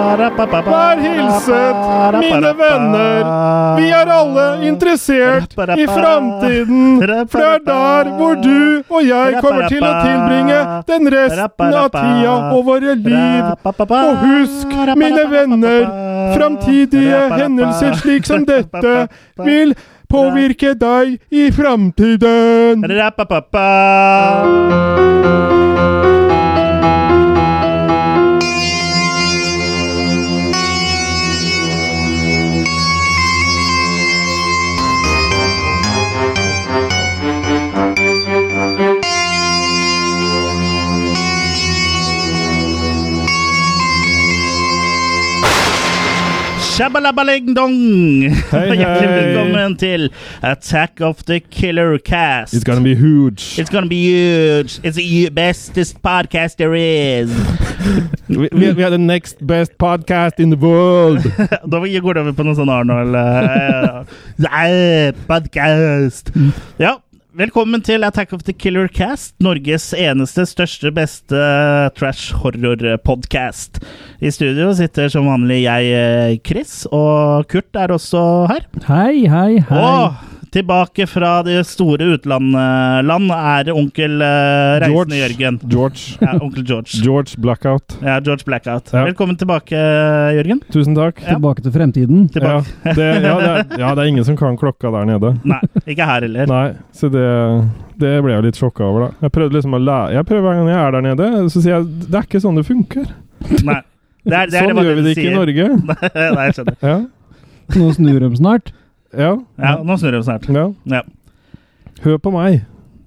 Vær hilset, mine venner. Vi er alle interessert i framtiden, for det er der hvor du og jeg kommer til å tilbringe den resten av tida og våre liv. Og husk, mine venner, framtidige hendelser slik som dette vil påvirke deg i framtiden. Shabalabalingdong! Hei, Hjertelig hei. velkommen til Attack of the Killer Cast. It's gonna be huge. It's gonna be huge. It's the bestest podcast there is. We, we, we are the next best podcast in the world. da går det over på noe sånn Arnold eh, eh, Podcast. Ja, velkommen til Attack of the Killer Cast, Norges eneste, største, beste eh, trash horror-podkast. I studio sitter som vanlig jeg, eh, Chris, og Kurt er også her. Hei, hei, hei. Og tilbake fra det store utlandet land er onkel eh, Reisende Jørgen. George. Ja, onkel George. George Blackout. Ja, George Blackout. Ja. Velkommen tilbake, eh, Jørgen. Tusen takk. Ja. Tilbake til fremtiden. Ja, Tilbake. det, ja, det er, ja, det er ingen som kan klokka der nede. Nei, ikke her heller. Nei, så det, det ble jeg litt sjokka over, da. Jeg prøvde liksom å lære Jeg prøver hver gang jeg er der nede, så sier jeg det er ikke sånn det funker. Nei. Det er, det er, sånn var gjør vi det ikke i Norge. Norge. Nei, jeg skjønner. Ja. Nå snur de snart. Ja. Ja, nå snur det snart. ja. Ja. Hør på meg,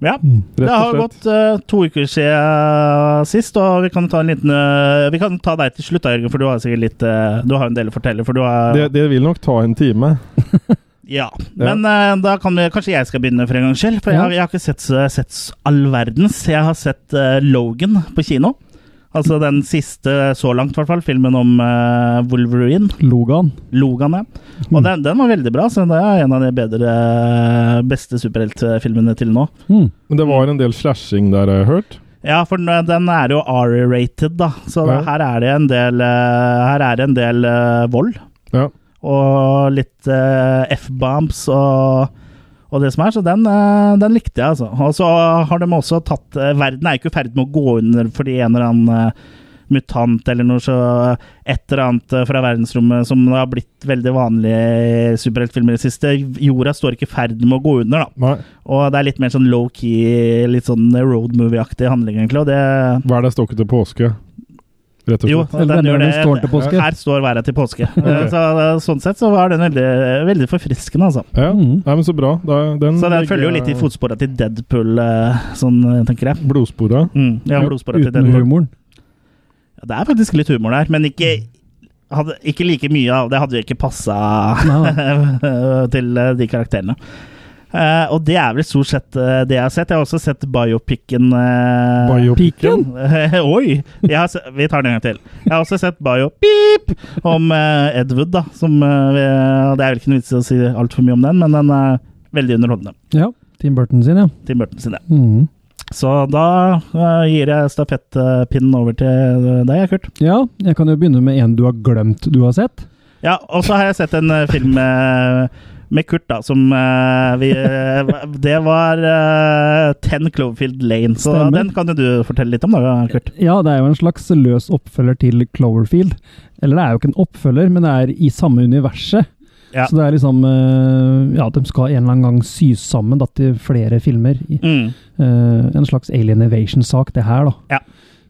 ja. Det rett har og slett. gått eh, to uker siden sist, og vi kan ta en liten eh, Vi kan ta deg til slutt, da, Jørgen, for du har sikkert litt eh, Du har en del å fortelle, for du har Det, det vil nok ta en time. Ja. Men eh, da kan vi, kanskje jeg skal begynne for en gangs skyld. For jeg, Ja. har- jeg har ikke sett, så- sett s- all verdens. Jeg har sett eh, Logan på kino. Altså den siste så langt, i hvert fall. Filmen om eh, Wolverine. Logan. Logan, ja. Mm. Og den, den var veldig bra, så det er en av de bedre, beste superheltfilmene til nå. Mm. Men det var en del slashing der, har jeg hørt. Ja, for den, den er jo R-rated, da, så Ja. her er det en del, eh, her er det en del eh, vold. Ja. Og litt eh, F-bombs og, og det som er, så den, eh, den likte jeg, altså. Og så har de også tatt eh, Verden er jo ikke i ferd med å gå under fordi en eller annen eh, mutant eller noe så et eller annet eh, fra verdensrommet som det har blitt veldig vanlig i superheltfilmer i det siste. Jorda står ikke i ferd med å gå under, da. Nei, Og det er litt mer sånn low-key, litt sånn road movie-aktig handling, egentlig. Og det hver deres stokke til påske, rett og Jo, slett. den gjør det. står til påske. Her står været til påske. Eh, Så, eh, sånn sett så var den veldig, veldig forfriskende, altså. Ja. Mm. Nei, men så bra. Da, den eh, Så den følger jo litt i fotsporene til Deadpool, eh, sånn eh, tenker jeg. Blodspora. Mm, ja, Ja, blodsporene til Uten Deadpool. humoren. Ja, Det er faktisk litt humor der, men ikke, hadde, ikke like mye av det hadde jo ikke passa Nei, nei. til eh, de karakterene. Eh, og det er vel stort sett eh, det jeg har sett. Jeg har også sett biopicen eh, Biopiken. Piken? Oi! Jeg har se vi tar den en gang til. Jeg har også sett biopip om eh, Ed Wood, da. Som, eh, vi, det er vel ikke noe vits i å si altfor mye om den, men den er veldig underholdende. Ja. Tim Burton sin, ja. Tim Burton sin, det. Mm. Så da eh, gir jeg stafettpinnen over til eh, deg, Kurt. Ja, jeg kan jo begynne med en du har glemt du har sett. Ja, og så har jeg sett en eh, film eh, med Kurt, da, som eh, vi eh, Det var eh, Ten Cloverfield Lane, så Stemmer. den kan jo du fortelle litt om, da, Kurt. Ja, det er jo en slags løs oppfølger til Cloverfield. Eller det er jo ikke en oppfølger, men det er i samme universet. Ja. Så det er liksom eh, Ja, de skal en eller annen gang sys sammen da, til flere filmer. I, Mm. Eh, en slags alien evasion-sak, det her, da. Ja.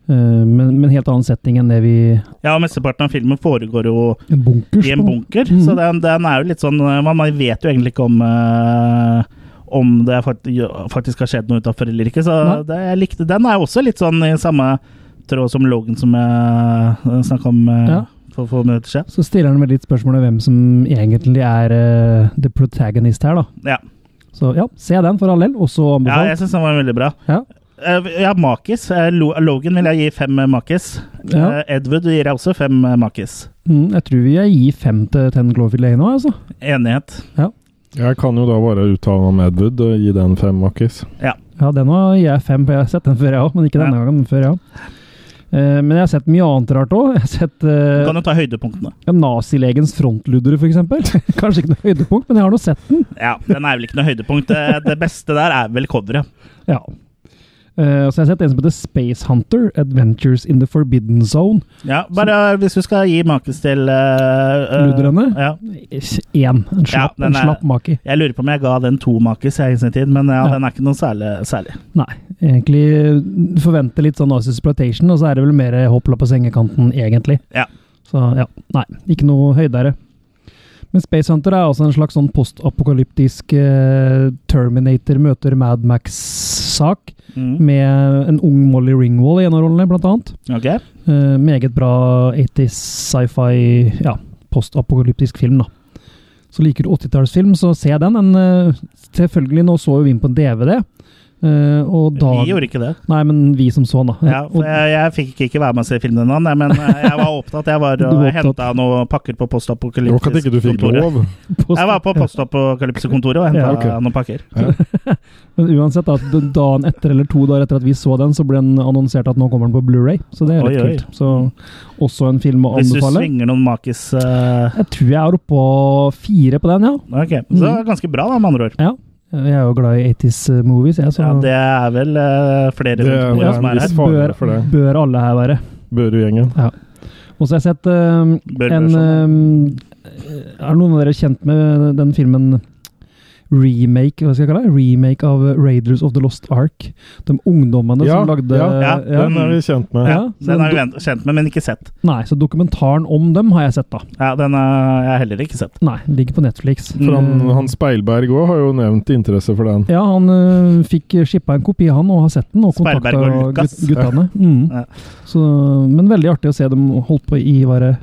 Eh, men, men helt annen setting enn det vi Ja, og mesteparten av filmen foregår jo En bunkers, i en bunker, Mm. så den, den er jo litt sånn eh, Man man vet jo egentlig ikke om eh, om det fakt- faktisk har skjedd noe utafor eller ikke, så Nei. det, jeg likte den. er jo også litt sånn i samme tråd som Logan, som jeg snakka om eh, Ja. for få minutter siden. Så stiller han vel litt spørsmål om hvem som egentlig er eh, the protagonist her, da. Ja. Så ja, se den for all del, også Ja, anbefalt. jeg syns den var veldig bra. Ja. Eh, Ja, Makis. Eh, Lo- Logan vil jeg gi fem eh, Makis. Ja. Eh, Edward gir jeg også fem eh, Makis. Mm, jeg tror vi gir fem til Ten Glowfield Lane nå, altså. Enighet. Jeg kan jo da bare uttale meg om Edwood og gi den fem makkis. Ja, den nå gir jeg fem, for jeg har sett den før, jeg òg. Men ikke denne gangen, men før, jeg òg. Eh, men jeg har sett mye annet rart òg. Jeg har sett Du eh, kan jo ta høydepunktene. ja, nazilegens frontludere, f.eks. Kanskje ikke noe høydepunkt, men jeg har nå sett den. Ja, Den er vel ikke noe høydepunkt. Det, det beste der er vel coveret. Ja. Eh, og så har jeg sett en som heter Space Hunter, Adventures in the Forbidden Zone. Ja, bare hvis du skal gi makes til eh, eh, Ludrene? Ja. Én. En slapp, den en er- slapp maki. Jeg lurer på om jeg ga den to makes jeg i sin tid, men ja, Ja. den er ikke noe særlig. særlig. Nei. Egentlig eh, du forventer litt sånn Nazi Exploitation, og så er det vel mer hoppla på sengekanten, egentlig. Ja. Så ja, nei. Ikke noe høydere. Men Space Hunter er også en slags sånn postapokalyptisk eh, Terminator møter Mad Max-sak, Mm. med en ung Molly Ringwall i en av rollene, blant annet. Ok. Eh, meget bra 80s sci-fi, ja, postapokalyptisk film, da. Så liker du 80-tallsfilm, så se den. En, eh, selvfølgelig, nå så jo vi den på en DVD. eh, og da, Vi gjorde ikke det. Nei, men vi som så den, da. Ja, for og, jeg, jeg fikk ikke være med og se filmen ennå, nei, men eh, jeg var opptatt. Jeg var Du og var henta noen pakker på Det var ikke at ikke du fikk postapokalypsekontoret. lov. post- Jeg var på postapokalypsekontoret og henta Ja, ok. noen pakker. Men uansett, da, d- dagen etter eller to dager etter at vi så den, så ble den annonsert at nå kommer den på Blu-ray Så det er litt Oi, oi. kult. Så også en film å Hvis du anbefale. svinger noen makis eh, Jeg tror jeg er oppe på fire på den, ja. Ok, så Mm. det var ganske bra, da, med andre ord. Jeg er jo glad i 80s movies, jeg, så Ja, det er vel eh, flere Det rundt er bordet som en er viss her. fare for det. bør alle her være. Børud-gjengen. Og så har jeg sett eh, Bør være en sånn. eh, Er noen av dere kjent med den filmen Remake, hva skal jeg kalle det? Remake av Raiders of the Lost Ark. De ungdommene Ja, som lagde ja, ja. ja. Den er vi kjent med. ja, ja, så den har du- jeg vent- kjent med, men ikke sett. Nei, så dokumentaren om dem har jeg sett, da. Ja, Den har jeg heller ikke sett. Nei, ligger på Netflix. Mm. For han, han Speilberg òg har jo nevnt interesse for den. Ja, han ø, fikk skippa en kopi, han, og har sett den, og kontakta Sperberg og Lucas. gut- guttene. Mm. Ja. Så, men veldig artig å se dem holdt på i var det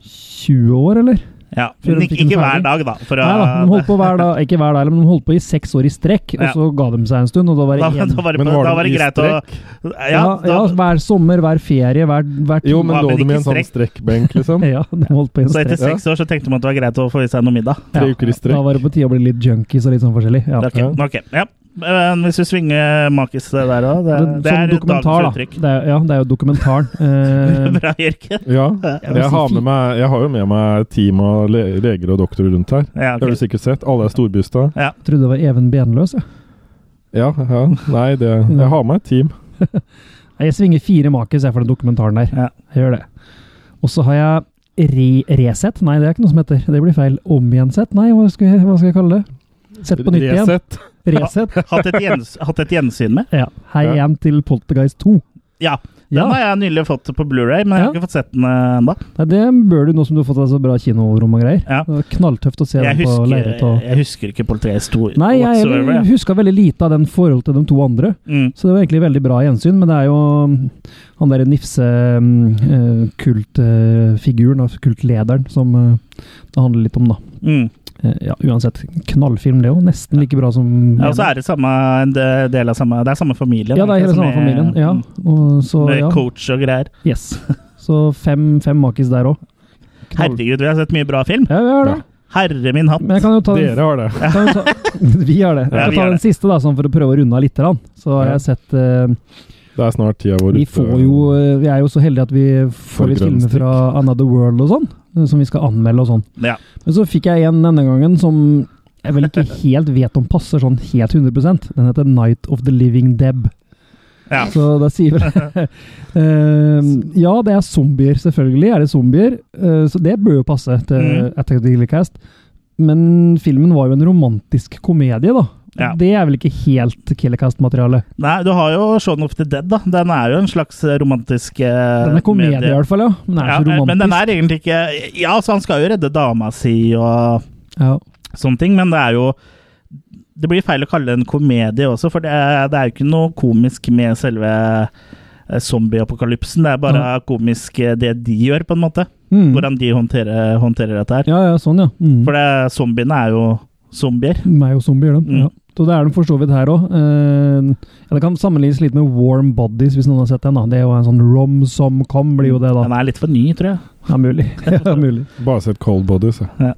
20 år, eller? Ja, Før men de ikke, fikk den ikke hver ferdig. dag, da. For, Nei da, eh, de holdt på hver dag, ikke hver dag, men de holdt på i seks år i strekk, og Ja. så ga de seg en stund, og da var da, det da, én. var det, Men på- var da det var det i greit å Ja, Ja, ja, da, hver sommer, hver ferie, hver, hver Jo, men Ja, lå men de ikke i en sånn strekkbenk, liksom? Ja, de holdt på i en så etter strekk. Ja. seks år så tenkte man at det var greit å få i seg noe middag. Tre uker i Da strekk. var det på tide å bli litt junkies og litt sånn forskjellig. Ja. Ok, Ja. ok, ja. Men hvis du svinger makis det der òg, det, Men det som er dagens Sånn dokumentar, da. uttrykk. Det er, ja, det er jo dokumentaren. Eh, Bra, Jørgen. Ja. Jeg vil Jeg si har, fi- med meg, jeg har jo med meg et team av le leger og doktorer rundt her. Ja, Det har ok. du sikkert sett. Alle er storbysta. trodde det var Even Benløs. jeg. Ja, ja. Nei, det Jeg har med et team. Nei, Jeg svinger fire makis jeg for den dokumentaren der. Ja. Jeg gjør det. Og så har jeg re resett. Nei, det er ikke noe som heter. Det blir feil. Om igjen sett. Nei, hva skal jeg, hva skal jeg kalle det? Sett på nytt igjen. Resett. Resett. Hatt et, gjens, hatt et gjensyn med? Ja. Hei Ja. igjen til Poltergeist 2. Ja. Den Ja, har jeg nylig fått på Blu-ray, men jeg har Ja. ikke fått sett den eh, ennå. Nei, det bør du nå som du har fått deg så bra kinorom og greier. Ja. Det var knalltøft å se Jeg, den på husker- lerret. Og... jeg husker ikke Poltergeist 2 Nei, jeg, whatsoever, jeg jeg. huska veldig lite av den forhold til de to andre. Mm. Så det var egentlig veldig bra gjensyn, men det er jo mm, han derre nifse um, eh, kultfiguren, og kultlederen, som eh, det handler litt om, da. Mm. Eh, Ja, uansett. Knallfilm, det òg. Nesten like bra som Ja, og så er det samme, en de- del av samme Det er samme familien. Ja, det er hele ikke, som samme familien. Ja. mm, Og så, Med ja. coach og greier. Yes. Så fem, fem makis der òg. Herregud, vi har sett mye bra film! Ja, vi har det. Ja. Herre min hatt! Men jeg kan jo ta den, Dere har det. kan jo ta, Vi har det. Ja, Jeg vi kan ta har den det. siste, da, sånn for å prøve å runde av litt. grann. Så har Ja. jeg sett eh, Det er snart tida vår Vi ute. får jo eh, Vi er jo så heldige at vi får litt grønn filmer fra Another World og sånn, eh, som vi skal anmelde og sånn. Ja. Men så fikk jeg en denne gangen som jeg vel ikke helt vet om passer sånn helt 100 Den heter Night of the Living Deb. Ja. Så da sier vel Eh, Ja, det er zombier, selvfølgelig er det zombier. eh, så det bør jo passe til Mm. Attack of the Killer Cast. Men filmen var jo en romantisk komedie, da. Ja. Eh, Det er vel ikke helt Killer Cast-materiale. Nei, du har jo Shaun of the Dead, da. Den er jo en slags romantisk eh, Den er komedie, i medie. hvert fall, ja. Men den er Ja, eh, ikke romantisk. men den er egentlig ikke Ja, så han skal jo redde dama si og ja. sånne ting, men det er jo Det blir feil å kalle det en komedie også, for det er, det er jo ikke noe komisk med selve eh, zombieapokalypsen. Det er bare komisk eh, det de gjør, på en måte. Mm. Hvordan de håndterer, håndterer dette her. Ja, ja, sånn, ja. Mm. For det, zombiene er jo zombier. De er jo zombier, de. Mm. Ja. Så det er de for så vidt her òg. ja, det kan sammenlignes litt med Warm Bodies, hvis noen har sett den. da. Det er jo en sånn rom som kom, blir jo det, da. Den er litt for ny, tror jeg. Ja, mulig. ja, mulig. Bare sett Cold Bodies. jeg.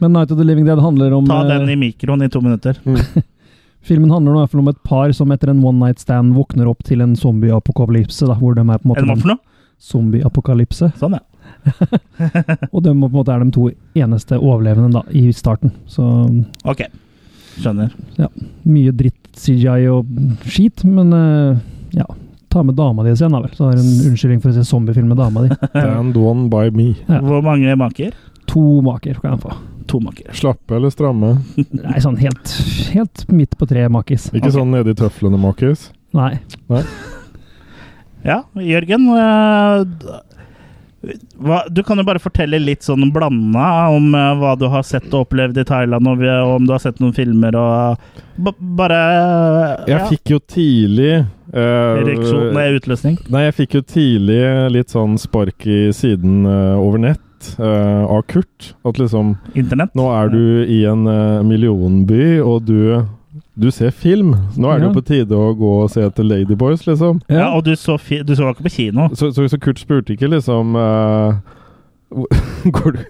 Men Night of the Living Dead handler om Ta den eh, Mm. i mikroen i to minutter. Filmen handler nå i hvert fall om et par som etter en one night stand våkner opp til en zombie-apokalypse. da, Hvor de er på en Er det hva måte for noe? zombie-apokalypse. Sånn, ja. Og de på en måte er de to eneste overlevende da, i starten. Så Ok. Skjønner. mye dritt CGI og skit, men eh, ja. Ta med dama di igjen, da vel. Så har du en unnskyldning for å se zombiefilm med dama di. And one by me. Ja. Hvor mange maker? To maker kan jeg få. To maker. Slappe eller stramme? Nei, sånn helt, helt midt på tre makis. Ikke sånn nede i tøflene, Markus. Nei. Ja, Jørgen. eh, d- Hva, du kan jo bare fortelle litt sånn blanda om eh, hva du har sett og opplevd i Thailand, og vi- og om du har sett noen filmer og ba, Bare Jeg fikk jo tidlig eh, Ereksjon Nei, utløsning. Nei, jeg fikk jo tidlig litt sånn spark i siden eh, over nett eh, av Kurt. At liksom Internett. Nå er du i en eh, millionby, og du, du ser film. Nå er det Ja. jo på tide å gå og se etter Ladyboys, liksom. Ja, og du så, fi, du så ikke på kino. Så, så, så Kurt spurte ikke liksom eh, hvor- Går du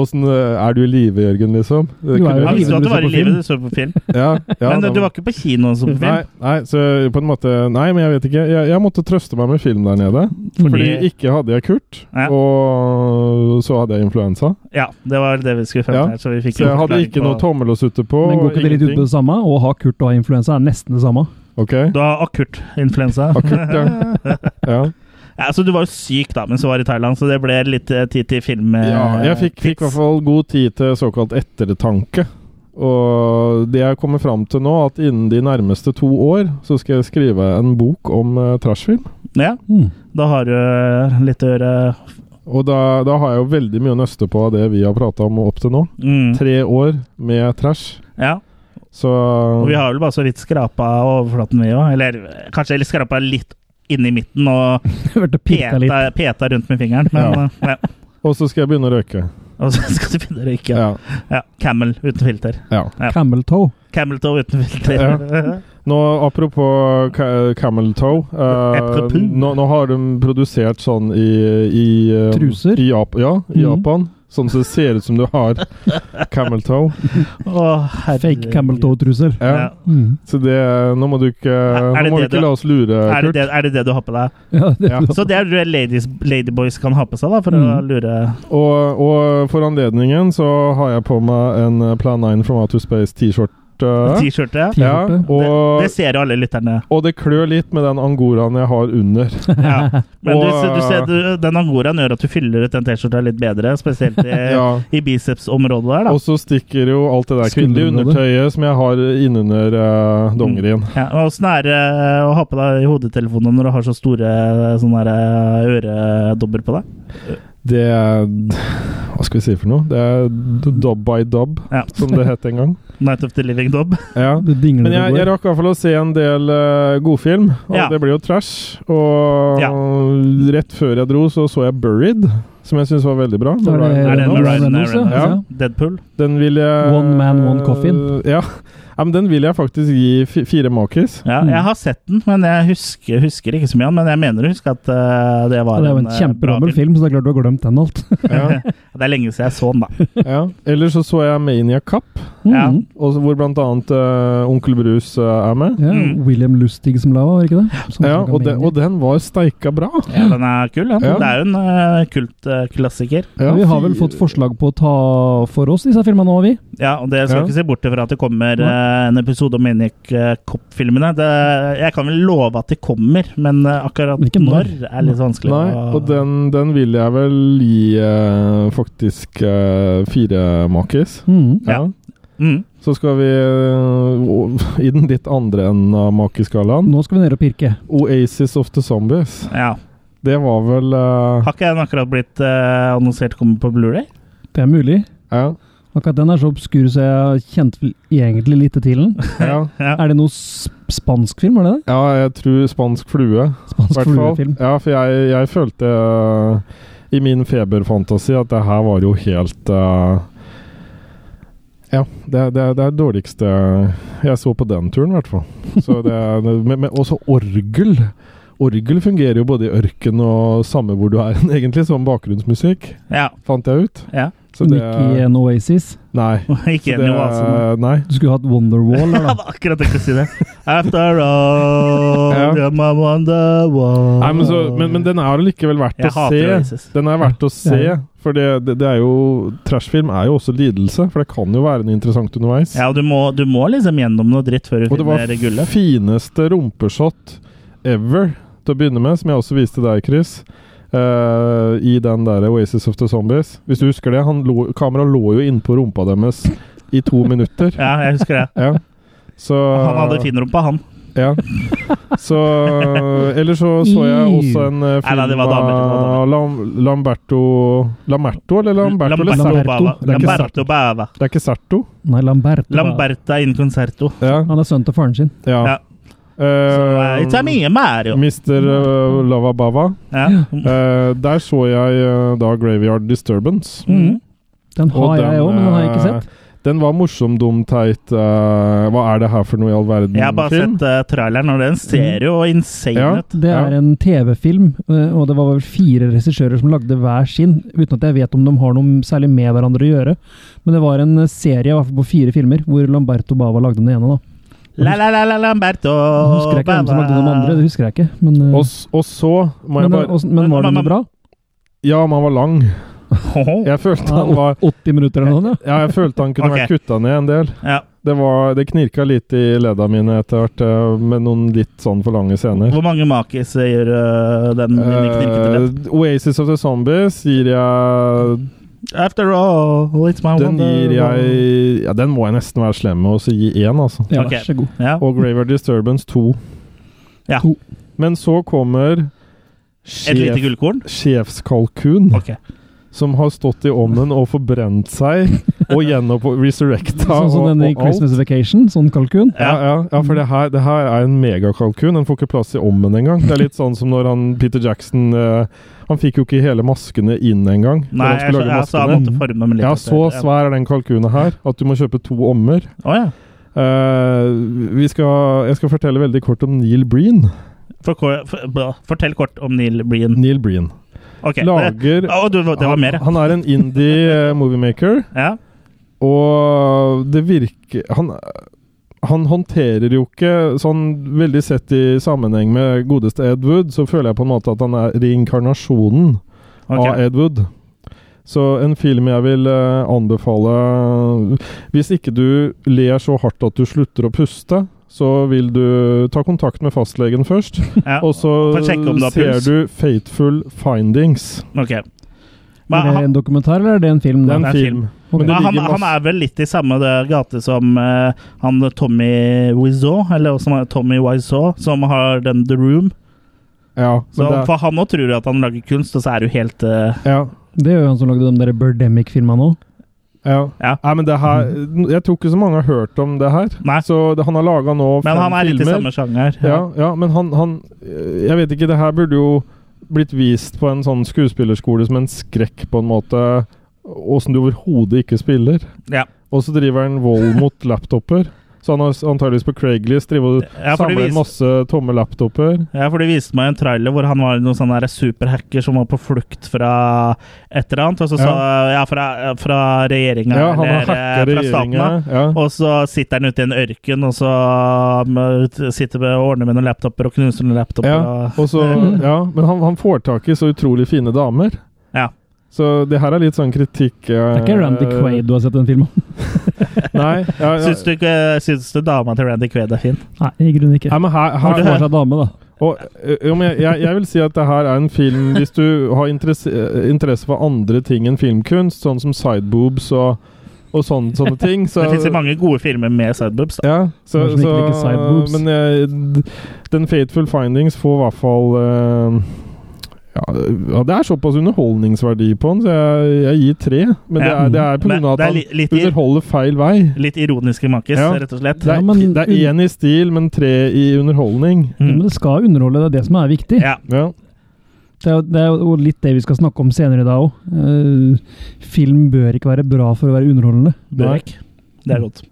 Åssen Er du i live, Jørgen, liksom? Det Du er jo kunne- Han i live. visste jo at du du var i så på live, du så på film. Ja, ja, Men da- eh, du var ikke på kino og så på Nei, film. nei, så på en måte Nei, men jeg vet ikke. Jeg, jeg måtte trøste meg med film der nede. Fordi ikke hadde jeg Kurt, Ja. og så hadde jeg influensa. Ja, det var det vi skulle frem Ja. til. her, Så vi fikk Så jeg hadde ikke noe tommel å sutte på. Men går ikke det litt ut på det samme? Å ha Kurt og ha influensa er nesten det samme. Ok, Du har akutt influensa. akkurat, ja. ja. Ja, så du var jo syk da mens du var i Thailand, så det ble litt eh, tid til film. eh, ja jeg fikk, fikk i hvert fall god tid til såkalt ettertanke. Og det jeg kommer fram til nå, at innen de nærmeste to år så skal jeg skrive en bok om uh, trashfilm. Ja, Mm. da har du eh, litt å gjøre. Og da, da har jeg jo veldig mye å nøste på av det vi har prata om opp til nå. Mm. Tre år med trash. Ja, Så og vi har vel bare så vidt skrapa overflaten vi òg, eller eh, kanskje eller skrapa litt inni midten og Hørte pirka litt. peta, peta rundt med fingeren. Men, eh, ja. Og så skal jeg begynne å røyke. Og så skal du begynne å røyke. Ja. Ja. Camel uten filter. ja. Ja. Camel toe. Camel toe uten filter. Nå, apropos ca Camel Toe eh, Apropos. nå, nå har de produsert sånn i, i eh, Truser? I Jap ja, i Mhm. Japan. Sånn som det ser ut som du har Camel Toe. Å, herregud. Fake camel toe-truser. Ja. Ja. Mm. Så det Nå må du ikke, Er det nå må det du ikke du- la oss lure, Er det, Kurt. det, er det det du har på deg? Ja, det, Ja. Så det er det ladies, ladyboys kan ha på seg, da, for å Mm. lure Og, og for anledningen så har jeg på meg en eh, Plan 9 from Outer Space-T-skjorte. T-skjorte. Ja, T-skjorte. og, Det ser jo alle lytterne. og det klør litt med den angoraen jeg har under. Ja. Men du, Og- du ser, du, den angoraen gjør at du fyller ut den T-skjorta litt bedre, spesielt i, Ja. i bicepsområdet der, da. Og så stikker jo alt det der kvinnelige Skulderområdet. undertøyet som jeg har innunder uh, dongerien. Ja, og Åssen er det eh, å ha på deg i hodetelefonene når du har så store eh, sånne der, eh, øredobber på deg? Det er Hva skal vi si for noe? Det er d- dub by dub, Ja. som det het en gang. Night of the Living Dob. Ja. det dingler Men jeg, og jeg går. rakk i hvert fall å se en del eh, godfilm, og Ja. det blir jo trash. Og Ja. rett før jeg dro, så så jeg Buried, som jeg syns var veldig bra. Da er Er det- det Reynolds. med Reynolds, Ryan Reynolds? ja. Ja. Deadpool? Den vil jeg One man, one coffin. Ja. ja, men den vil jeg faktisk gi fi- fire makis. Ja, Mm. jeg har sett den, men jeg husker, husker ikke så mye av den. Men jeg mener å huske at eh, det Ja, var det er jo en eh, bra kjempegammel film, så det er klart du har glemt den alt. Ja, Det er lenge siden jeg så den, da. ja. Eller så så jeg Mania Cup. Mm. Ja. Ja. Og så- hvor blant annet eh, Onkel Brus eh, er med. Mm. William Lustig som lava, var det ikke det? Som Ja, snakket og, med de, henne. og den var steika bra. Ja, den er kul, den. Ja. Det er jo en eh, kult eh, klassiker. Ja, vi har vel fy- fått forslag på å ta for oss disse filmene òg, vi. Ja, og det skal Ja. ikke se bort ifra at det kommer eh, en episode om Maniac eh, Cop-filmene. Det- Jeg kan vel love at de kommer, men eh, akkurat Men ikke når. når er litt vanskelig. Nei, å- og den, den vil jeg vel gi eh, faktisk eh, fire makis. Mm. Ja. mm. Så skal vi eh, o- i den litt andre enden av makiskalaen. Nå skal vi ned og pirke. Oasis of the Zombies. ja. Det var vel eh, Har ikke den akkurat blitt eh, annonsert kommer på Blu-ray? Det er mulig. ja, Akkurat den er så obskur, så jeg kjente vel egentlig lite til den. ja, Ja. Er det noe sp spansk film, var det det? ja, jeg tror Spansk flue. Spansk hvert fall. fluefilm. Ja, for jeg, jeg følte øh, i min feberfantasi at det her var jo helt øh, Ja, det, det, det er det dårligste eh, jeg så på den turen, i hvert fall. Så det, det, men- men også orgel! Orgel fungerer jo både i ørken og samme hvor du er, egentlig, som bakgrunnsmusikk, Ja. fant jeg ut. ja. eh, Så det Ikke i en Oasis. Nei. Ikke Så det- enig med Oasen. Nei. Du skulle hatt Jeg Wonderwall her, da. hadde akkurat tenkt å si det. After all, Ja. I'm a wonderwall. Nei, men, så, men, men den er likevel verdt Jeg å hater se. Oasis. Den er verdt å se, Ja. for det, det, det er jo Trashfilm er jo også lidelse, for det kan jo være noe interessant underveis. Ja, og du må, du må liksom gjennom noe dritt før du Og det var finner det gullet. fineste rumpeshot ever til å begynne med, som jeg også viste deg, Chris. eh, I den der Oasis of the Zombies. Hvis du husker det, han lå, kameraet lå jo innpå rumpa deres i to minutter. Ja, jeg husker det. Ja. Så Han hadde finrumpa, han. Ja. Så Eller så så jeg også en eh, Nei, film nei, det var damer, det var damer. av Lam, Lamberto Lamberto, eller Lamberto? eller Lamberto. Ser- Bava. Det er ikke Lamberto Bava. Det er ikke Serto? Nei, Lambert. Lamberta in concerto. Ja. Han er sønnen til faren sin. ja. Ja. Eh, It's a me, Mario. Mr. eh, Lavabava. Ja. Mm. Eh, der så jeg eh, da Graveyard Disturbance. Mm. Den har Og jeg òg, men den har jeg ikke eh, sett. Den var morsom, dum, teit eh, Hva er det her for noe i all verden? Jeg har bare film? Mm. sett eh, traileren, og den ser jo insane Ja. ut. Det er ja. en TV-film, eh, og det var vel fire regissører som lagde hver sin, uten at jeg vet om de har noe særlig med hverandre å gjøre. Men det var en eh, serie i hvert fall på fire filmer, hvor Lamberto Bava lagde den ene. da. La, la, la, la, Lamberto Jeg husker jeg ikke hvem som lagde de andre, det husker jeg ikke. Men, eh, Og, s- og så må jeg men, eh, bare og, men var det noe bra? Ja, men han var lang. Hoho. Jeg følte Ja, han var 80 minutter eller noe sånt, Ja, jeg følte han kunne Ok. vært kutta ned en del. Ja. Det, var, det knirka litt i ledda mine etter hvert, eh, med noen litt sånn for lange scener. Hvor mange makis gjør eh, den knirkete ledd? Eh, Oasis of the Zombies gir jeg After all, it's my Den gir wonderwall. jeg Ja, den må jeg nesten være slem med og så gi én, altså. ja. Ja, Ok. Vær så god. Ja. Og Graveyard Disturbance 2. Ja. To. Men så kommer Et lite sjef, gullkorn? sjefskalkun, Ok. som har stått i ovnen og forbrent seg, og gjennom resurrecta Sånn som og, den i og alt. Christmas Vacation, sånn kalkun. Ja, ja, ja for det her, det her er en megakalkun. Den får ikke plass i ommen engang. Det er litt sånn som når han Peter Jackson eh, Han fikk jo ikke hele maskene inn engang. når Nei, han jeg, skulle jeg, lage altså, han maskene. måtte forme dem litt. Ja, etter. så svær er den kalkunen her at du må kjøpe to ommer. Å ja. Eh, vi skal, jeg skal fortelle veldig kort om Neil Breen. For, for, bra. fortell kort om Neil Breen. Neil Breen Mm. Ok. lager Å, du, det var mer, ja. Han, han er en indie eh, moviemaker, ja. og det virker Han, han håndterer jo ikke sånn veldig sett i sammenheng med godeste Ed Wood, så føler jeg på en måte at han er reinkarnasjonen av Ok. Ed Wood. Så en film jeg vil eh, anbefale Hvis ikke du ler så hardt at du slutter å puste, så vil du ta kontakt med fastlegen først. ja. Og så For å sjekke om du har ser puls. du Fateful Findings. Ok. Men, Er det han, en dokumentar, eller er det en film? Det er en det er en film. film. Men det men han, ligger han masse er vel litt i samme det gate som eh, han Tommy Wiseau, eller også han- Tommy Wiseau, som har den The Room. ja, Så, men det er, for han òg tror jo at han lager kunst, og så er du helt eh, ja, Det gjør jo han som lagde de der Birdemic-filmene òg. ja. Ja. Nei, men det her Jeg tror ikke så mange har hørt om det her. Nei. Så det, han har laga nå fem Men han er litt i filmer. samme sjanger. Ja, ja men han, han Jeg vet ikke, det her burde jo blitt vist på en sånn skuespillerskole som en skrekk, på en måte. Åssen du overhodet ikke spiller. Ja. Og så driver han vold mot laptoper. Så han har s- antageligvis på Craiglist driver og Ja, for det samler vis- inn masse tomme laptoper. Ja, for de viste meg en trailer hvor han var noen sånne der superhacker som var på flukt fra et eller annet. Og så Ja. sa ja, fra, fra regjeringa Ja, han har eller eh, hacka fra staten. regjeringa. da. Ja. Og så sitter han ute i en ørken og så mm, sitter med, og ordner med noen laptoper og knuser noen laptoper. Ja, Og, Og så, Mm. ja, men han, han får tak i så utrolig fine damer. Ja. Så det her er litt sånn kritikk eh, Det er ikke Randy Quaid du har sett den filmen? Nei, ja, ja. Syns du ikke syns du dama til Randy Quaid er fin? Nei, i grunnen ikke. Nei, men her, Han her, får seg dame, da. Og, ø, jo, men jeg, jeg, jeg vil si at det her er en film Hvis du har interesse, eh, interesse for andre ting enn filmkunst, sånn som sideboobs og, og sånne, sånne ting så, Det fins jo mange gode filmer med sideboobs. da. ja, så, Noen som ikke så, liker sideboobs. Men jeg, d- den Fateful Findings får i hvert fall ø, ja, ja, Det er såpass underholdningsverdi på den, så jeg, jeg gir tre. Men det Ja. er, det er på Men grunn av det at er han li, litt, i- underholder feil vei. litt ironiske makis, Ja. rett og slett. Det Ja, er, men- det er én i stil, men tre i underholdning. Ja, Men Mm. det skal underholde, det er det som er viktig. Ja. Ja. Det, er, jo- det er jo litt det vi skal snakke om senere i dag Eh, òg. film bør ikke være bra for å være underholdende. Bøvik. Det er godt.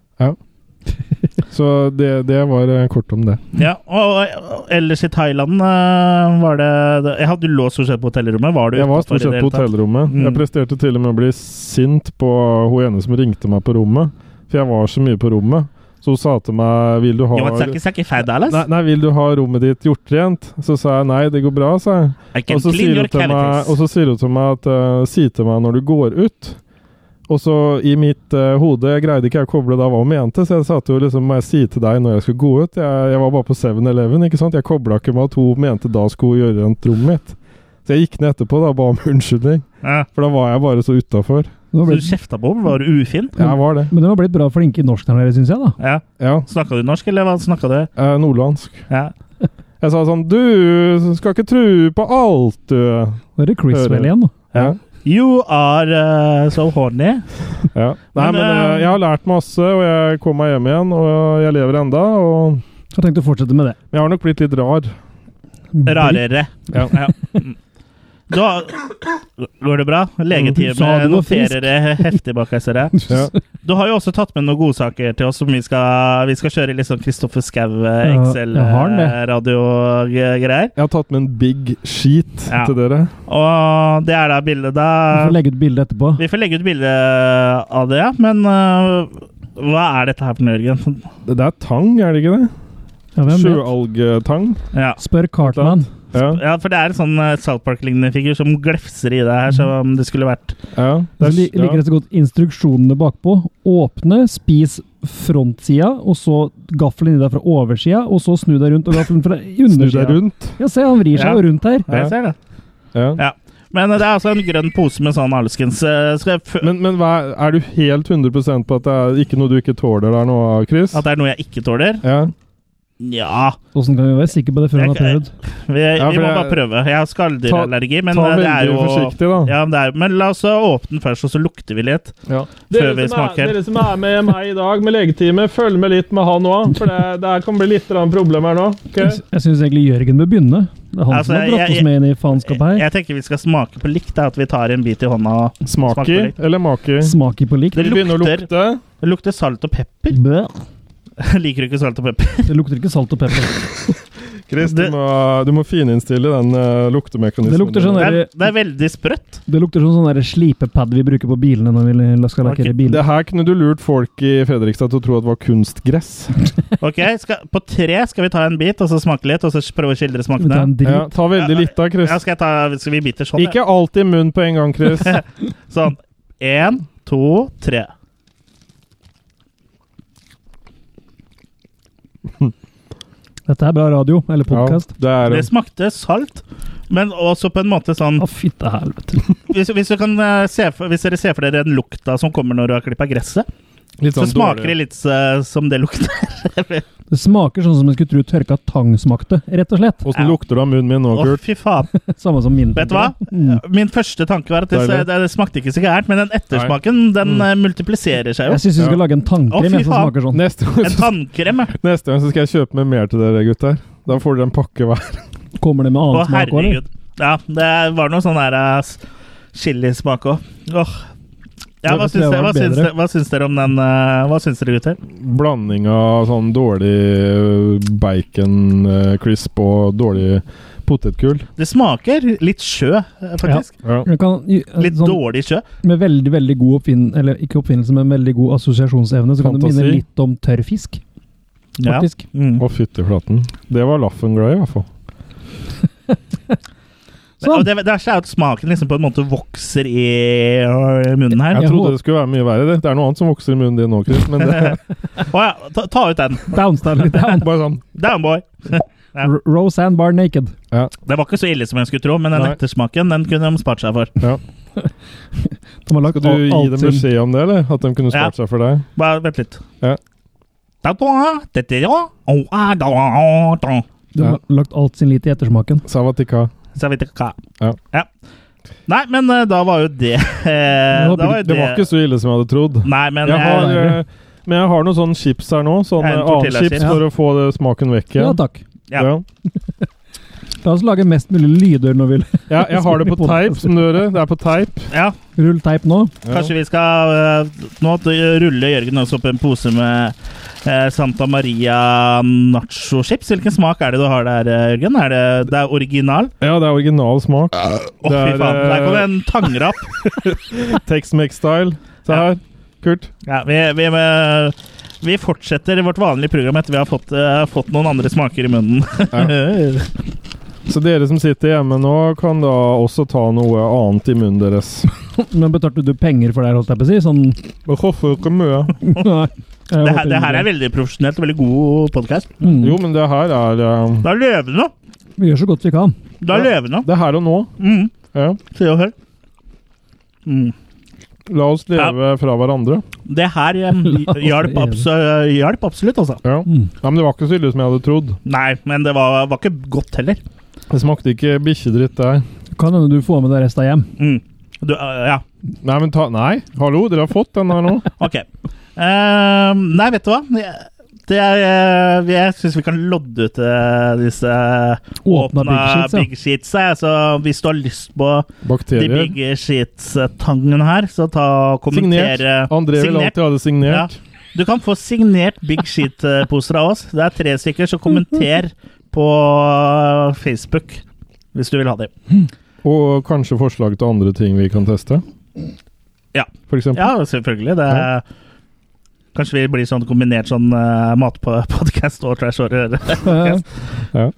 Så det, det var eh, kort om det. Ja, og ellers i Thailand eh, var det Jeg hadde lå stort sett på hotellrommet. Var du Jeg utenfor var i stort sett det hele på tatt? hotellrommet. Mm. Jeg presterte til og med å bli sint på hun ene som ringte meg på rommet. For jeg var så mye på rommet. Så hun sa til meg Vil du ha Jo, men snakker- snakker feil, Dallas. Nei, nei, vil du ha rommet ditt gjort rent? Så sa jeg nei, det går bra, sa jeg. I can Og så clean sier your hun til meg, og cavities. så sier hun til meg at eh, Si til meg når du går ut. Og så i mitt eh, hode jeg greide ikke jeg å koble da hva hun mente, så jeg sa til henne liksom, må jeg si til deg når jeg skal gå ut. Jeg, jeg var bare på 7-Eleven, ikke sant. Jeg kobla ikke med at hun mente da skulle hun gjøre rent rommet mitt. Så jeg gikk ned etterpå da, og ba om unnskyldning, Ja. for da var jeg bare så utafor. Du har Så du blitt, kjefta på henne? Var du ufin? Jeg var det. men du har blitt bra flink i norsk der nede, syns jeg, da. Ja. Ja. Snakka du norsk, eller hva snakka du? eh, Nordlandsk. Ja. Jeg sa sånn Du skal ikke true på alt, du. Nå er det Criswell Hører. igjen, da. Ja. You are eh, so horny. Ja. Nei, Men, men eh, eh, jeg har lært masse, og jeg kom meg hjem igjen, og jeg lever enda, og Jeg har tenkt å fortsette med det. men jeg har nok blitt litt rar. eh, Rarere. Ja. Mm. Da går det bra? Du sa Legetime du var frisk. noterer det heftig bak her, ser jeg. Ja. Du har jo også tatt med noen godsaker til oss som vi skal, vi skal kjøre litt sånn Kristoffer Schou eh, Ja, jeg har den, det. XL-radiogreier. Jeg har tatt med en big sheet Ja. til dere. Og det er da bildet da Vi får legge ut bilde etterpå. Vi får legge ut bilde av det, ja. Men eh, hva er dette her for noe, Jørgen? Det det er tang, er det ikke det? Ja, hvem vet? Sjøalgetang. Ja. Spør Cartman. Ja. ja, for det er en sånn eh, South Park-lignende figur som glefser i det her, som om det skulle vært Ja. Så Det li- er, ligger ja. det så godt instruksjonene bakpå. Åpne, spis frontsida, og så gaffelen i deg fra oversida, og så snu deg rundt og gaffelen fra Snu deg undersida. rundt. Ja, se, han vrir seg Ja. jo rundt her. Jeg ser det. Ja. Ja. Men eh, det er altså en grønn pose med sånn alskens eh, Skal jeg fø- Men, men hva, er- er du helt 100 på at det er ikke noe du ikke tåler der nå, Chris? At det er noe jeg ikke tåler? Ja. Nja Åssen kan vi være sikre på det før han har Jeg- prøvd? Vi, for vi må jeg- bare prøve. Jeg har skalldyrallergi, men Ta eh, det er veldig jo forsiktig, da. ja, men, det er, men la oss åpne den først, og så lukter vi litt. Ja. Dere Før vi som er- smaker. dere med meg i dag med legetime, følg med litt med han òg, for det, kan bli litt problem her nå. Jeg, jeg syns egentlig Jørgen bør begynne. Det er han Altså, som har dratt jeg- oss med inn i faenskapet her. Jeg tenker vi skal smake på likt, da, at vi tar en bit i hånda. og- Smaker Smaki litt. eller maki? Smaker på likt. Det Det begynner å lukter. lukte. Det lukter salt og pepper. Bæ. Liker du ikke salt og pepper? Det lukter ikke salt og pepper. Chris, du Det- må, du må fininnstille den eh, luktemekanismen. Det lukter sånn Det der- din. er, det er veldig sprøtt. Det lukter som sånn der slipepad vi bruker på bilene når vi la- skal lakkere Ok, biler. Det her kunne du lurt folk i Fredrikstad til å tro at var kunstgress. Ok, skal, På tre skal vi ta en bit, og så smake litt, og så prøve å skildre Vi tar smakene. en drit. Ja, ta veldig litt da, Chris. Ja, skal, jeg ta, skal vi bite sånn? ja? Ikke alt i munnen på en gang, Chris. Sånn. Én, to, tre. Dette er bra radio, eller podkast. Ja, det er Det det. smakte salt, men også på en måte sånn Å, fytte helvete. Hvis, hvis, du kan eh, se for, hvis dere ser for dere den lukta som kommer når du har klippa gresset, Litt så sånn smaker det dårlig. litt eh, som det lukter. Det smaker sånn som en skulle tro tørka tang smakte, rett og slett. Åssen lukter det av munnen min nå, Å, Kurt? fy faen. Samme som min. Vet du hva? Mm. Min første tanke var at det, Deilig. det, det smakte ikke så gærent, men den ettersmaken den Mm. eh, multipliserer seg Jeg jo. syns vi skal Ja. lage en Å, fy tannkrem jeg, som faen. smaker sånn. Neste gang, En så, tannkrem, ja. neste gang så skal jeg kjøpe med mer til dere, gutter. Da får dere en pakke hver. Kommer det med Å, annen smak òg, eller? herregud. Ja, det var noe sånn der eh, s- chilismak òg. Åh. Ja, Det hva tror jeg syns, dere, var hva, syns bedre. dere, hva syns dere om den eh, Hva syns dere, gutter? Blanding av sånn dårlig bacon-crisp og dårlig potetgull. Det smaker litt sjø, eh, faktisk. Ja. Du Kan, Litt sånn, dårlig sjø. med veldig veldig god oppfinn... Eller ikke oppfinnelse, men veldig god assosiasjonsevne, så kan det Fantasi. minne litt om tørr fisk, Ja. faktisk. Mm. Å, fytti flaten. Det var laffen glad i, i hvert fall. Og Sånn. det, det er så at smaken liksom på en måte vokser i øh, munnen her. Jeg Jeg trodde håper- det skulle være mye verre. Det Det er noe annet som vokser i munnen din nå, Chris. Men det er Å ja, ta, ta ut den. Downstyle litt down. bare sånn Downboy. Ja. R- Roseanne Bar Naked. Det var ikke så ille som jeg skulle tro, men den Nei. ettersmaken den kunne de spart seg for. De har lagt Skal du alt- gi alt dem sin- beskjed om det, eller? At de kunne spart seg for deg? Bare vent litt. Ja. Da, da, da, da, da, da, da, da, da. De har lagt alt sin lit i ettersmaken. Savatika. Så jeg vet ikke hva. Ja. Nei, men eh, da var jo det eh, var Da var jo Det var ikke så ille som jeg hadde trodd. Nei, men Jeg har, jeg, Nei. eh, men jeg har noen sånne chips her nå. Sånne En annen tortillachips. chips for å få det, smaken vekk Ja igjen. takk. Ja. Ja. La oss lage mest mulig lyder når vi Ja, jeg har det på teip, som dere. Det er på teip. ja, ruller teip nå. Ja. kanskje vi skal eh, Nå ruller Jørgen også opp en pose med Eh, Santa Maria nacho-chips. Hvilken smak er det du har der, eh, Jørgen? Er det, det er original? Ja, det er original smak. Å, Det fy er, faen. Der eh, kom det en tangrapp. Tex-Mex-style. Se Ja. her. Kult. Ja, vi, vi, vi fortsetter vårt vanlige program etter vi har fått, eh, fått noen andre smaker i munnen. Så dere som sitter hjemme nå, kan da også ta noe annet i munnen deres. Men betalte du penger for det, her, holdt jeg på å si? Sånn Men hvorfor ikke mye? Nei. det, her, det her er veldig profesjonelt og veldig god podkast. mm, Jo, men det her er eh, Det er levende! Vi gjør så godt vi kan. Det er Ja. levende. Det er her og nå. Mm. Ja. Se og hør. Mm. La oss leve fra hverandre. Det her eh, hjalp, abs hjalp absolutt, altså. Ja. Mm. ja, Men det var ikke så ille som jeg hadde trodd. Nei, men det var, var ikke godt heller. Det smakte ikke bikkjedritt der. Kan hende du får med deg resten hjem. Mm. Du, eh, ja, Nei, men ta Nei, hallo, dere har fått den her nå. ok. Eh, nei, vet du hva? Jeg- Det er, eh, jeg syns vi kan lodde ut eh, disse Åpna åpna big sheets, ja. big sheets. her. Så hvis du har lyst på de Bakterier. big sheets-tangene her, så ta og Signert. kommenter. eh, André vil Signert. alltid ha det signert. Du kan få signert big sheet-poser av oss. Det er tre stykker, så kommenter på Facebook hvis du vil ha dem. Og kanskje forslag til andre ting vi kan teste. Ja. For eksempel. Ja, selvfølgelig. Det Ja. er, Kanskje vi blir sånn kombinert sånn uh, matpodkast og trash og røre. Eh,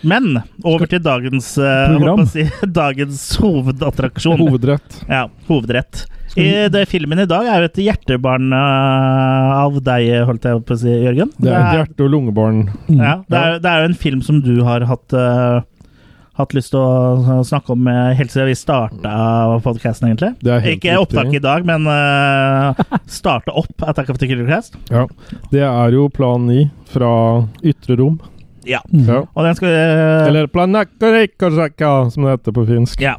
Men over til dagens eh, Program. håper jeg å si, Dagens hovedattraksjon. Hovedrett. ja, hovedrett. Skal I vi- Eh, det filmen i dag er jo et hjertebarn eh, av deg, holdt jeg på å si, Jørgen. Det er et hjerte- og lungebarn. Mm. ja, det, er, det er jo en film som du har hatt eh, Hatt lyst til å snakke om eh, helt siden vi starta podkasten, egentlig. Det er helt Ikke riktig. opptak i dag, men eh, starte opp Attack of the Killer Cast. Det er jo plan 9 fra Ytre rom. Ja. Mm. Ja. Og den skal eh, Eller Plan Nakarikasaka, som det heter på finsk. Ja.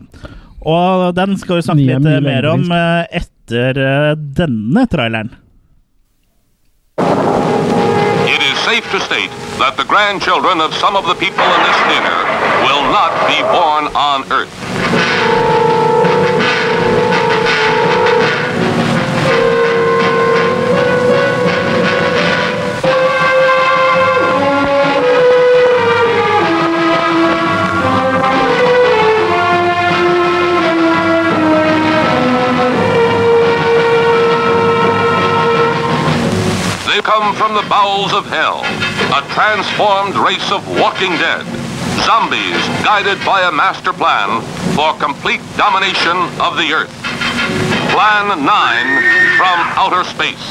Og den skal vi snakke Ni er litt mye mer lengre, om liksom. eh, etter eh, denne traileren. It is safe to state that the grandchildren of some of the people in this dinner will not be born on Earth. They come from the bowels of hell, a transformed race of walking dead, zombies guided by a master plan for complete domination of the Earth. Plan 9 from outer space.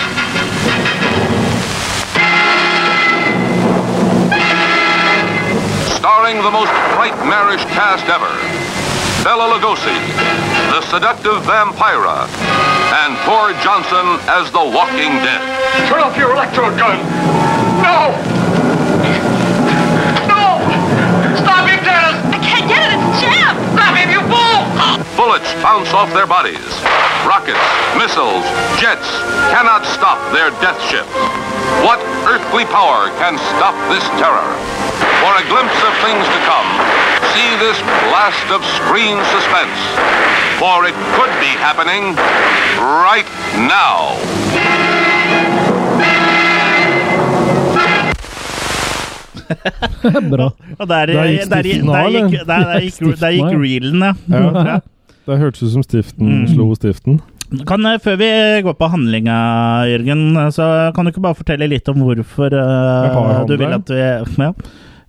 Starring the most nightmarish cast ever, Bella Lugosi, the seductive Vampira, and Thor Johnson as the Walking Dead. Turn off your electro gun. No! No! Stop him, Dennis! I can't get it. It's jammed. Stop him, you fool! Bullets bounce off their bodies. Rockets, missiles, jets cannot stop their death ships. What earthly power can stop this terror? For a glimpse of things to come, see this blast of screen suspense. For it could be happening right now. Bra. Og der, eh, Der gikk der, stiften der av, gikk, der, eller? der gikk, der gikk Stiften av, reelen, ja. Ja. Det hørtes ut som stiften Mm. slo stiften. Kan, eh, før vi går på handlinga, Jørgen, eh, så kan du ikke bare fortelle litt om hvorfor eh, Jeg har du vil handling. at vi ja.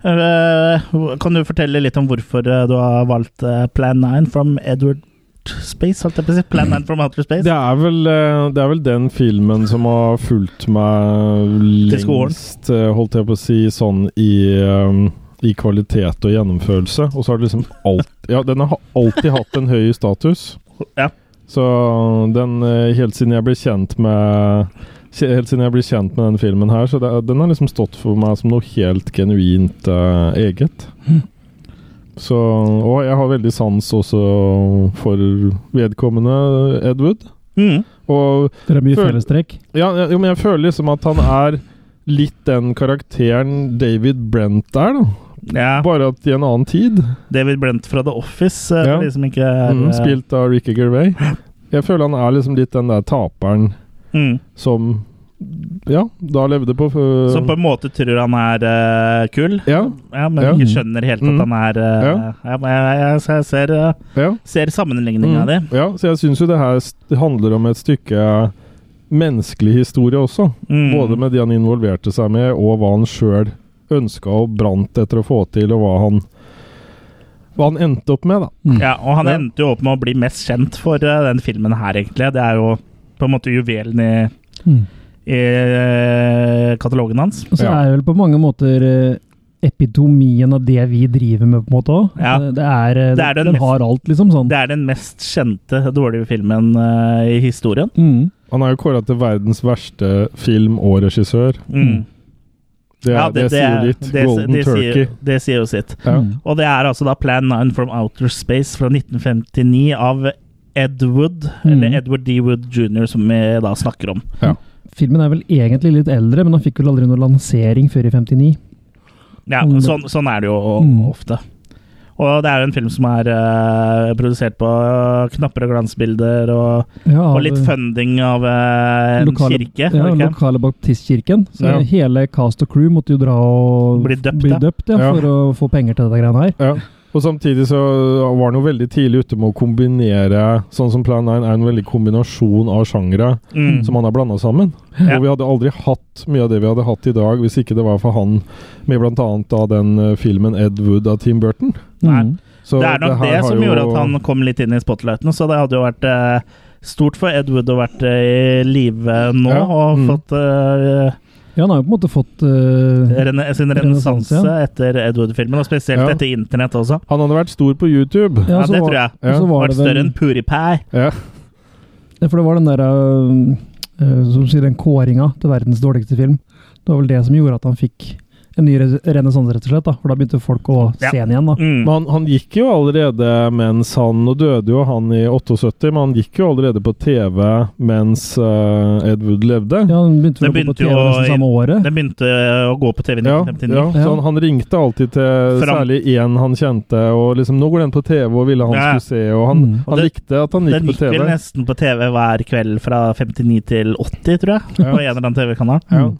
Eh, Kan du fortelle litt om hvorfor eh, du har valgt eh, Plan 9 from Edward Space? Holdt jeg på å si. Plan 9 from Outer Space? Det er, vel, eh, det er vel den filmen som har fulgt meg Til skolen. lengst, eh, holdt jeg på å si, sånn i, eh, i kvalitet og gjennomførelse. Og så har det liksom alt, ja, den har alltid hatt en høy status. Ja. Så den eh, Helt siden jeg ble kjent med kje- Helt siden jeg ble kjent med den filmen her, så det, er- den har liksom stått for meg som noe helt genuint eh, eget. Hm. Så, og jeg har veldig sans også for vedkommende Edward. Mm. Og Dere har mye Føl- fellestrekk. ja, ja, jo, men jeg føler liksom at han er litt den karakteren David Brent er, da. Ja. Bare at i en annen tid. David Brent fra The Office, eh, Ja. for de som ikke er Mm, eh, spilt av Ricky Gervais. Jeg føler han er liksom litt den der taperen Mm. som Ja, da levde på øh, Som på en måte tror han er eh, kul, Ja, ja, men Ja. ikke skjønner helt at Mm. han er eh, Ja. ja, men jeg, jeg, jeg ser, eh, ja. ser sammenligninga di. Mm, ja, så jeg syns jo det her st- handler om et stykke menneskelig historie også. Mm. Både med de han involverte seg med, og hva han sjøl ønska og brant etter å få til, og hva han hva han endte opp med, da. Ja, og han Mm. Ja. endte jo opp med å bli mest kjent for eh, den filmen her, egentlig. Det er jo på en måte juvelen i, Mm. i eh, katalogen hans. Og så Ja. er det vel på mange måter eh, epitomien av det vi driver med, på en måte òg. Ja. Det er, eh, Det er den den mest- har alt, liksom. sånn. Det er den mest kjente dårlige filmen eh, i historien. Mm. Han er jo kåra til verdens verste film og regissør. Mm. Det, Ja, det, sier jo litt. det- Golden det sier- Turkey. Det sier jo sitt. Ja. Mm. Og det er altså da Plan 9 from Outer Space fra 1959 av Ed Wood, Mm. eller Edward D. Wood jr., som vi da snakker om. Filmen er vel egentlig litt eldre, men han fikk vel aldri noen lansering før i 59. Ja, Mm. sånn, sånn er det jo Mm. ofte. Og det er en film som er eh, produsert på eh, knapper og glansbilder, og, Ja, og av, litt eh, funding av eh, en lokale- kirke. Ja, ok? lokale baptistkirken. Så Ja. hele cast og crew måtte jo dra og Bli døpt, bli ja. døpt ja, Ja. for å få penger til dette greiene her. Ja. Og samtidig så var han jo veldig tidlig ute med å kombinere Sånn som Plan 9 er en veldig kombinasjon av sjangere Mm. som han har blanda sammen. Ja. Og vi hadde aldri hatt mye av det vi hadde hatt i dag hvis ikke det var for han med blant annet da den eh, filmen Ed Wood av Tim Burton. Nei. Mm. Så Det er nok her det, har som jo- gjorde at han kom litt inn i spotlighten, så det hadde jo vært eh, stort for Ed Wood å vært eh, i live eh, nå Ja, og mm. fått eh, Ja, han har jo på en måte fått eh, rene, sin Renessanse, renessanse ja. etter Ed Wood-filmen, og spesielt Ja. etter internett også. Han hadde vært stor på YouTube. Ja, så det var- tror jeg. Ja. og så var Vært det vel- større enn Puripai. Ja. Ja, for det var den der eh, eh, Som sier den kåringa til verdens dårligste film. Det var vel det som gjorde at han fikk en ny re- renessanse, rett og slett. da, For da begynte folk å Ja. se han igjen, da. Mm. Men han, han gikk jo allerede mens han Nå døde jo han i 78, men han gikk jo allerede på TV mens eh, Ed Wood levde. Ja, han begynte Den vel å gå på begynte TV jo nesten i- samme året. Den begynte eh, å gå på TV i Ja, 1959. ja. Så han, han ringte alltid til Fram- særlig én han kjente, og liksom 'Nå går den på TV', og ville han Ja. skulle se, og han, Mm. han Og det- likte at han gikk, Den gikk på TV. vel nesten på TV hver kveld fra 59 til 80, tror jeg. Ja. På en eller annen TV-kanal. Ja.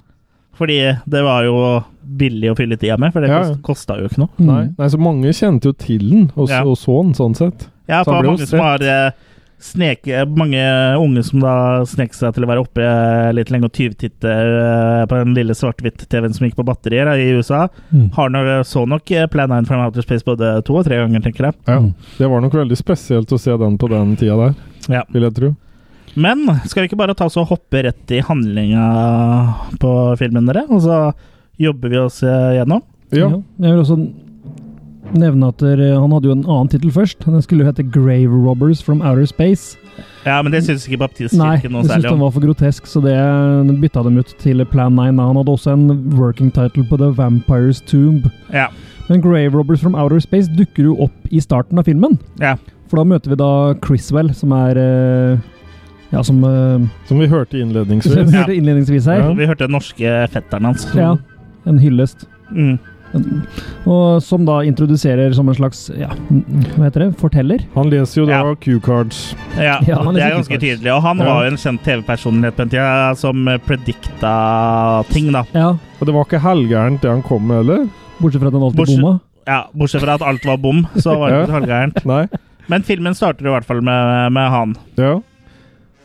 Fordi det var jo billig å fylle tida med, for det Ja, ja. kost- kosta jo ikke noe. Mm. Nei, nei, så mange kjente jo til den, og, Ja. og så den sånn sett. Ja, Så for han ble jo mange som har eh, sneke, mange unge som da snek seg til å være oppe eh, litt lenge og tyvtitte eh, på den lille svart-hvitt-TV-en som gikk på batterier eh, i USA, Mm. har nok, så nok eh, Plan 9 from Outer Space både to og tre ganger, tenker jeg. Ja. Det var nok veldig spesielt å se den på den tida der, Ja. vil jeg tro. Men skal vi ikke bare ta oss og hoppe rett i handlinga på filmen, dere? Og så jobber vi oss eh, gjennom? Ja. Jeg vil også nevne at eh, han hadde jo en annen tittel først. Den skulle jo hete 'Grave Robbers from Outer Space'. Ja, men det syns ikke Nei, Baptistkirken jeg noe syntes særlig den om. var for grotesk, så det den bytta dem ut til Plan 9. da. Han hadde også en working title på The Vampire's Tomb. Ja, Men Grave Robbers from Outer Space dukker jo opp i starten av filmen. ja. For da møter vi da Chriswell, som er eh, Ja, som eh, Som vi hørte som vi innledningsvis. hørte innledningsvis her. Og Vi hørte den norske fetteren hans. Ja. En hyllest. Mm. Og som da introduserer som en slags ja, hva heter det? Forteller. Han leser jo da Ja. Q-cards. Ja, Ja, han er det er sikkert ganske smart. tydelig. Og han Ja. var jo en kjent TV-personlighet på en tid ja, som eh, predikta ting, da. Ja, Og det var ikke halvgærent det han kom med, eller? Bortsett fra at den alltid Bortsett- bomma. Ja, Bortsett fra at alt var bom, så var det Ja. ikke så halvgærent. Nei. Men filmen starter i hvert fall med, med han. Ja.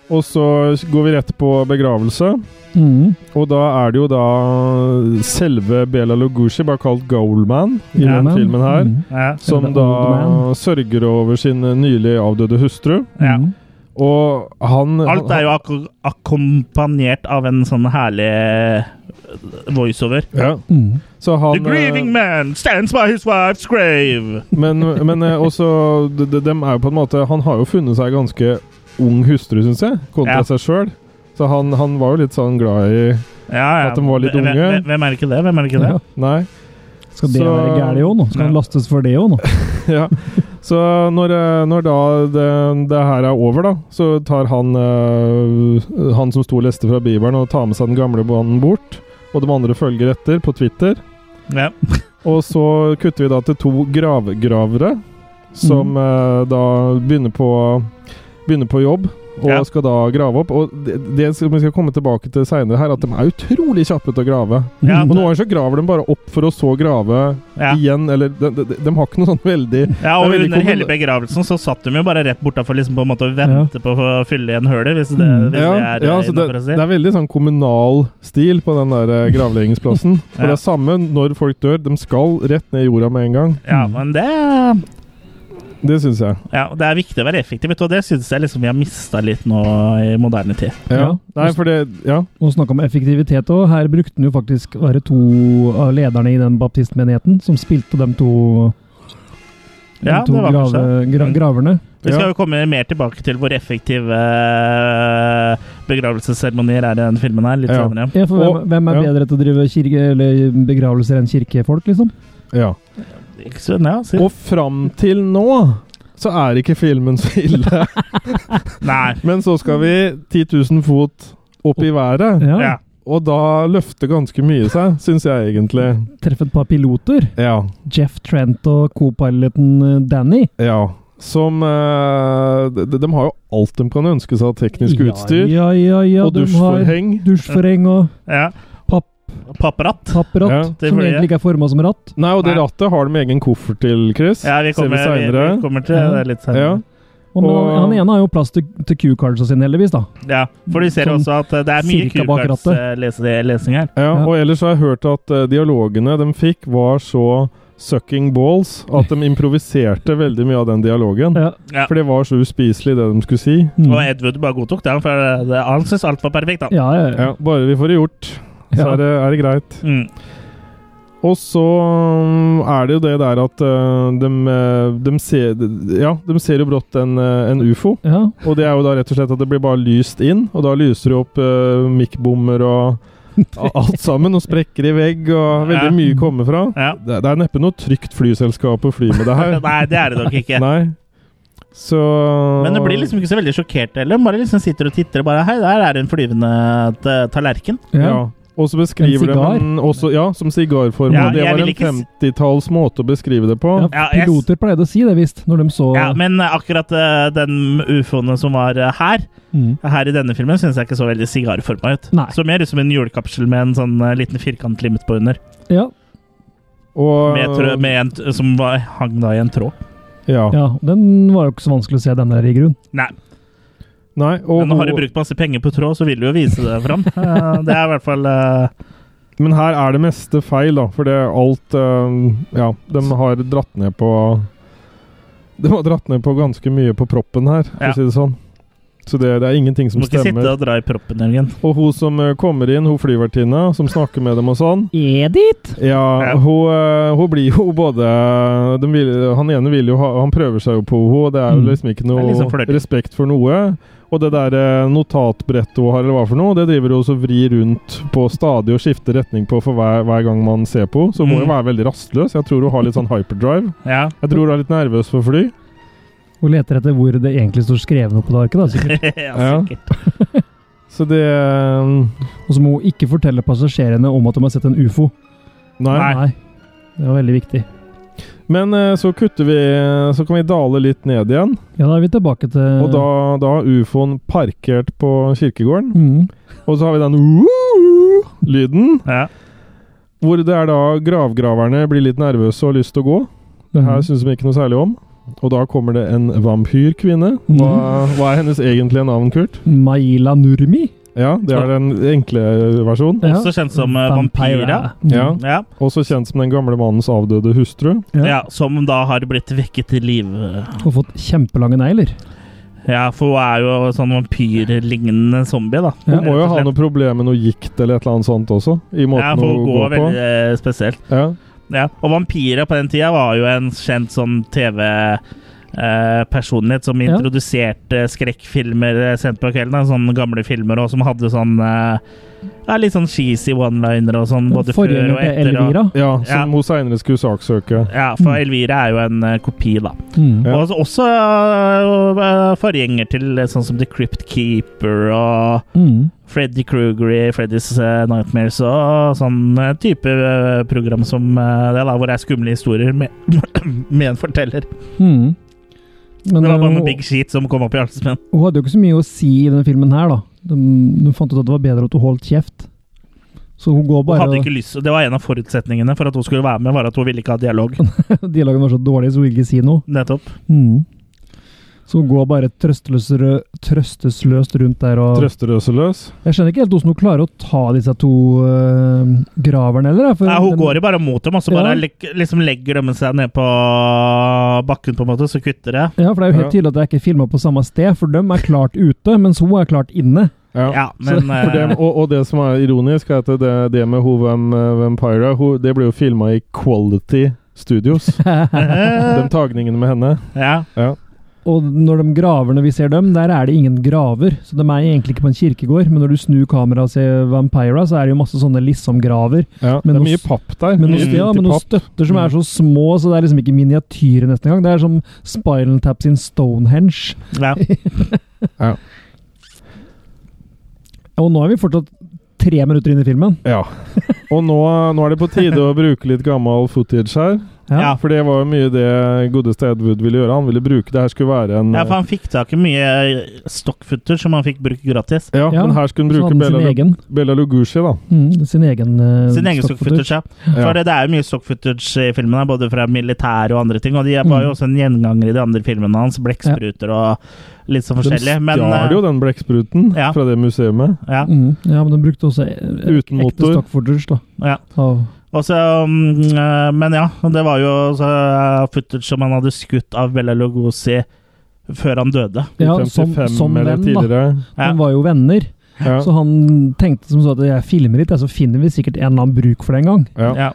Og så går vi rett på begravelse. Mm. Og da er det jo da selve Bela Lugosi, bare kalt Goalman, i Ja, den Men- filmen her. Mm. Ja. Som Eller Old da Man. sørger over sin nylig avdøde hustru. Ja. Mm. Og han Alt er jo akko- akkompagnert av en sånn herlig eh, voiceover. ja. Mm. Så han The grieving man stands by his wife's grave. eh, Men, men eh, også de, de, dem er jo på en måte Han har jo funnet seg ganske ung hustru, syns jeg, kontra Ja. seg sjøl. Så han, han var jo litt sånn glad i Ja, ja. At de var litt Hvem- unge. Hvem, hvem er ikke det? Hvem er ikke det? Ja. Nei. Skal det Så- være gærent òg nå? Skal han Ja. lastes for det òg nå? ja. Så når, eh, når da det, det her er over, da, så tar han eh, Han som sto og leste fra Bibelen, og tar med seg den gamle mannen bort. Og de andre følger etter på Twitter. Ja. Og så kutter vi da til to gravgravere, som eh, da begynner på Begynner på jobb og Ja. skal da grave opp. Og det, det som vi skal komme tilbake til seinere her, at de er utrolig kjappe til å grave. Ja, Mm. Og noen ganger så graver de bare opp for å så grave Ja. igjen, eller de, de, de, de har ikke noe sånn veldig Ja, Det og er veldig under kommun- hele begravelsen så satt de jo bare rett bortafor liksom på en måte og ventet på å fylle igjen hølet, hvis det, hvis ja, det er ja, ja, så det, å si. det er veldig sånn kommunal stil på den der eh, gravleggingsplassen. For Ja. det er samme når folk dør. De skal rett ned i jorda med en gang. Ja, men det, Det syns jeg. ja, det er viktig å være effektiv, vet du, og det syns jeg liksom vi har mista litt nå i moderne tid. Ja. Ja. Nei, for det Ja. Og snakka om effektivitet òg. Her brukte han jo faktisk å være to av lederne i den baptistmenigheten som spilte de to, de Ja, to det var grave, gra, graverne. Vi Ja. skal jo komme mer tilbake til hvor effektive eh, begravelsesseremonier er i den filmen her litt Ja. senere. Ja, for Og- hvem, hvem er ja. bedre til å drive kirke, eller begravelser enn kirkefolk, liksom? ja. Ikke så, ja, si. Og fram til nå så er ikke filmen så ille. Nei. Men så skal vi 10 000 fot opp i været, Ja. Ja. og da løfter ganske mye seg, syns jeg egentlig. Treffe et par piloter. Ja. Jeff Trent og co-piloten eh, Danny. ja. Som eh, de, de har jo alt de kan ønske seg av teknisk utstyr. Ja, ja, ja, ja, og de har dusjforheng. Dusjforheng og ja. Papp. Papperatt. tappratt, Ja, det som blir det. egentlig ikke er forma som ratt. Nei, og det Nei. rattet har de egen koffert til, Chris. Ja, vi kommer, Ser vi vi, senere. vi kommer til det litt senere. Ja. Og men Og- han, han ene har jo plass til, til Q-cardsa sine, heldigvis, da. Ja, for du ser Sånn også at eh, det er mye eh, cirka bak rattet. Q-cards-lesing her. Ja, Ja. og ellers har jeg hørt at eh, dialogene de fikk, var så sucking balls at de improviserte veldig mye av den dialogen. Ja. Ja. For det var så uspiselig, det de skulle si. Mm. Og Edward bare godtok det, for eh, det- han syns alt var perfekt. Han. ja, ja, ja. Ja, bare vi får det gjort, så Ja. er, det, er det greit. Mm. Og så mm, er det jo det der at eh, de, eh, de, ser, ja, de ser jo brått en, eh, en ufo. ja. Og det er jo da rett og slett at det blir bare lyst inn, og da lyser det opp uh, mikkbommer og a- alt sammen, og sprekker i vegg, og Ja. veldig mye kommer fra. Ja. Det, det er neppe noe trygt flyselskap å fly med det her. Nei, det er det nok ikke. Nei. Så Men du blir liksom ikke så veldig sjokkert heller. Bare liksom sitter og titter og bare Hei, der er en flyvende t- tallerken. Ja. ja. Og så beskriver de sigar. en også, Ja, som sigarform. Ja, og det jeg var vil en ikke s- 50-talls måte å beskrive det på. Ja, jeg s- Piloter pleide å si det, visst, når de så Ja, men eh, akkurat eh, den ufoen som var eh, her, mm. her i denne filmen, syns jeg ikke så veldig sigarforma ut. Nei. Så mer ut som en julekapsel med en sånn eh, liten firkantlimit på under. ja. Og, Med, trø- med en t som var, hang da i en tråd. ja. ja. Den var jo ikke så vanskelig å se, den der, i grunn. Nei. Nei, og, Men nå har de brukt masse penger på tråd, så vil du jo vise det fram. Eh, Det er i hvert fall eh, men her er det meste feil, da. For det er alt eh, Ja, de har dratt ned på De har dratt ned på ganske mye på proppen her, for Ja. å si det sånn. Så det, det er ingenting Du som må ikke sitte stemmer. og dra i proppen, Jørgen. Og hun som eh, kommer inn, hun flyvertinna, som snakker med dem og sånn Edith! Ja, Ja. Hun, eh, hun blir jo både de vil, Han ene vil jo ha Han prøver seg jo på henne, og det er jo Mm. liksom ikke Det noe er liksom flørting. respekt for noe. Og det der eh, notatbrettet hun har, eller hva for noe, det driver hun og så vrir rundt på stadig og skifter retning på for hver, hver gang man ser på henne. Så hun må jo Mm. være veldig rastløs. Jeg tror hun har litt sånn hyperdrive. Ja. Jeg tror hun er litt nervøs for fly. Og leter etter hvor det egentlig står skrevet noe på det arket. da, sikkert. ja, sikkert. Så det eh, Og så må hun ikke fortelle passasjerene om at de har sett en ufo. Nei. Det var veldig viktig. Men eh, så kutter vi Så kan vi dale litt ned igjen. Ja, da er vi tilbake til Mm. Og da, da har ufoen parkert på kirkegården. mm. Og så har vi den lyden, Ja. hvor det er da gravgraverne blir litt nervøse og har lyst til å gå. Det Mhm. her syns de ikke noe særlig om. Og da kommer det en vampyrkvinne. Mhm. Hva, hva er hennes egentlige navn, Kurt? Maila Nurmi. Ja, det er den enkle versjonen. Ja. Mm. Også kjent som eh, Vampira. Ja, Ja. Også kjent som den gamle mannens avdøde hustru. Ja. ja, Som da har blitt vekket til live. Og fått kjempelange negler. Ja, for hun er jo sånn vampyrlignende zombie, da. Ja. Hun må jo Rett og ha slett. noe problem med noe gikt eller et eller annet sånt også. I måten Ja, for hun hun går går på. veldig eh, spesielt. Ja. Ja, og vampyrer på den tida var jo en kjent sånn TV-personlighet som Ja. introduserte skrekkfilmer eh, sent på kvelden. da, Sånne gamle filmer og som hadde sånn eh, ja, litt sånn cheesy one-liner og sånn både før Forgjenger og til etter. Og, Elvira. ja, som Ja. hun seinere skulle saksøke. ja, for Elvira er jo en eh, kopi, da. Mm. Ja. Og også- også eh, forgjenger til eh, sånn som The Crypt Keeper og Mm. Freddy Kruger i Freddy's eh, Nightmares og sånn eh, type eh, program som eh, det, da, hvor det er skumle historier med, med en forteller. Mm. Men Det var bare eh, noe big shit som kom opp i halsen min. hun hadde jo ikke så mye å si i denne filmen her, da. De, de fant ut at det var bedre at hun holdt kjeft. Så hun går Hun bare hadde ikke lyst, det var en av forutsetningene for at hun skulle være med, var at hun ville ikke ha dialog. Dialogen var så dårlig, så hun ville ikke si noe. Nettopp. Mm. Så hun går bare trøsteløsere, trøstesløst rundt der og Trøsterøseløs. Jeg skjønner ikke helt hvordan hun klarer å ta disse to uh, graverne, heller. da, for Nei, hun den- går jo bare mot dem, og så bare Ja. lik- liksom legger de seg ned på bakken, på en måte, så kutter det. Ja, for det er jo helt Ja. tydelig at det er ikke filma på samme sted, for dem er klart ute, mens hun er klart inne. Ja, men For dem, eh, og, og det som er ironisk, er at det, det med hun vamp- Vampira hun, Det ble jo filma i Quality Studios. De tagningene med henne. eh, ja. Ja. Og når de graverne vi ser dem, der er det ingen graver, så de er egentlig ikke på en kirkegård. Men når du snur kameraet og ser Vampira, så er det jo masse sånne liksom-graver. Ja, Men det er hos- mye papp der. Men Mye hos, ja, lite men noen papp. støtter som er så små, så det er liksom ikke miniatyrer nesten engang. Det er som Spinal Tap sin Stonehenge. ja. Ja. Og nå er vi fortsatt tre minutter inn i filmen. ja. Og nå, nå er det på tide å bruke litt gammel footage her. Ja. For det var jo mye det godeste Ed Wood ville gjøre. Han ville bruke det her skulle være en Ja, for han fikk tak i mye stokkfutter som han fikk bruke gratis. eh, Ja, Ja, men her skulle han Så bruke hadde han Bella, sin egen. Bella Lugushi, da. Mm, sin egen eh, Sin egen stock stock footage, ja. For det, det er jo mye stock footage i filmen, her, både fra militæret og andre ting. Og de er- Mm. var jo også en gjenganger i de andre filmene hans. Blekkspruter og litt sånn De forskjellig. Men eh, stjal jo den blekkspruten ja. fra det museet. ja, Mm, ja, men den brukte også eh, Uten motor. ekte stock footage, da. ja. Av- Og så, mm, eh, men ja, det var jo så eh, footage som han hadde skutt av Bella Lugosi før han døde. ja, 55 som, som eller venn, da. tidligere. Ja. Han var jo venner, Ja. så han tenkte som så at jeg filmer litt, så finner vi sikkert en eller annen bruk for det en gang. Ja. Ja.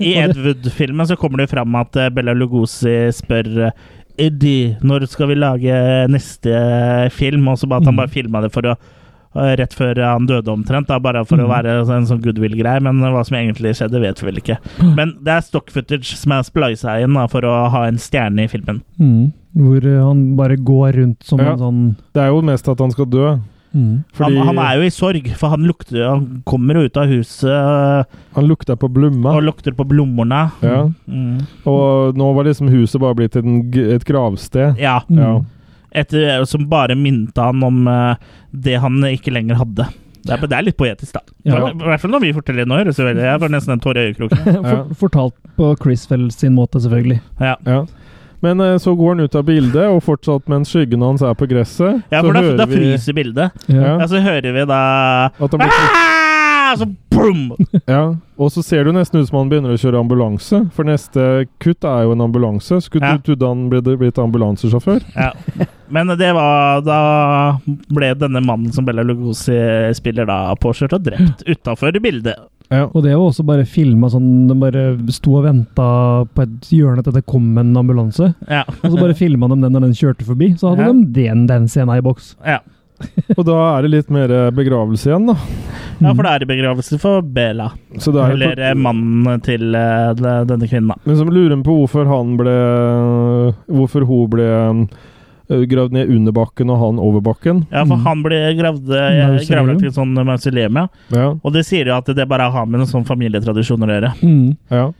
I Ed Wood-filmen så kommer det jo fram at eh, Bella Lugosi spør eh, Eddie, når skal vi lage neste eh, film? Og så bare at han Mm. bare filma det for å eh, Rett før han døde, omtrent. Da, bare for å Mm. være en sånn goodwill-greie. Men hva som egentlig skjedde, vet vi vel ikke. Men det er stock footage som er splisa inn da, for å ha en stjerne i filmen. Mm. Hvor eh, han bare går rundt som Ja. en sånn Det er jo mest at han skal dø. mm. han, Fordi han, han er jo i sorg, for han lukter jo- Han kommer jo ut av huset øh, lukta på blomma. og lukter på blomstene. Ja. Mm. Og nå var liksom huset bare blitt en, g- et gravsted. Ja. Mm. Ja. Etter, eh, som bare minte han om øh, det han ikke lenger hadde. Det er, det er litt poetisk, da. I Ja. hvert fall når vi forteller det nå. høres det veldig- Jeg får nesten en tåre i øyekroken. For, fortalt på Chriswell sin måte, selvfølgelig. Ja. Ja. Men eh, så går han ut av bildet, og fortsatt mens skyggen hans er på gresset, Ja, så for da, da vi fryser bildet. Ja. Ja, så hører vi da at han blir, ah! Så boom! ja. Og så ser det jo nesten ut som han begynner å kjøre ambulanse, for neste kutt er jo en ambulanse. Skulle Ja. du trodd han ble blitt ambulansesjåfør? Ja. Men det var Da ble denne mannen som Bella Lugosi spiller, da påkjørt og drept utafor bildet. Ja. Og det var også bare filma sånn De bare sto og venta på et hjørne til det kom en ambulanse. Ja. Og så bare filma de den når den kjørte forbi. Så hadde Ja. de den, den scenen i boks. Ja. Og da er det litt mer eh, begravelse igjen, da. ja, for da er det begravelse for Bela. Så det Mm. er jo Eller eh, mannen til eh, de- denne kvinnen, da. Men som lurer på hvorfor han ble Hvorfor hun ble eh, gravd ned under bakken og han over bakken. Ja, for Mm. han ble gravd Mausoleum. gravlagt i et sånt mausoleum, ja. Ja, Og det sier jo at det bare har med noen sånn familietradisjon å gjøre. Mm. ja.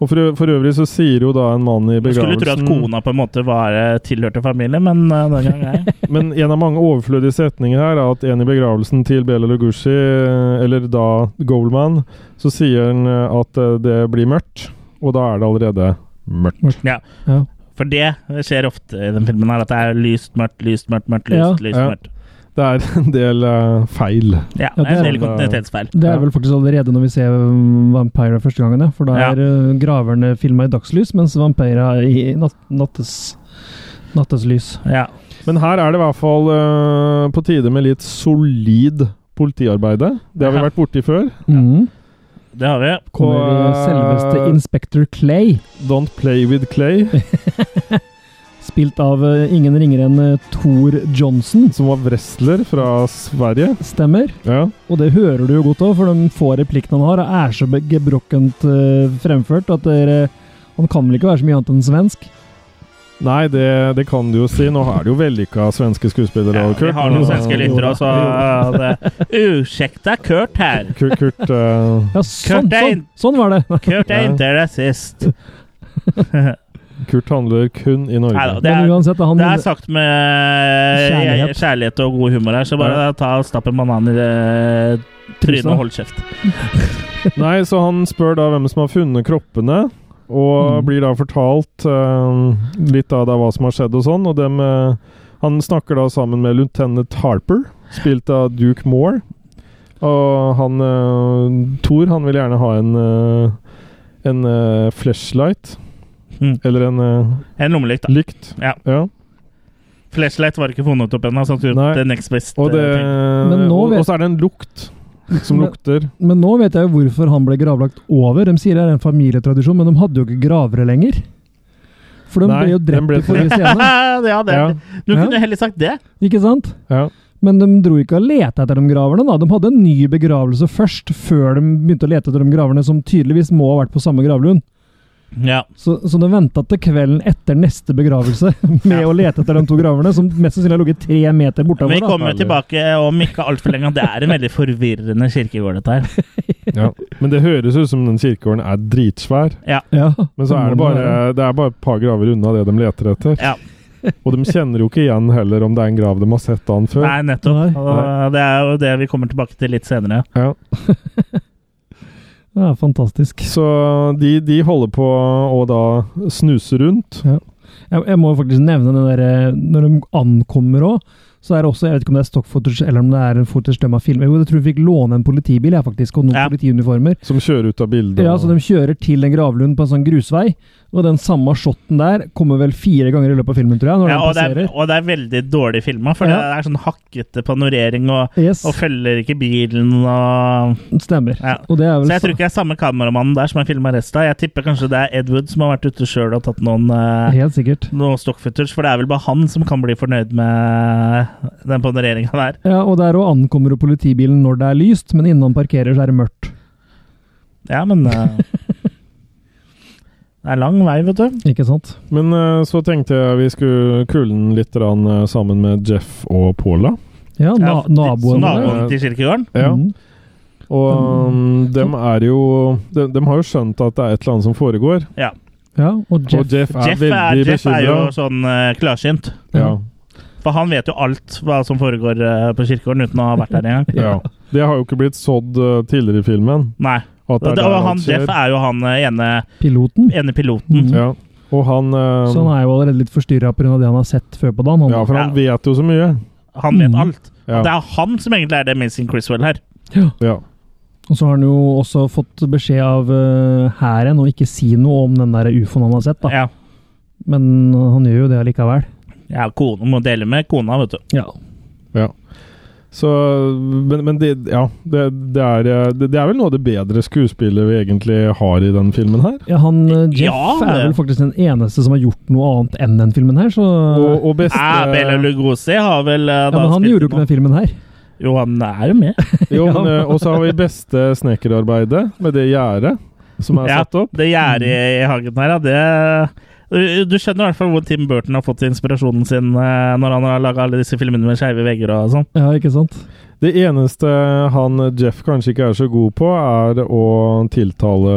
Og for, ø- for øvrig så sier jo da en mann i Man skulle tro at begravelsen kona på en måte var eh, tilhørte familien, men eh, den gang nei. Men en av mange overflødige setninger her er at en i begravelsen til Bela Lugushi, eh, eller da Goldman, så sier han eh, at eh, det blir mørkt, og da er det allerede mørkt. For det skjer ofte i den filmen her, at det er lyst, mørkt, lyst, mørkt, mørkt, lyst, Ja. lyst, Ja. mørkt. Det er en del eh, feil. Ja, Ja, det er en det del er- kontinuitetsfeil. Det er Ja. vel faktisk allerede når vi ser um, Vampire første gangen, ja. For da Ja. er uh, graverne filma i dagslys, mens Vampire er i nat nattes, natteslys. Ja. Men her er det i hvert fall eh, på tide med litt solid politiarbeide. Det har vi Ja. eh, vært borti før. Mm. Det har vi. Kommer Og, uh, selveste Inspector Clay, Don't play with clay, spilt av uh, ingen ringere enn uh, Thor Johnson. som var wrestler fra Sverige. Stemmer. Ja. Og det hører du jo godt av, for de få replikkene han har, er så be- gebrokkent uh, fremført at dere han kan vel ikke være så mye annet enn svensk? Nei, det, det kan du jo si. Nå er det jo vellykka svenske skuespillere. Ja, og vi Kurt, har noen men, svenske eh, lyttere også. Ursäkta, Kurt her. Kurt, Kurt eh, Ja, sånn, Kurt er sånn, inn- sånn var det! Kurt er Ja. ikke rasist. Kurt handler kun i Norge. Neida, det, Men er, uansett, han det er sagt med kjærlighet, Kjærlighet. og god humor her, så bare ta og stapp en banan i eh, trynet og hold kjeft. Nei, så han spør da hvem som har funnet kroppene, og Mm. blir da fortalt eh, litt av da hva som har skjedd og sånn, og dem eh, Han snakker da sammen med lieutenant Harper, spilt av Duke Moore, og han eh, Thor, han vil gjerne ha en eh, en eh, flashlight. Mm. Eller en eh, En lommelykt, da. lykt. Ja. ja. Flashlight var ikke funnet opp ennå, sånn så han tror Nei. det er next best. Og, det, eh, Men nå og, vet- og så er det en lukt som Men- lukter. Men nå vet jeg jo hvorfor han ble gravlagt over. De sier det er en familietradisjon, men de hadde jo ikke gravere lenger. For de Nei, ble jo den drept ble i forrige scene. ting. ja, det Ja, er, Du Ja. kunne heller sagt det. Ikke sant? ja. Men de dro ikke og lette etter de graverne. da. De hadde en ny begravelse først, før de begynte å lete etter de graverne, som tydeligvis må ha vært på samme gravlund. Ja. Så, så de venta til kvelden etter neste begravelse med å lete etter de to graverne, som mest sannsynlig har ligget tre meter bortover. Vi da. kommer jo tilbake om ikke altfor lenge. og Det er en veldig forvirrende kirkegård, dette her. Ja. Men det høres ut som den kirkegården er dritsvær. Ja, Men så er det må bare, være. det er bare et par graver unna det de leter etter. Ja. Og de kjenner jo ikke igjen heller om det er en grav de har sett dagen før. Nei, nettopp. Nei. Og det er jo det vi kommer tilbake til litt senere. Ja. ja, fantastisk. Så de, de holder på å da snuse rundt. Jeg, jeg må faktisk nevne den der, eh, Når de ankommer òg, så er det også Jeg vet ikke om det er stock footage eller om det er en footage de har filmet. Jo, jeg tror vi fikk låne en politibil jeg faktisk, og noen Ja. politiuniformer. Som kjører ut av bildet. Ja, så De kjører til en gravlund på en sånn grusvei, og den samme shotten der kommer vel fire ganger i løpet av filmen, tror jeg. når Ja, den og, det er, passerer. og det er veldig dårlig filma, for Ja. det er sånn hakkete panorering og, Yes, og følger ikke bilen og stemmer. Ja. Og det er Så vel jeg tror ikke det er samme kameramannen der som har filma resten. Jeg tipper kanskje det er Ed Wood som har vært ute sjøl og tatt noen, eh, Helt sikkert. noen stock footage, for det er vel bare han som kan bli fornøyd med den panoreringa der. Ja, og Der òg ankommer jo politibilen når det er lyst, men innen han parkerer, så er det mørkt. Ja, men eh, Det er lang vei, vet du. Ikke sant? Men eh, så tenkte jeg vi skulle kule den litt rann, eh, sammen med Jeff og Paula. Ja, na Ja, nabo- naboen der. Naboen til kirkegården. Ja. Mm. Og um, dem er jo de, dem har jo skjønt at det er et eller annet som foregår. ja, og Jeff. Og Jeff er Jeff er, veldig Jeff er jo bekymra. sånn eh, klarsynt. Ja, For han vet jo alt hva som foregår eh, på kirkegården, uten å ha vært der engang. ja. Det har jo ikke blitt sådd eh, tidligere i filmen. Nei. At Og, det er det, der og alt han Jeff skjer. er jo han eh, ene, Piloten. ene piloten. Mm. Ja. Og han eh, Så han Sånn er jo allerede litt forstyrra pga. det han har sett før på dagen. Han. Ja, for han vet jo så mye. Han vet Mm. alt. Ja. Og det er han som egentlig er det Amazing Chriswell her. Ja. Og så har han jo også fått beskjed av eh, hæren å ikke si noe om den der ufoen han har sett. da. Ja. Men eh, han gjør jo det allikevel. Ja, kone må dele med kona, vet du. Ja. Så, men, men det, ja, det, det, er, eh, det, det er vel noe av det bedre skuespillet vi egentlig har i den filmen her. han eh, Jeff Ja, det- er vel faktisk den eneste som har gjort noe annet enn den filmen her, så Og, og beste Eh, Bela Lugosi har vel eh, ja, da Men han spilt gjorde jo ikke noe. den filmen her. Jo, han er jo med. jo, men, eh, Og så har vi beste snekkerarbeidet, med det gjerdet som er Ja. satt opp. Det gjerdet i i hagen her, ja, det Du skjønner i hvert fall hvor Tim Burton har fått inspirasjonen sin eh, når han har laga alle disse filmene med skeive vegger og sånn. Ja, ikke sant? Det eneste han eh, Jeff kanskje ikke er så god på, er å tiltale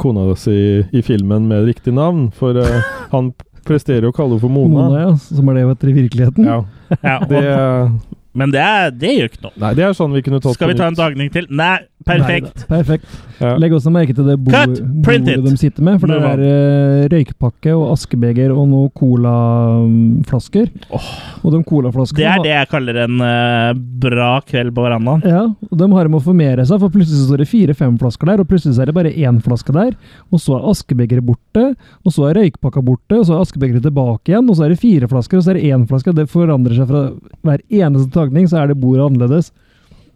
kona si i filmen med riktig navn, for eh, han presterer å kalle henne for Mona, Mona. ja, som er det hun heter i virkeligheten. Ja, Ja, og- det, men det, er- det gjør ikke noe. nei, det er sånn vi kunne tatt Skal vi på ta en nytt. dagning til? Nei, perfekt. Nei, da. perfekt. Ja. Legg også merke til det bo- Cut! Print bordet it! de sitter med, for det Move er eh, røykpakke og askebeger og noen colaflasker. Og de colaflaskene Det er har- det jeg kaller en eh, bra kveld på verandaen. Ja, og de har med å formere seg, for plutselig så står det fire-fem flasker der, og plutselig så er det bare én flaske der, og så er askebegeret borte, og så er røykpakka borte, og så er askebegeret tilbake igjen, og så er det fire flasker, og så er det én flaske, og det forandrer seg fra hver eneste tagning, så er det bordet annerledes.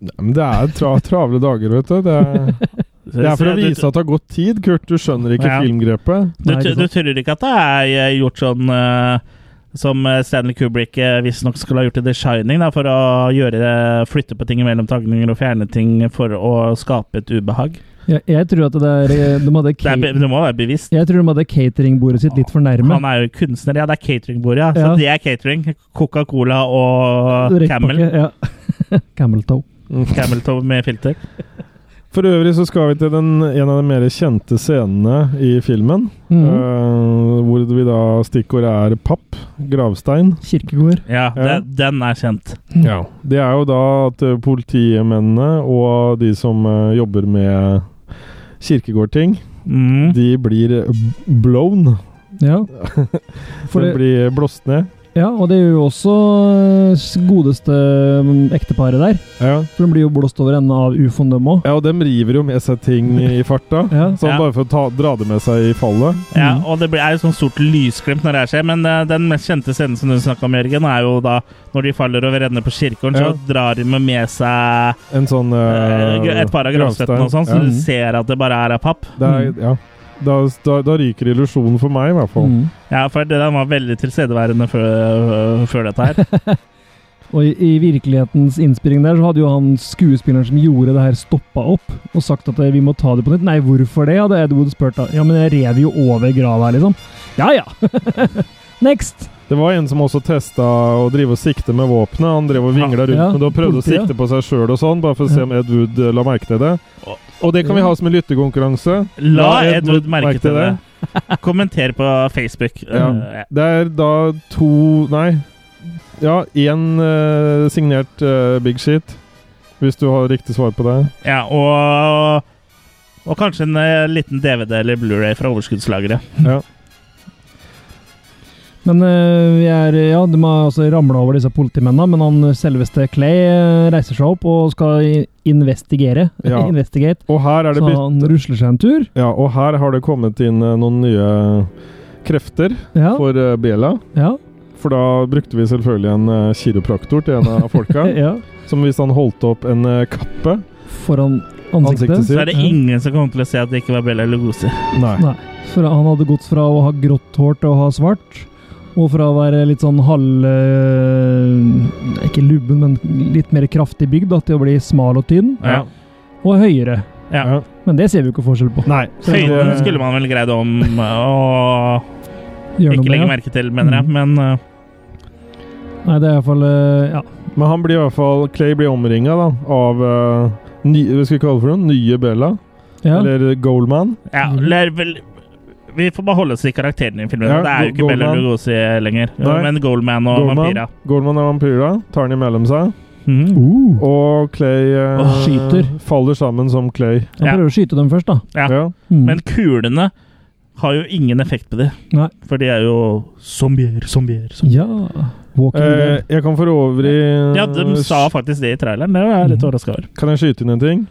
Ja, Men det er tra travle dager, vet du. Det er, det er for å vise at det har gått tid, Kurt. Du skjønner ikke Ja. filmgrepet. Du, Nei, du, ikke du sant? tror ikke at det er eh, gjort sånn eh, som eh, Stanley Kubrick eh, visstnok skulle ha gjort i The Shining, da, for å gjøre, det- flytte på ting mellom tagninger og fjerne ting for å skape et ubehag? Ja, jeg tror at det er eh, De hadde, Det, er, be- ca- det må være bevisst. jeg tror de hadde cateringbordet sitt litt for nærme. Han er jo kunstner. Ja, det er cateringbordet, ja. Så Ja. det er catering. Coca-Cola og Røykpakke, Camel. Ja. Camel Toe. Camel Toe med filter. For øvrig så skal vi til den, en av de mer kjente scenene i filmen. Mhm. eh, hvor vi da stikkordet er papp, gravstein. Kirkegård. Ja, Ja. det, den er kjent. Det er jo da at eh, politimennene og de som eh, jobber med kirkegårdting, Mm. de blir b- blown. Ja. For de det- blir blåst ned. ja, og det gjør jo også eh, s- godeste mm, ekteparet der. Ja. For de blir jo blåst over ende av ufoen, dem òg. ja, og dem river jo med seg ting i farta. Ja. Sånn Ja. bare for å ta, dra det med seg i fallet. Ja, og det blir- er jo sånn stort lysglimt når det her skjer, men eh, den mest kjente scenen som du snakka om, Jørgen, er jo da når de faller over ende på kirkegården, Ja. så drar de med med seg En sånn eh, eh, et par av gravstøttene og sånn, så Ja. du ser at det bare er av papp. Det er, ja. da, da, da ryker illusjonen for meg, i hvert fall. Mhm. Ja, for det- den var veldig tilstedeværende før, før dette her. Og i, i virkelighetens innspilling der, så hadde jo han skuespilleren som gjorde det her, stoppa opp og sagt at eh, vi må ta det på nytt. Nei, hvorfor det? hadde Edwood spurt. da. Ja, men jeg rev jo over grava her, liksom. Ja ja! Next! Det var en som også testa å drive og sikte med våpenet. Han drev og vingla rundt Ja, med det og prøvde å politiet. sikte på seg sjøl og sånn, bare for å se om Ed Wood eh, la merke til det. Og det kan vi ha som en lyttekonkurranse. La Edward merke til det. Kommenter på Facebook. Ja. Eh, Det er da to Nei. Ja, én eh, signert eh, Big Shit. Hvis du har riktig svar på det. ja og, og kanskje en eh, liten DVD eller Blu-ray fra overskuddslageret. Ja. Men eh, vi er, ja, de har altså ramla over disse politimennene, men han selveste Clay eh, reiser seg opp og skal i- investigere. Ja. Investigate. Og her er det Så blitt han rusler seg en tur. Ja, og her har det kommet inn eh, noen nye krefter Ja, for eh, Bela. ja, For da brukte vi selvfølgelig en eh, kiropraktor til en av folka. ja. Som hvis han holdt opp en eh, kappe Foran ansiktet. Ansiktet sitt. Så er det ingen som kommer til å se at det ikke var Bella Lugosi. Nei. Nei. For han hadde gått fra å ha grått hår til å ha svart. Og fra å være litt sånn halv eh, Ikke lubben, men litt mer kraftig bygd da, til å bli smal og tynn. Ja. Og høyere. Ja. Men det ser vi jo ikke forskjell på. Nei. Så, Høyden eh, skulle man vel greid om å Gjør noe ikke legge med det. merke til, mener Mm. jeg. Men eh, Nei, det er i hvert fall eh, Ja. Men han blir i hvert fall Clay blir omringa av eh, ny, Hva skal vi kalle det for noe? Nye Bella? ja. Eller Goldman? ja, eller vel Vi får bare holde oss til karakterene i filmen. Mm. Ja, det er jo ikke Goldman. Bella Lugosi lenger, Nei. men Goldman og Goldman. Vampira. Goldman er vampyra, tar han imellom seg, Mhm. Oh. Uh. og Clay eh, Og skyter. faller sammen som Clay. Han Ja. prøver å skyte dem først, da. Ja. Ja. Mm. Men kulene har jo ingen effekt på de. Nei. For de er jo zombier, zombier, zombier. ja. Walking Øh, Eh, Dead. jeg kan for øvrig eh, Mm. Ja, de sa faktisk det i traileren. Det var jeg litt overraska over. Kan jeg skyte inn en ting?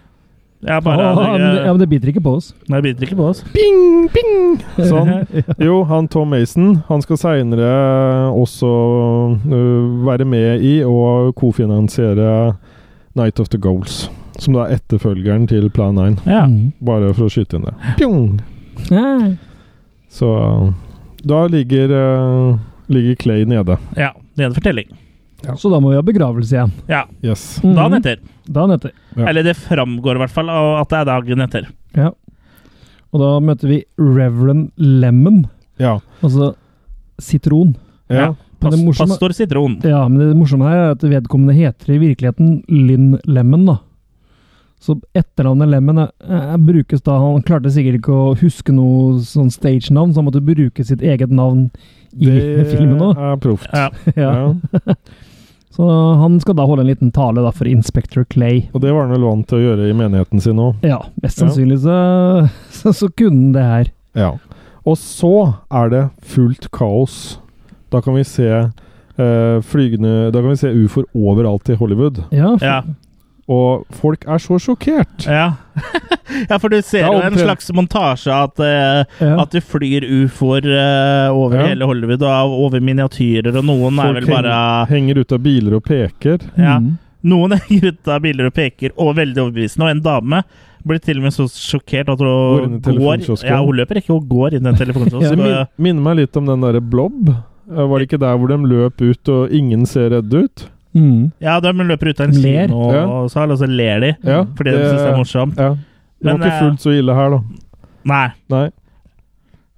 Ja, bare, Å, men, ja, det, men det biter ikke på oss. Nei, det biter ikke på oss. Bing, bing! Sånn. Jo, han Tom Mason han skal seinere også øh, være med i og kofinansiere Night of the Goals. Som da er etterfølgeren til Plan 9, Ja. Mm. bare for å skyte inn det. Pjong! Ja. Så øh, da ligger, øh, ligger Clay nede. ja. Det er en fortelling. Så da må vi ha begravelse igjen. Ja. Yes. Dagen Mhm. etter. Dagen etter. Ja. Eller det framgår i hvert fall av at det er dagen etter. Ja. Og da møter vi Reverend Lemon, Ja. altså sitron. ja. Ja. Men Pas det morsomme- Pastor Sitron. Ja, men det morsomme her er at vedkommende heter i virkeligheten Lynn Lemon, da. Så etternavnet Lemon eh, eh, brukes da Han klarte sikkert ikke å huske noe sånn stage-navn, så han måtte bruke sitt eget navn i Det filmen òg. er proft. Ja. Ja. Ja. Så han skal da holde en liten tale da for Inspector Clay. Og det var han vel vant til å gjøre i menigheten sin òg. Ja, mest Ja. sannsynlig så, så, så kunne han det her. Ja. Og så er det fullt kaos. Da kan vi se eh, flygende Da kan vi se ufoer overalt i Hollywood. Ja, for, Ja. Og folk er så sjokkert! Ja. ja, for du ser Det er jo en omtrent- slags montasje at, eh, ja. at du flyr ufoer eh, over Ja. hele Hollywood, og av- over miniatyrer, og noen er Folk vel bare henger, henger ut av biler og peker. ja, Mm. Noen henger ut av biler og peker, og veldig overbevisende. Og en dame blir til og med så sjokkert at Går hun inn i går telefonkiosken. Ja, hun løper ikke, hun går inn i en Det telefonkiosken. eh, min, og- minner meg litt om den derre Blob. Eh, Var det ikke der hvor de løp ut, og ingen ser redde ut? Mm. Ja, de løper ut av en Ler. kinosal, og så ler de Ja, Mm. Eh, fordi de syns det er morsomt. Ja. Det Men, var ikke eh, fullt så ille her, da. Nei. Nei.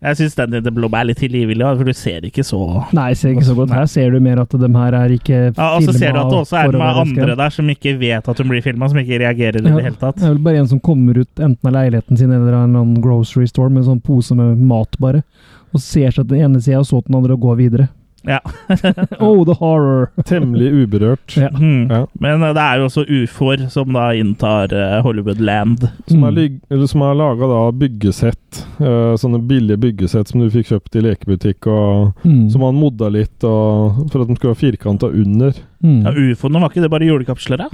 Jeg syns den i The Blob er litt tilgivelig, for du ser ikke så Nei, jeg ser ikke så godt. Her ser du mer at de her er ikke ja, Og så filmet ser du at det også er for å med være skrevet. andre der som ikke vet at hun blir filma, som ikke reagerer i Ja, det hele tatt. Det er vel bare en som kommer ut enten av leiligheten sin eller av en eller annen grocery store med en sånn pose med mat, bare. Og ser seg til den ene sida og så til den andre og går videre. Ja. oh, the horror! Temmelig uberørt. Ja. Hmm. Ja. Men eh, det er jo også ufoer som da inntar eh, Hollywood-land. Som er, lig- eller som er laga av byggesett. eh, sånne billige byggesett som du fikk kjøpt i lekebutikk. Og, Mm. Som han modda litt og, for at de skulle være firkanta under. mm. Ja, Ufoene var ikke det bare julekapsler, da?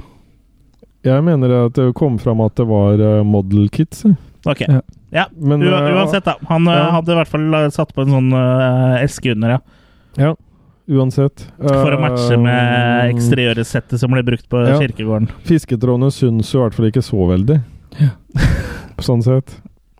Jeg mener at det kom fram at det var eh, model kits. jeg. Ok. Ja. Ja, Men, u eh, uansett, da. Han eh, ja. hadde i hvert fall eh, satt på en sånn eh, eske under, ja. Ja, uansett. For å matche med Eh, eksteriøresettet som ble brukt på Ja. kirkegården. Fisketrådene syns jo i hvert fall ikke så veldig. Ja. sånn sett.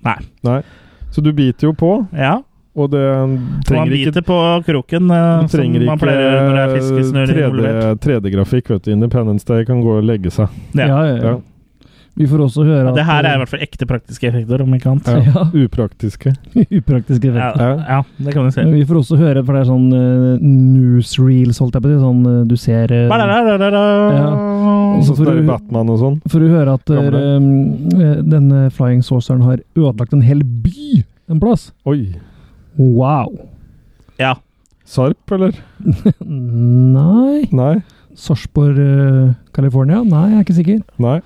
Nei. Så du biter jo på, Ja. og det Og han trenger ikke biter på kroken, eh, Du som trenger man ikke pleier å gjøre når det er fiskesnurr involvert. 3D-grafikk. vet du. Independence Day kan gå og legge seg. Ja. ja. Ja, ja. Ja. Vi får også høre Ja, at det her er i hvert fall ekte praktiske effekter, om ikke annet. Ja. Ja. Upraktiske. eh, upraktiske Ja, effekter. Ja. ja det kan du si. Vi får også høre, for det er sånn eh, newsreels, holdt jeg på å si. Sånn eh, du ser eh, Ba-da-da-da-da. Og så for- står det Batman og sånn. For å høre at eh, eh, denne flying sauceren har ødelagt en hel by en plass. Oi. Wow! Ja. Sarp, eller? Nei Nei. Sarpsborg, eh, California? Nei, jeg er ikke sikker. Nei.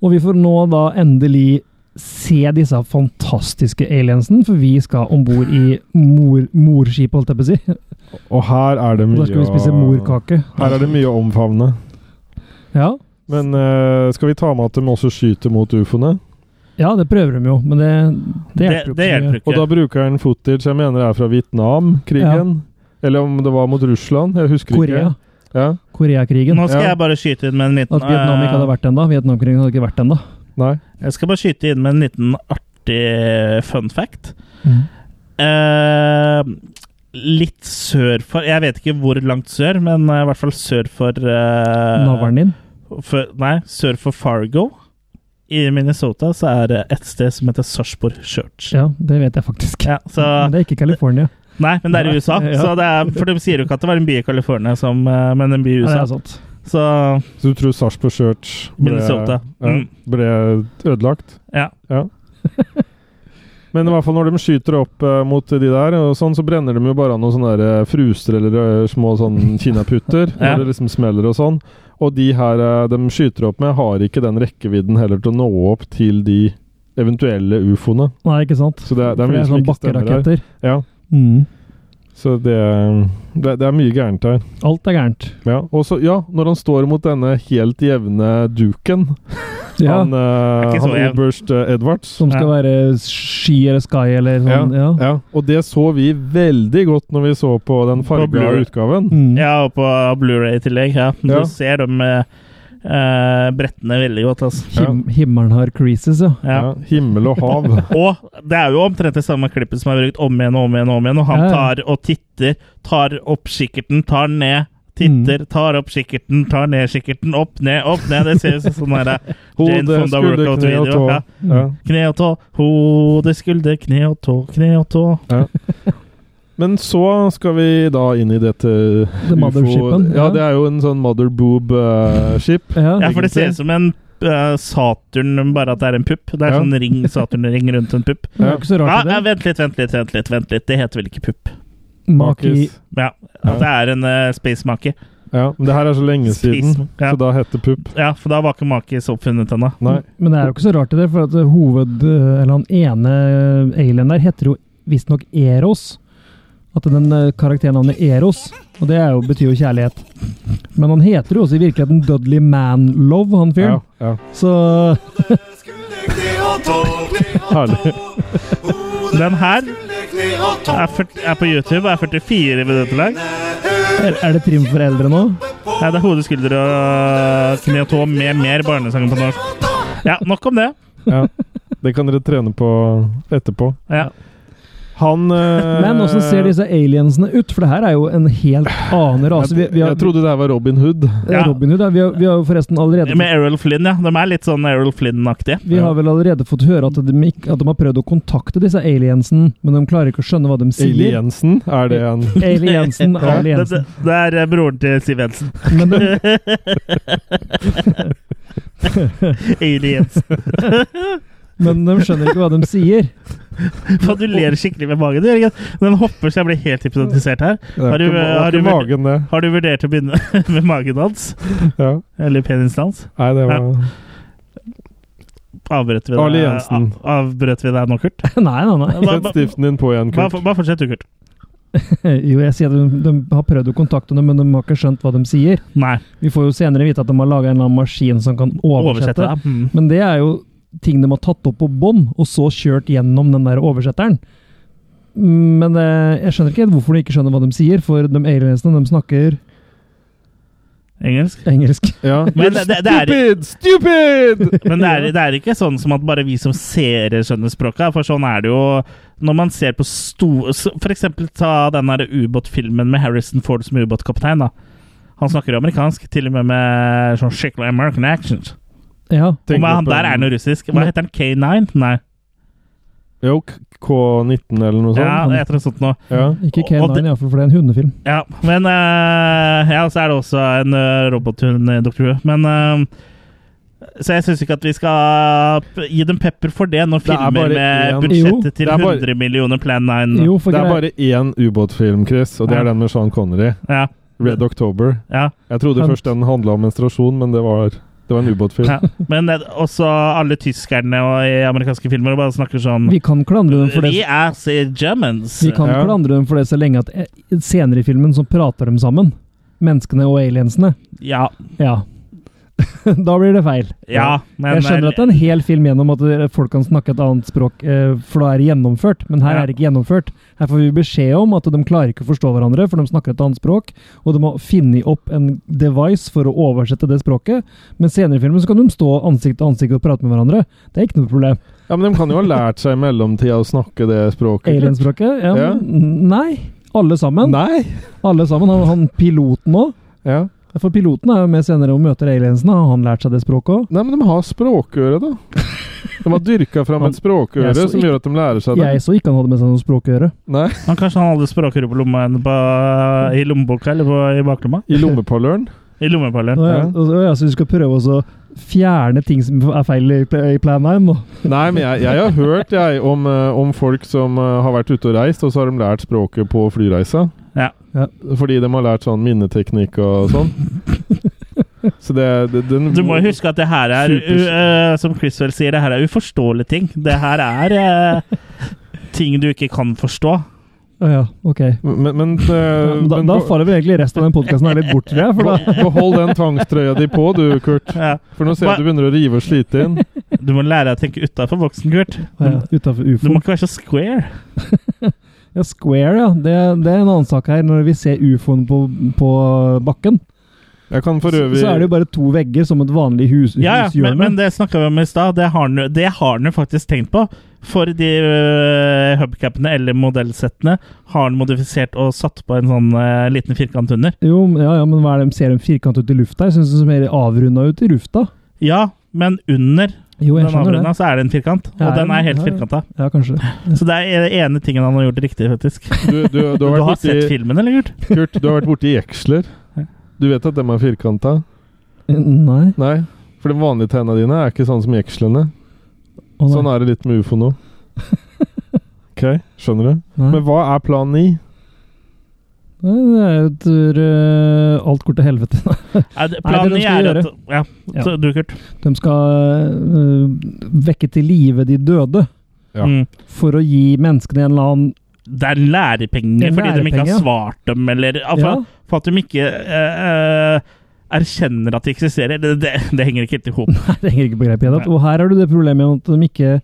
Og vi får nå da endelig se disse fantastiske aliensene, for vi skal om bord i mor, morskipet, holdt jeg på å si. Og her er det Og mye Da skal vi spise å- morkake. Her er det mye å omfavne. Ja, Men eh, skal vi ta med at de også skyter mot ufoene? ja det prøver de jo, men det, det Det, hjelper jo det hjelper Og da ikke. bruker han footage jeg mener det er fra Vietnam-krigen. Eller om det var mot Russland. Jeg husker Korea. ikke. Ja. Koreakrigen. Nå skal Ja. jeg bare skyte inn med en liten At Vietnam ikke hadde vært ennå. Vietnamkrigen hadde ikke vært ennå. Nei. eh, Jeg skal bare skyte inn med en liten artig eh, fun fact. Mm. Eh, litt sør for Jeg vet ikke hvor langt sør, men eh, i hvert fall sør for eh, Navlen din. for, Nei, sør for Fargo. I Minnesota så er det et sted som heter Sarpsborg Church. Ja, det vet jeg faktisk. Ja, så, Men det er ikke California. nei, men det er i USA. Ja. Så det er, for de sier jo ikke at det var en by i California, som, eh, men en by i Ja, det USA. er altså- sant. Så Så du tror Sarpsborg Church ble, Minnesota. ja, Mm. ble ødelagt? Ja. Men i hvert fall når de skyter opp eh, mot de der, og sånn, så brenner de jo bare av noen sånne der, eh, fruser eller eh, små sånn kinaputter. Ja. Når det liksom smeller og sånn. Og de her eh, de skyter opp med, har ikke den rekkevidden heller til å nå opp til de eventuelle ufoene. Nei, ikke sant? Så det, er- det er For det mye er som sånn ikke stemmer her. bakkeraketter. Ja, Mm. så det, eh, det, det er mye gærent her. Alt er gærent. Ja, og så, ja, når han står mot denne helt jevne duken, Ja, han, eh, ikke så han jevn. oberst eh, Edwards som skal være sky eller sky eller sånn. Ja. Ja, og det så vi veldig godt når vi så på den farga Blu-ray. utgaven. Mm. Ja, og på Blu-ray i tillegg. Ja. Du Ja. ser dem eh, eh, brettene veldig godt, altså. Him himmelen har creases, ja. Ja. Ja. himmel og hav. Og det er jo omtrent det samme klippet som er brukt om igjen og om igjen. og om igjen, og han Ja, ja. tar og titter, tar opp kikkerten, tar den ned, Mm. titter, tar opp kikkerten, tar ned kikkerten, opp, ned, opp, ned. Det ser ut som sånn her eh, Jane Hode, Fonda skulder, kne og tå. workout-video. Ja. Ja. Mm. Kne og tå, hode, skulder, kne og tå, kne og tå. Men så skal vi da inn i dette The mothershipen, Ja, ja. det er jo en sånn eh, motherboob-skip. Ja. Ja, for det ser ut som en eh, Saturn, bare at det er en pupp. Det er Ja. sånn ring, Saturn-ring rundt en pupp. Det er jo ikke så Ja, rart, ja, det. vent litt, vent litt, vent litt. vent litt Det heter vel ikke pupp? Maki Ja, At det er en uh, spacemake. Ja, men det her er så lenge Space- siden, ja. så da heter det pupp. Ja, for da var ikke makis oppfunnet ennå. Nei. Men det er jo ikke så rart, det. For at eh, hoved... eh, Eller han ene eh, alien der heter jo visstnok Eros. At den eh, karakteren han er Eros. Og det er jo, betyr jo kjærlighet. Men han heter jo også i virkeligheten Dudley Manlove, Ja, han fyren. ja. Så Herlig. Den her er, fyrt- er på YouTube og er 44 minutter lang. er, er det trim for eldre nå? Ja, det er hode, skulder og kne og tå med mer barnesanger på norsk. Ja, nok om det. Ja. Det kan dere trene på etterpå. Ja. Han eh, Men hvordan ser disse aliensene ut? For det her er jo en helt annen rase. altså, Vi, vi har, Jeg trodde det her var Robin Hood. Ja. Robin Hood, ja, vi, har, vi har jo forresten allerede Med Errol Flynn, ja. De er litt sånn Errol Flynn-aktige. Vi har vel allerede fått høre at de, ikke, at de har prøvd å kontakte disse aliensen, men de klarer ikke å skjønne hva de sier. Aliensen, er det en Aliensen, Det, aliensen. det, det er eh, broren til Siv Jensen. Men de, Aliens. men de skjønner ikke hva de sier. Faen, du ler skikkelig med magen, du, Jørgen. Den hopper så jeg blir helt hypnotisert her. Det er Har du- ikke, har ma- det er du- ikke magen, det. Har du vurdert å begynne med magen hans? Ja. Eller penisen hans? Nei, det var Avbrøt vi Arne deg, av, Jensen. avbrøt vi deg nå, Kurt? Nei, nei, nei. Hva- Sett hva- stiften din på igjen, Bare Kurt. for- bare fortsett du, Kurt. Jo, jeg sier at de, de har prøvd å kontakte dem, men de har ikke skjønt hva de sier. Nei. Vi får jo senere vite at de har laga en eller annen maskin som kan Oversette oversette. deg. Mm. Men det er jo ting de har tatt opp på bånd, og så kjørt gjennom den der oversetteren. Men eh, jeg skjønner ikke helt hvorfor de ikke skjønner hva de sier, for de aliensene de snakker Engelsk. engelsk. Ja. Men det, det, det er Stupid! Stupid! Men det er, det er ikke sånn som at bare vi som seere skjønner språket, for sånn er det jo når man ser på store For eksempel ta den der ubåtfilmen med Harrison Ford som ubåtkaptein, da. Han snakker jo amerikansk, til og med med sånn skikkelig American accent. Ja. Og Tenker med han på der en- er noe russisk. Hva heter han? K9? Nei. Jo, K- K19 eller noe Ja, sånt. det heter noe sånt nå. Ja. Ikke Og- K9, og det- iallfall, for det er en hundefilm. Ja, men eh, Ja, så er det også en eh, robothund i Dr. Who. Men eh, Så jeg syns ikke at vi skal p- gi dem pepper for det når Det er filmer bare med én- budsjettet Jo, til det er bare- 100 millioner Plan 9 Jo, for Det er grei- bare én ubåtfilm, Chris, og det Ja. er den med Sean Connery. Ja, Red October. ja, Jeg trodde Sant. først den handla om menstruasjon, men det var, det var en ubåtfilm. ja. Men eh, også alle tyskerne og i amerikanske filmer bare snakker sånn Vi kan klandre dem for Vi det. er så Germans. Vi kan Ja. klandre dem for det så lenge at eh, senere i filmen så prater de sammen. Menneskene og aliensene. Ja. Ja. da blir det feil. Ja, men eh, jeg skjønner at det er en hel film gjennom at dere- folk kan snakke et annet språk, eh, for da er det gjennomført. Men her Ja. er det ikke gjennomført. Her får vi beskjed om at de klarer ikke å forstå hverandre, for de snakker et annet språk. Og de har funnet opp en device for å oversette det språket. Men senere i filmen så kan de stå ansikt til ansikt og prate med hverandre. Det er ikke noe problem. Ja, Men de kan jo ha lært seg i mellomtida å snakke det språket. Alienspråket? Ja, Ja. men Nei. Alle sammen. Nei! Alle sammen. Han, han piloten òg. Ja. For piloten er jo med senere og møter aliensene. Har han lært seg det språket òg? Nei, men de har språkøre, da. De har dyrka fram et språkøre Jeg så som ikke- gjør at de lærer seg det. Jeg så ikke han hadde med seg noe språk å gjøre. Nei, Men kanskje han hadde språkrøret på lomma eh, på, i lommeboka eller på, i baklomma? I lommepalløren. I lommepalleren. Å ja. Ja. og- og ja, så du skal prøve også å fjerne ting som er feil i, pla- i Plan 9 nå? Nei, men jeg, jeg har hørt jeg, om, eh, om folk som eh, har vært ute og reist, og så har de lært språket på flyreisa. Ja. Ja. Fordi de har lært sånn minneteknikk og sånn. Så det, det den, Du må jo huske at det her er, Super- u- eh, som Chriswell sier, det her er uforståelige ting. Det her er eh, ting du ikke kan forstå. Å ja, ok. Men, men, eh, Ja, men da, men da be- faller vel egentlig resten av den podkasten her litt bort, tror jeg. For da, be- behold den tvangstrøya di på, du, Kurt. Ja. For nå ser jeg at du begynner å rive og slite inn. Du må lære deg å tenke utafor boksen, Kurt. ja, utenfor Du må ufo. ikke være så square. Ja, Square, ja. Det, det er en annen sak her. Når vi ser ufoen på, på bakken, Jeg kan for så, øvrig så er det jo bare to vegger som et vanlig hus, Ja, ja, men, hushjørne. men det snakka vi om i stad. Det har han- det har han jo faktisk tenkt på. For de øh, hubcapene eller modellsettene har han modifisert og satt på en sånn øh, liten firkant under. Jo, men- ja, ja, men hva er det, ser de firkant ut i lufta? Jeg syns de ser mer avrunda ut i lufta. Ja, men under Jo, den jeg skjønner avrunda det. så er det en firkant. Ja, Og den ja, er helt ja, ja. firkanta. Ja, kanskje. Så det er den ene tingen han har gjort riktig, faktisk. du, du, du, Du har har vært sett borti, filmen, eller, Kurt? Kurt, du har vært borti jeksler. Du vet at dem er firkanta? Nei. Nei. For de vanlige tegna dine er ikke sånn som jekslene. Å, nei. Sånn er det litt med ufo nå. OK, skjønner du? Nei. Men hva er plan 9? Nei, Det er jo tur eh, alt går til helvete. Nei, det- Nei, det Planen de min skal er gjøre. at Ja, Ja. så du, Kurt. De skal eh, vekke til live de døde Ja. Mm. for å gi menneskene en eller annen Det er lærepenger Det er fordi de ikke lærepenger. har svart dem, eller ja, for, Ja. for at de ikke eh, eh, erkjenner at de eksisterer. Det, det, det henger ikke helt i hop. Det henger ikke på greip i det hele tatt. Og her har du det problemet med at de ikke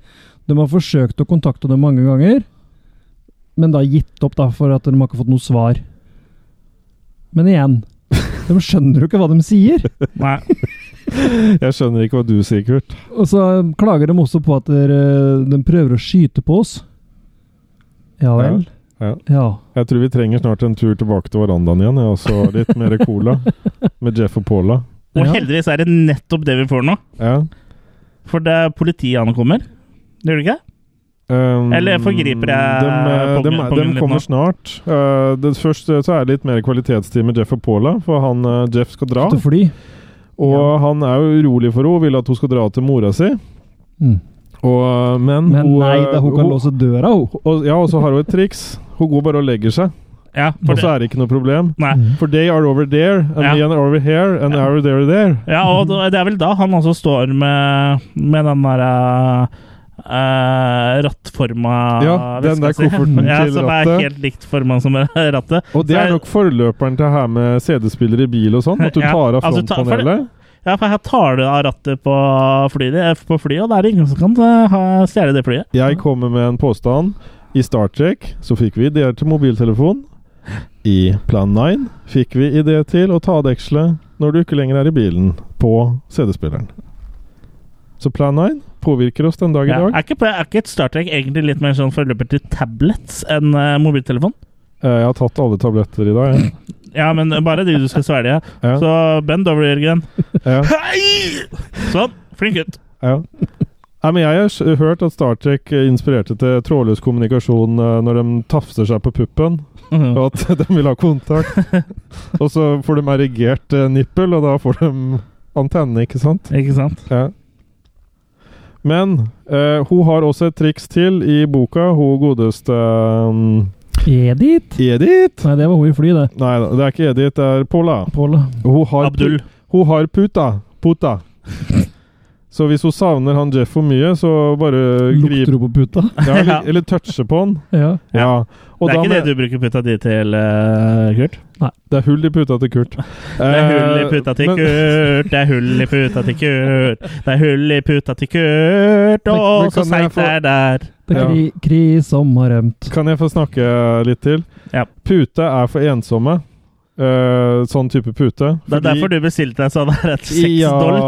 De har forsøkt å kontakte dem mange ganger, men da gitt opp da for at de har ikke fått noe svar. Men igjen De skjønner jo ikke hva de sier. Nei. Jeg skjønner ikke hva du sier, Kurt. eh, Og så klager de også på at dere- de prøver å skyte på oss. Ja vel? Ja. Ja. Jeg tror vi trenger snart en tur tilbake til verandaen igjen, ja, og så litt mer cola med Jeff og Paula. Og Ja. heldigvis er det nettopp det vi får nå. Ja. For det er politiet han kommer. Gjør det ikke? Um, Eller forgriper jeg dem, eh, kongen- dem- kongen dem litt kommer nå? snart. Eh, det, først eh, så er det litt mer kvalitetstid med Jeff og Paula, for han, eh, Jeff skal dra. Til fly. Og han er jo urolig for henne, vil at hun skal dra til mora si. Mm. Og, eh, men Men hun, nei, eh, da hun kan låse døra, hun. og, Ja, og så har hun et triks. Hun går bare og legger seg, Ja, for og det. så er det ikke noe problem. Nei. For they are over there, and Ja. we are over here, and Ja. are there there. ja, og da- det er vel da han også står med, med den der eh, rattforma Ja, den veska der si. kofferten ja, til Som er rattet. helt likt forma som rattet. Og det Så er jeg- nok forløperen til her med CD-spiller i bil og sånn, at du Ja, tar av altså, ta- for- frontpanelet. Ja, for her tar du av rattet på flyet, eh, på flyet, og det er ingen som kan eh, ha- stjele det flyet. Jeg kommer med en påstand. I Star Trek så fikk vi ideer til mobiltelefon. I Plan 9 fikk vi idé til å ta av dekselet når du ikke lenger er i bilen, på CD-spilleren. Så Plan 9 påvirker oss den dag i Ja. dag. Er, ikke, er ikke et Star Trek egentlig litt mer sånn forløper til tablets enn eh, mobiltelefon? Eh, Jeg har tatt alle tabletter i dag. jeg. Ja, men bare de du skal svelge. Ja, Så bend over, Jørgen. ja, Hei! Sånn. Flink gutt. ja. Nei, men jeg har s- hørt at Star Trek eh, inspirerte til trådløs kommunikasjon eh, når de tafser seg på puppen, og at de vil ha kontakt. Og så får de erigert eh, nippel, og da får de antenne, ikke sant? Ikke sant? Ja. Men eh, hun har også et triks til i boka, hun godeste um, Edith? Edith? Nei, det var hun i fly, det. Nei, det er ikke Edith, det er Paula. Pål. Hun har, Abdul. Hun har puta. Puta. Så hvis hun savner han Jeff for mye, så bare Lukter griper hun på puta? ja, eller, eller toucher på han. Ja. Ja. Og det er da ikke det med- du bruker puta di til, eh, Kurt? det er hull i puta til Kurt. Det er hull i puta til Eh, men- Kurt, det er hull i puta til Kurt, det er hull i puta til Kurt, Men- men og så kan jeg seint få- det er der. Det er Ja. kri, kri som har rømt. Kan jeg få snakke litt til? Ja. Pute er for ensomme. Eh, sånn type pute. Det er Fordi- derfor du bestilte deg sånn her et I seksdoll.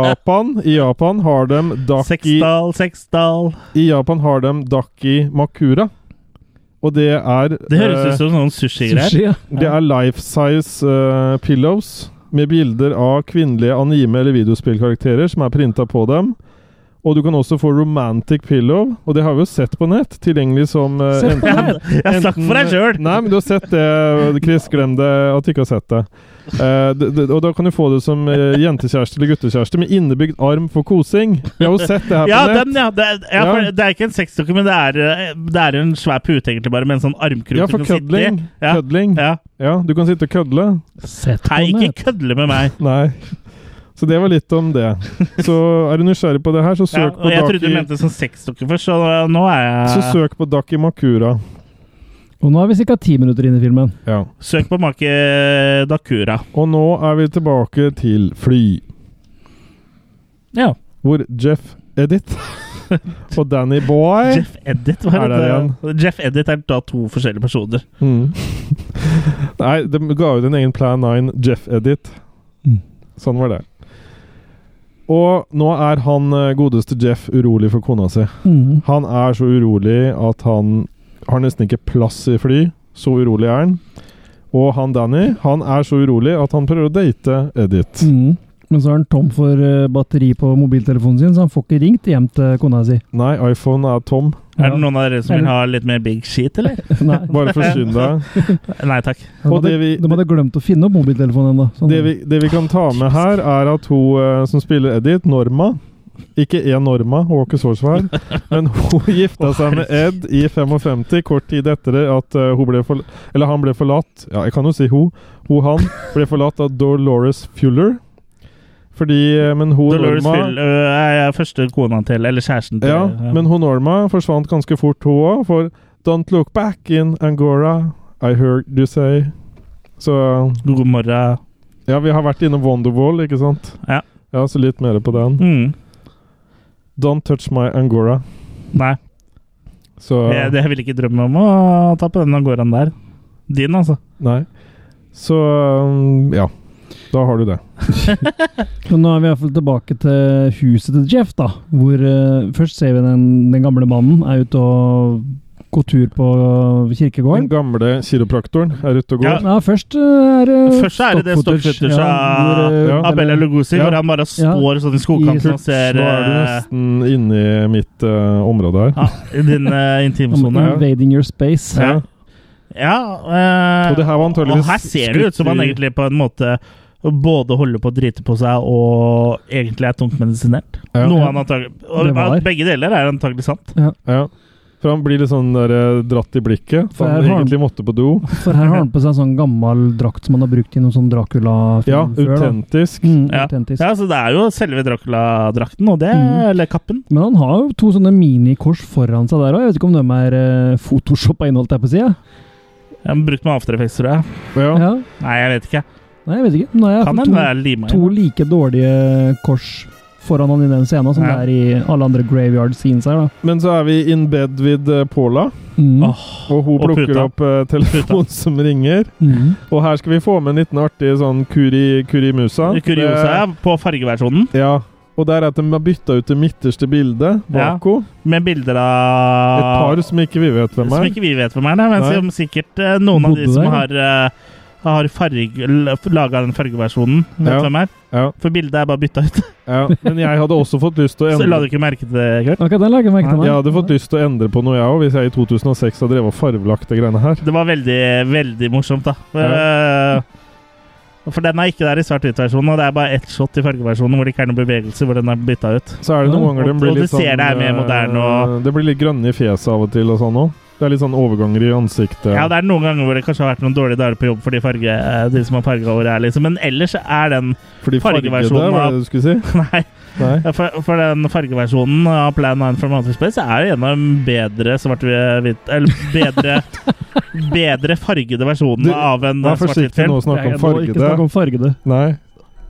Japan, I Japan har de daki, Seksdal, seksdal I Japan har de daki makura. Og det er Det høres ut eh, som sånn sushigreier. Sushi, ja. Det er life size eh, pillows med bilder av kvinnelige anime- eller videospillkarakterer som er printa på dem. Og du kan også få romantic pillow, og det har vi jo sett på nett. Tilgjengelig som eh, Sett på enten- nett. Ja, snakk for deg sjøl! Nei, men du har sett det, Chris. Glem det at du ikke har sett det. Eh, d- d- og da kan du få det som eh, jentekjæreste eller guttekjæreste med innebygd arm for kosing. Vi har jo sett det her på Ja, nett. den, ja. Det er, ja, Ja. for det er ikke en sexdukke, men det er, eh, det er en svær pute, egentlig, bare med en sånn armkrok ja, for du kan sitte i. kødling. Ja. kødling. Ja. Ja. du kan sitte og kødle. Sett på Hei, nett. ikke kødle med meg. Nei. Så det var litt om det. Så er du nysgjerrig på det her, så Ja, søk og jeg på trodde du Daki mente sånn sexdukke først, så nå er Så jeg søk på Daki Makura. Og nå er vi ca. ti minutter inn i filmen. Ja. Søk på make Dakura. Og nå er vi tilbake til fly, Ja. hvor Jeff Edith og Danny Boy Jeff Edit var Er det. det Jeff Edit er da to forskjellige personer. Mm. Nei, de ga ut en egen Plan 9 Jeff-edit. Mm. Sånn var det. Og nå er han eh, godeste Jeff urolig for kona si. Mm. Han er så urolig at han har nesten ikke plass i fly. Så urolig er han. Og han Danny han er så urolig at han prøver å date Edith. Mm. Men så er han tom for eh, batteri på mobiltelefonen sin, så han får ikke ringt hjem til kona si. Nei, iPhone er tom. Er det noen av dere som vil ha litt mer big shit, eller? Nei. Bare forsyn deg. Nei takk. De Og det hadde, vi- de hadde glemt å finne opp mobiltelefonen ennå. Sånn. Det vi, det vi kan ta med her, er at hun eh, som spiller Edith, Norma Ikke én Norma, hun var ikke så svær. Men hun gifta seg med Ed i 55, kort tid etter at eh, hun ble for, eller han ble forlatt Ja, jeg kan jo si hun. Hun, han, ble forlatt av Dolores Fuller. Fordi eh, Men hun Dolores Norma Fill øh, er første kona til, eller kjæresten til Ja, men hun Norma forsvant ganske fort, hun òg. For Don't look back in Angora, I heard you say. Så eh, God morgen. Ja, vi har vært innom Wonderwall, ikke sant? Ja. Ja, så litt mer på den. Mm. Don't touch my angora. Nei, Så jeg, jeg vil ikke drømme om å ta på den angoraen der. Din, altså. Nei. Så um, ja. Da har du det. Men nå er vi i hvert fall tilbake til huset til Jeff, da. Hvor eh, først ser vi den, den gamle mannen er ute og god tur på eh, Den kirkegården. gamle kiropraktoren er ute og går. Ja. Ja, først eh, er det Først er det det stoppfootage av hvor, eh, Ja. Abella Lugosi, Ja. hvor han bare står sånn i skogkanten og ser Nå er du eh, nesten inne i mitt eh, område her. ja, i din eh, om intimsone. Invading your space. Ja. Ja, eh, Og det her var antageligvis og her ser det ut som han skutt i- egentlig på en måte både holder på å drite på seg og egentlig er tungt medisinert. Ja. Noe han antagelig, Det og var at Begge deler er antagelig sant. Ja. For han blir litt sånn der, eh, dratt i blikket. For For han her har han- egentlig måtte på do. For her har han på seg en sånn gammel drakt som han har brukt i noen sånn Dracula-film Ja, før. da. autentisk. Mm, Ja. autentisk. Ja, så Det er jo selve Dracula-drakten, og det, Mhm. eller kappen. Men han har jo to sånne minikors foran seg der òg. Jeg vet ikke om de er uh, photoshoppa inn, holdt jeg på å si. Ja. Ja, men brukt med after effects, tror jeg. Ja. Ja. Nei, jeg vet ikke. Nei, jeg vet ikke. Nå har jeg Kan fått hende to, det er lima to inn. like dårlige kors foran han i den scenen som Ja. det er i alle andre graveyard scenes her, da. Men så er vi in bed with eh, Paula, Mm. Åh. og hun Og plukker puta. opp eh, telefonen som ringer. Mm. Og her skal vi få med en liten artig sånn kuri, kurimusa. Kuriosa ja, på fargeversjonen, Det- Ja. Og der er at de har bytta ut det midterste bildet Ja. bak henne. med bilder Et av par som ikke vi vet hvem Som er. ikke vi vet hvem er, nei, men Nei. som sikkert eh, noen av de Bodde som der, har, eh, har farge, laga den fargeversjonen, vet Ja. hvem er. Ja, For bildet er bare bytta ut. ja. Men jeg hadde også fått lyst til å Så la du endre ikke merke til det, Kurt. Ok, den la jeg ikke merke Nei, til. meg. Jeg hadde fått lyst til å endre på noe, jeg òg, hvis jeg i 2006 hadde drevet og fargelagt det greiene her. Det var veldig, veldig morsomt, da. Eh, For den er ikke der i svart-hvitt-versjonen, og det er bare ett shot i fargeversjonen hvor det ikke er noen bevegelse hvor den er bytta ut. Så er det noen ganger Og- den blir og du litt ser det er mer eh, moderne og- Det blir litt grønne i fjeset av og til og sånn òg. Det er litt sånn overganger i ansiktet. Ja, det er noen ganger hvor det kanskje har vært noen dårlige dager på jobb for de, farge, eh, de som har farga håret her, liksom. Men ellers er den Fordi fargede, fargeversjonen var av- det det du skulle si? Nei. Nei. Ja, For, for den fargeversjonen av Plan 9 from Outer Space er jo en av de bedre svart-hvitt Eller bedre Bedre fargede versjonen Du, av en eh, Vær forsiktig svart-hvitt-film. nå å snakke om Jeg- jeg må ikke fargede. snakke om fargede. Nei.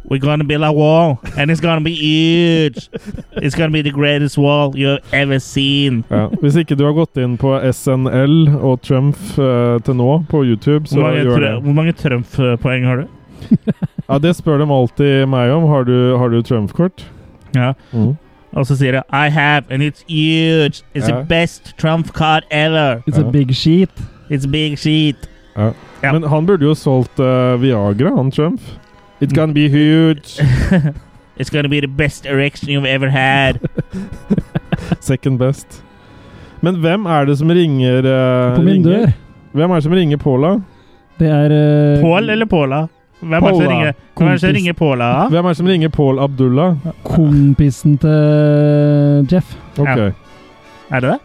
We're gonna build a wall, and it's gonna be huge! It's gonna be the greatest wall you've ever seen. Ja. Hvis ikke du har gått inn på SNL og Trump eh, til nå på Hvor YouTube, så mange, gjør tr- det. hvor mange Trump-poeng har du? Ja, Det spør de alltid meg om. Har du, har du Trump-kort? Ja. Mm. Og så sier de I have, and it's huge! It's Ja. the best Trump card ever! It's a Ja. big sheet. It's big sheet! Ja. Men han burde jo solgt eh, Viagra, han Trump. It can be huge. It's gonna be the best erection you've ever had! Second best. Men hvem er det som ringer eh, På min ringer? dør. Hvem er det som ringer Paula? Det er eh, Pål eller Paula? Hvem er det som Paula. ringer- hvem er det som Kompis. ringer Paula? da? Hvem er det som ringer Paul Abdullah? kompisen til Jeff. Ok, Ja. Er det det?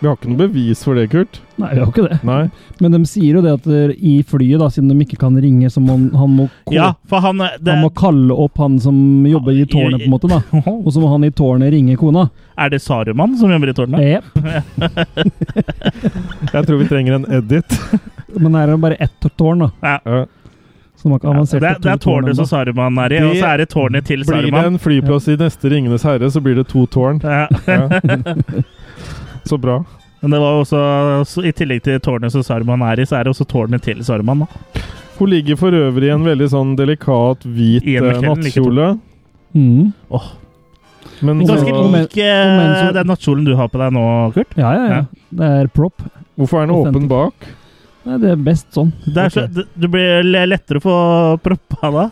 Vi har ikke noe bevis for det, Kurt. Nei, vi har ikke det. Nei. Men de sier jo det at eh, i flyet, da, siden de ikke kan ringe, så må han, han må ko- Ja, for han eh, det, Han må kalle opp han som jobber i tårnet, på en måte. da. Og så må han i tårnet ringe kona. Er det Saruman som jobber i tårnet? Jep. Jeg tror vi trenger en edit. Men her er det bare ett tårn, da. Ja. Så man kan Ja, avansere det, til det to er tårnet som Saruman er i, og så er det tårnet til Blir det Saruman. en flyplass i neste Ringenes herre, så blir det to tårn. Ja. Ja. Så bra. Men det var også, så I tillegg til tårnet som Saruman er i, så er det også tårnet til Saruman. da. Hun ligger for øvrig i en veldig sånn delikat hvit I en eh, verkelig like nattkjole. Mm. Men så, Ganske og men- lik eh, og mens hun- den nattkjolen du har på deg nå, Kurt. Ja, ja, ja. Ja. Det er prop. hvorfor er den åpen bak? Nei, det er best sånn. Det er så, Ok. du, du blir le- lettere å få proppa da.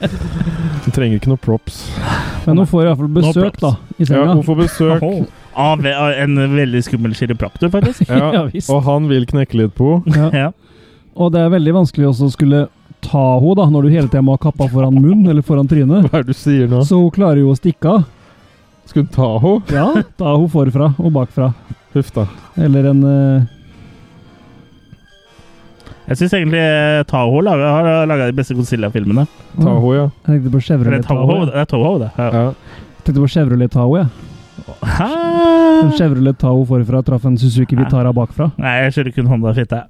Den trenger ikke noe props. Men hun får i hvert fall besøk, props. da. I Ja, senga. hun får besøk, Av av en veldig skummel kiropraktor, faktisk. Ja. Ja, visst. og han vil knekke litt på henne. Ja. Ja. Og det er veldig vanskelig også å skulle ta henne, da, når du hele tida må ha kappa foran munnen eller foran trynet. Hva er det du sier nå? Så hun klarer jo å stikke av. Skulle hun ta henne? Ja, da hun forfra og bakfra. Huff da. Eller en eh, Jeg syns egentlig eh, Taho laga, har laga de beste Godzilla-filmene. Ta Mm. henne, ja. Jeg tenkte på Eller Chevrolet Taho, Tahoe. det er Toho, det. Ja. ja. Jeg tenkte på Chevrolet Tahoe, jeg. En Hæ? Chevrolet Tahoe forfra traff en Suzuki Vitara bakfra. Nei, jeg kjører kun Honda Fitte.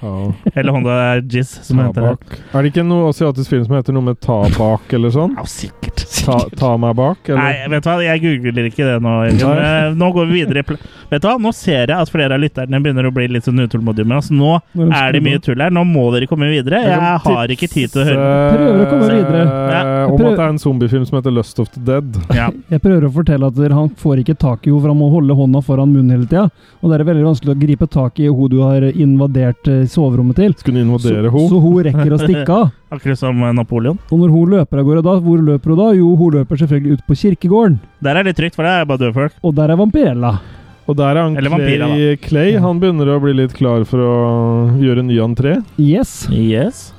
Ta- Eller Honda Jizz, som heter det. Tabak. Er det ikke noe asiatisk film som heter noe med ta bak eller sånn? Ja, sikkert. Ta, ta meg bak, eller? Nei, vet du hva, jeg googler ikke det nå. Jørgen. Nei. Eh, Nå går vi videre. i pl- Vet du hva, nå ser jeg at flere av lytterne begynner å bli litt sånn utålmodige med oss. Nå Når de er det skulle mye gå. tull her. Nå må dere komme videre. Jeg kan Jeg har ikke tid til å høre Prøver å komme eh, videre. Ja. Om Prøv- at det er en zombiefilm som heter Lust of the Dead. ja. Jeg prøver å fortelle at dere- han får ikke tak i henne, for han må holde hånda foran munnen hele tida. Og det er veldig vanskelig å gripe tak i hun du har invadert eh, soverommet til. Skulle Så, invadere henne. så hun rekker å stikke av. Akkurat som eh, Napoleon. Og når hun løper av gårde da, hvor løper hun da? Jo, hun løper selvfølgelig ut på kirkegården. Der er det trygt, for der er bare døde folk. Og der er Vampirella. Og der er han Eller vampyrer, Clay, Clay. Han begynner å bli litt klar for å gjøre en ny entré. Yes. Yes.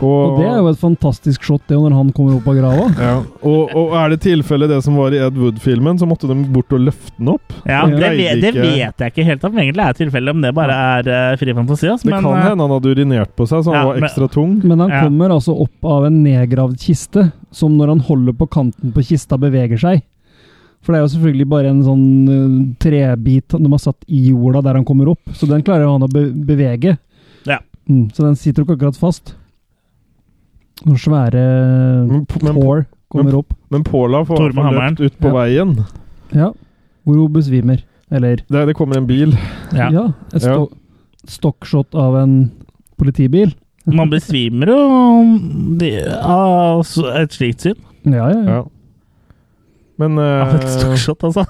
Og det er jo et fantastisk shot, det, når han kommer opp av grava. Ja. Og, og er det tilfelle det som var i Ed Wood-filmen, så måtte de bort og løfte den opp. Ja, Han det, greide ve- det ikke- vet jeg ikke helt om egentlig er tilfellet, om det bare er eh, fri fantasi. ass, Det men, kan eh, hende han hadde urinert på seg, så han Ja, var men- ekstra tung. Men han Ja. kommer altså opp av en nedgravd kiste, som når han holder på kanten på kista, beveger seg. For det er jo selvfølgelig bare en sånn eh, trebit de har satt i jorda der han kommer opp, så den klarer jo han å be bevege. Ja. Mm, så den sitter jo ikke akkurat fast. Noen svære Men, P- Mm, men, tår men- kommer opp. men Paula får Tor med får hammeren. løpt ut på Ja. veien. Ja. Hvor hun besvimer. Eller Det, det kommer en bil. Ja. Ja. et sto stokkshot av en politibil. Man besvimer jo de- av så- et slikt syn. Ja, ja, ja. Ja. Men, Av et eh, stokkshot, altså.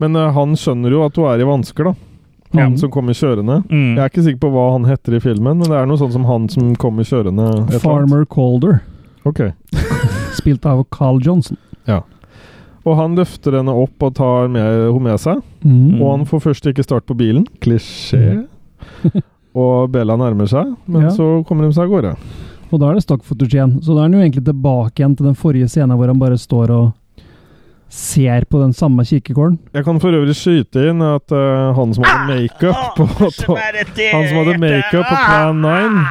men eh, han skjønner jo at hun er i vansker, da. Han Ja. som kommer kjørende. Mm. Jeg er ikke sikker på hva han heter i filmen, men det er noe sånt som han som kommer kjørende. et eller annet. Farmer Calder, Ok. spilt av Carl Johnson. Og han løfter henne opp og tar med, hun med seg. Mm. Og han får først ikke start på bilen. Klisjé. og Bella nærmer seg, men Ja. så kommer de seg av gårde. Og da er det stokkfotos igjen. Så da er han jo egentlig tilbake igjen til den forrige scenen hvor han bare står og ser på den samme kirkegården. Jeg kan for øvrig skyte inn at eh, han som hadde makeup på Ah, Han som hadde makeup på Plan 9,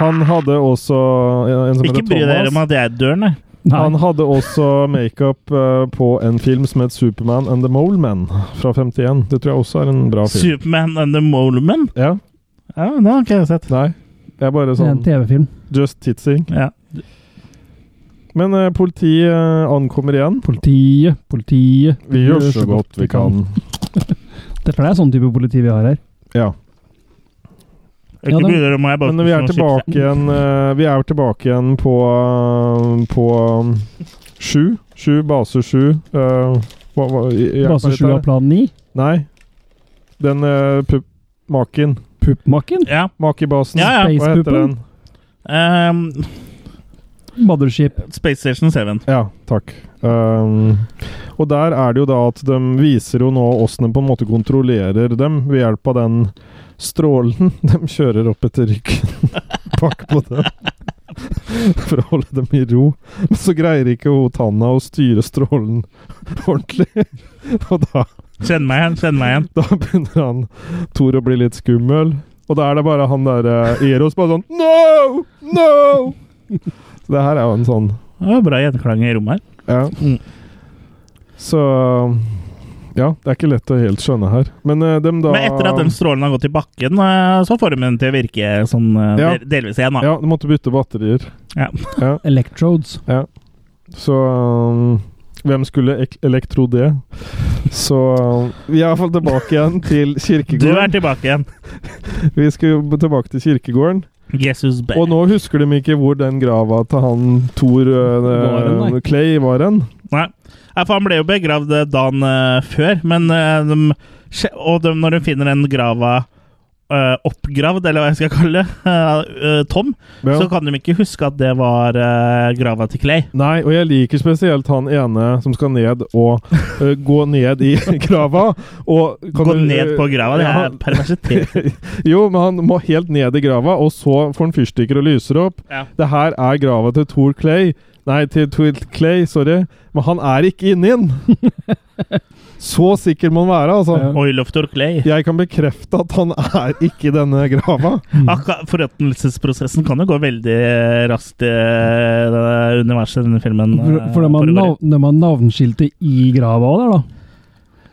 han hadde også eh, en som Ikke heter bry dere om Thomas. at jeg dør, nei. Han hadde også makeup eh, på en film som het Superman and the Mole Man fra 51. Det tror jeg også er en bra film. Superman and the Mole Man? Ja, Ja, det har ikke jeg sett. Nei. Jeg er bare Det er en sånn TV-film. just titsing. Ja. Men eh, politiet eh, ankommer igjen. Politiet, politiet Vi gjør så godt vi kan. Det er for det er sånn type politi vi har her. Ja. Ikke Ja, da- bry dere om jeg bare Men eh, vi er spiser noen tilbake chips, jeg. igjen eh, Vi er tilbake igjen på eh, På eh, sju. Sju, base sju. eh, hva, hva, hjelp meg Base litt 7 her. av Plan 9. Nei. Den uh, pup... Maken. Puppmakken. Ja. Makebasen. Ja, ja. Hva heter den? Spacepuppen. Um, Mothership. Space Station 7. Ja, takk. Um, og der er det jo da at de viser jo nå åssen de på en måte kontrollerer dem ved hjelp av den strålen de kjører opp etter ryggen bak på dem. For å holde dem i ro. Men så greier ikke hun Tanna å styre strålen ordentlig. Og da Kjenn meg igjen, kjenn meg igjen. Da begynner han Thor å bli litt skummel. Og da er det bare han der eh, Eros bare sånn No! No! Så det her er jo en sånn Det var bra gjenklang i rommet her. Ja. Mm. Så Ja, det er ikke lett å helt skjønne her. Men eh, dem da Men etter at den strålen har gått i bakken, eh, så får de den til å virke sånn eh, Ja. del- delvis igjen, da. Ja, de måtte bytte batterier. Electrodes. Så um, hvem skulle ek elektro det? Så um, vi er iallfall tilbake igjen til Du er kirkegården. tilbake igjen. Vi skal jo tilbake til kirkegården. Jesus back. Og nå husker de ikke hvor den grava til han Thor Var den, uh, nei. Clay var hen. Nei. Nei, for han ble jo begravd eh, dagen eh, før, men eh, de, skje- Og de, når de finner den grava eh, oppgravd, eller hva jeg skal kalle det, eh, eh, tom, Ja. så kan de ikke huske at det var eh, grava til Clay. Nei, og jeg liker spesielt han ene som skal ned og eh, gå ned i grava. Og kan Gå du, eh, ned på grava, det ja. er perversitet. Jo, men han må helt ned i grava, og så får han fyrstikker og lyser opp. Ja. Det her er grava til Thor Clay. Nei, til Thor Clay, sorry. Men han er ikke inni den! så sikker må han være, altså. Ja. Oiloftor Clay. Jeg kan bekrefte at han er ikke i denne grava. Akka, forretnelsesprosessen kan jo gå veldig eh, raskt i eh, det universet denne filmen. eh, For, for de, har foregår i. nav, de har navnskiltet i grava òg, der, da.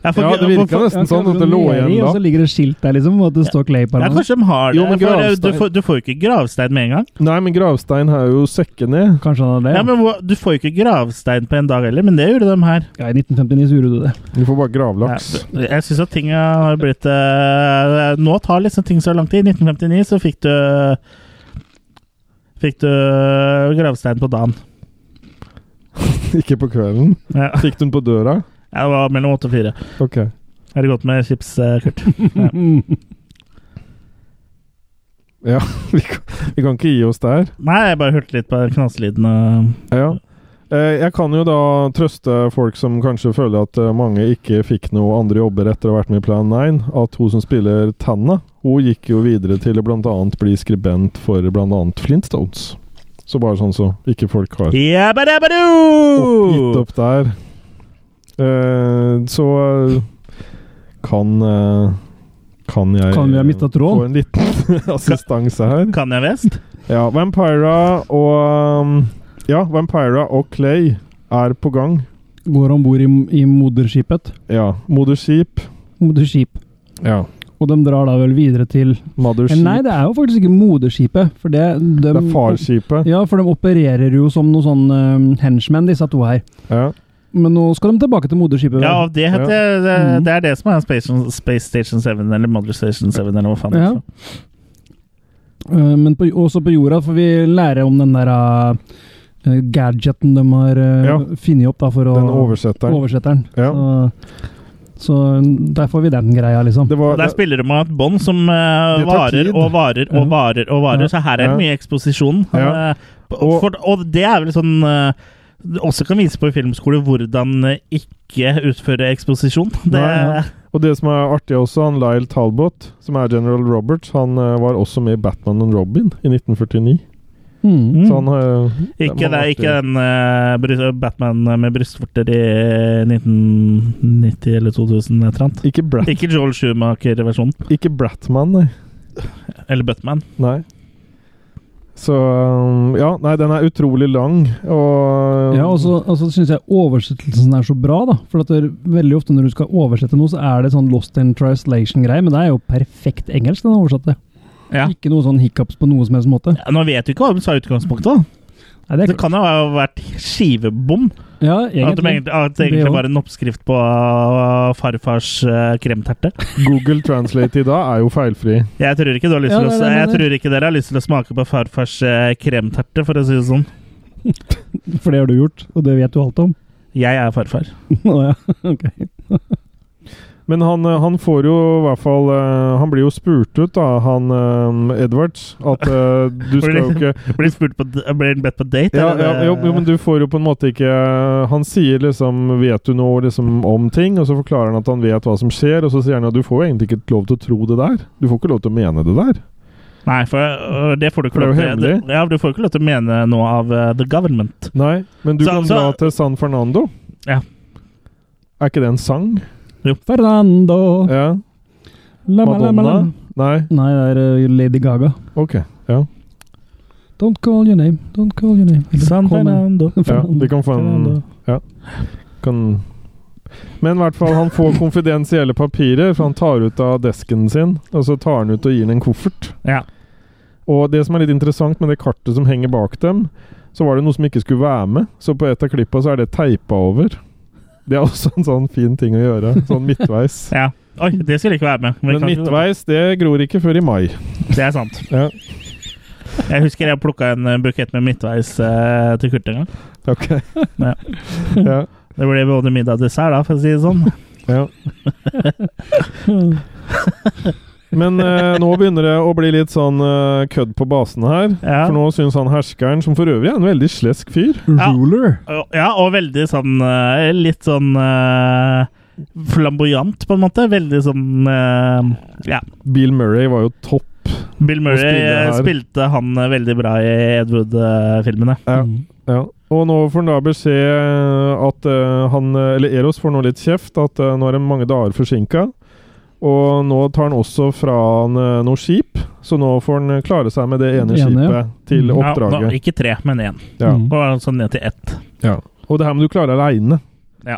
Jeg får- Ja, det virka hvorfor- nesten sånn at det lå igjen Og så da. ligger det skilt der, liksom, og at det står Clay på Ja, armen. kanskje de har det. Jo, men for, eh, du, gravstein- får, du får jo ikke gravstein med en gang. Nei, men gravstein har jo sekket ned. Kanskje han Ja, hadde det? men hvor- Du får jo ikke gravstein på en dag heller, men det gjorde de her. Ja, i 1959 så gjorde du det. Du får bare gravlaks. Ja, jeg syns at ting har blitt eh, Nå tar liksom ting så lang tid. I 1959 så fikk du Fikk du gravstein på dagen. Ikke på kvelden. Ja, Fikk du den på døra? Ja, det var mellom åtte og fire. Ok. Er det godt med chips, eh, Kurt? Vi kan, vi kan ikke gi oss der. Nei, jeg bare hørte litt på knaselyden og Ja. Eh, Jeg kan jo da trøste folk som kanskje føler at eh, mange ikke fikk noe andre jobber etter å ha vært med i Plan 9, at hun som spiller Tanna, hun gikk jo videre til å bl.a. bli skribent for bl.a. Flintstones. Så bare sånn så ikke folk har opp, gitt Jabba-dabba-doo! opp der. Eh, Så eh, kan eh, Kan jeg Kan vi ha mistet tråden? få en liten assistanse her? Kan jeg vest? Ja, Vampira og um, Ja, Vampira og Clay er på gang. Går om bord i, i moderskipet. Ja. Moderskip. Moderskip. Ja. Og de drar da vel videre til Eh, Mothership. Nei, det er jo faktisk ikke moderskipet, for det de, det er farskipet. Ja, for de opererer jo som noen sånn eh, henchmen, disse to her. Ja. Men nå skal de tilbake til moderskipet. vel? Ja, og det, heter, det, Mm. det er det som er Space, Space Station 7, eller Mother Station 7, eller hva faen. det Ja. er. Eh, men på, også på jorda får vi lære om den der eh, gadgeten de har eh, Ja. funnet opp da, for å Den oversetteren. Oversetteren. Ja. Så, så mm, der får vi den greia, liksom. Det var Og der det, spiller de av et bånd som eh, Det tar varer tid. og varer og varer, og varer, Ja. så her er det Ja. mye eksposisjon. Han, Ja. eh, Og- for, og det er vel sånn eh, det også kan vise på i filmskole hvordan eh, ikke utføre eksposisjon. Det, Nei, Og det som er artig også, han Lyle Talbot, som er general Roberts, han eh, var også med i Batman and Robin i 1949. Mm. Så han uh, Ikke, det, mange ikke den eh, bry- Batman med brystvorter i 1990 eller 2000 et eller annet. Ikke, Brat, Ikke Joel Schumacher-versjonen. ikke Bratman, nei. Eller Butman. nei. Så um, Ja, nei, den er utrolig lang, og Ja, og så altså, syns jeg oversettelsen er så bra, da. For at det er veldig ofte når du skal oversette noe, så er det sånn lost in translation-greie, men det er jo perfekt engelsk, den oversatte. Ja. Ikke noe sånn hiccups på noen som helst måte. Ja, Nå vet vi ikke hva de sa i utgangspunktet. da. Nei, det er Det kan jo ha vært skivebom. Ja, At, de egentlig. egentlig, at det egentlig Det var en oppskrift på uh, farfars uh, kremterte. Google Translate i dag er jo feilfri. Jeg tror ikke du har lyst Ja, til å, det er det jeg Jeg mener. tror ikke dere har lyst til å smake på farfars uh, kremterte, for å si det sånn. For det har du gjort, og det vet du alt om. Jeg er farfar. Å ja, ok. Men han, eh, han får jo i hvert fall eh, Han blir jo spurt ut, da, han eh, Edwards, at eh, du skal jo ikke Blir spurt på, d- blir bedt på date? ja, ja, eller? jo, jo, men du får jo på en måte ikke eh, Han sier liksom 'Vet du noe liksom, om ting?' Og så forklarer han at han vet hva som skjer, og så sier han at du får jo egentlig ikke lov til å tro det der. Du får ikke lov til å mene det der. Nei, for uh, det får du For ikke det er lov jo til. hemmelig. Ja, du får ikke lov til å mene noe av uh, the government. Nei, men du Så- kan så- dra til San Fernando. Ja. Er ikke det en sang? Fernando Ja. la, la, la, la, la. Eh, Madonna? Nei? Nei, det er eh, Lady Gaga. Ok. Ja. Don't call your name, don't call your name. Eller, San call me. Fernando. ja vi kan få en kan Men i hvert fall, han får konfidensielle papirer, for han tar ut av desken sin, og så tar han ut og gir den en koffert. Ja. Og det som er litt interessant med det kartet som henger bak dem, så var det noe som ikke skulle være med, så på et av klippa så er det teipa over. Det er også en sånn fin ting å gjøre, sånn midtveis. ja. Oi, det skulle ikke være med. Vi Men kan ikke- midtveis, det gror ikke før i mai. Det er sant. Ja. Jeg husker jeg plukka en uh, bukett med midtveis uh, til Kurt en gang. Ok. Ja. Ja. Det ble både middag og dessert, da, for å si det sånn. Ja. Men eh, nå begynner det å bli litt sånn eh, kødd på basen her. Ja. For nå syns han herskeren, som for øvrig er en veldig slesk fyr Ruler. Ja, og veldig sånn eh, Litt sånn eh, flamboyant, på en måte. Veldig sånn eh, Ja. Bill Murray var jo topp. Bill Murray spiller eh, her. spilte han eh, veldig bra i Ed Wood-filmene. Ja. Mm. Ja. Og nå får han da beskjed eh, at eh, han eh, Eller Eros får nå litt kjeft, at eh, nå er han mange dager forsinka. Og nå tar han også fra han eh, noe skip, så nå får han eh, klare seg med det ene Det ene, skipet ja. til Ja, da, oppdraget. Mm. ikke tre, men én. Mm. Ja. Og sånn ned til ett. Ja. Og det her må du klare aleine. Ja.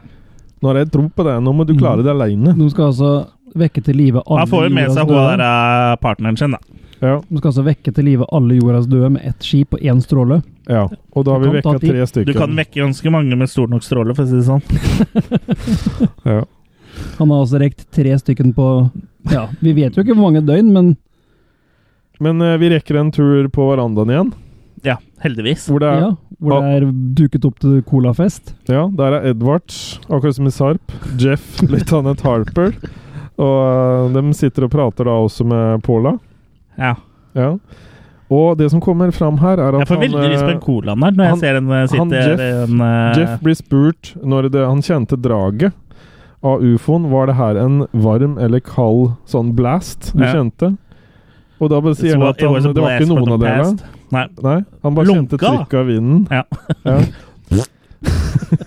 Nå har jeg tro på det. Nå må du Mm. klare det aleine. De skal altså vekke til live alle Han får jo med jordas seg hun døde. der eh, partneren sin, da. Ja, De skal altså vekke til live alle jordas døde med ett skip og én stråle. ja. Og da har vi Du kan ta vekka ti. tre Du stykker. kan vekke ganske mange med stor nok stråle, for å si det sånn. ja. Han har altså rekt tre stykken på Ja, vi vet jo ikke hvor mange døgn, men Men eh, vi rekker en tur på verandaen igjen. Ja, heldigvis. Hvor det er, ja, hvor det er duket opp til colafest. ja, der er Edwards, akkurat som i Sarp. Jeff, løytnant Harper. Og eh, de sitter og prater da også med Paula. Ja. Ja. Og det som kommer fram her, er Jeg at får han, veldig lyst på eh, en colaen der, når jeg han- ser den eh, han sitter Jeff- en, eh, Jeff blir spurt når det, han kjente draget av ufoen. Var det her en varm eller kald sånn blast du Ja. kjente? Og da bare sier han It's at han, always a det var blast ikke for the noen av dere. past. Nei. Nei, han bare Lunka. kjente trykket av vinden. Ja. Ja.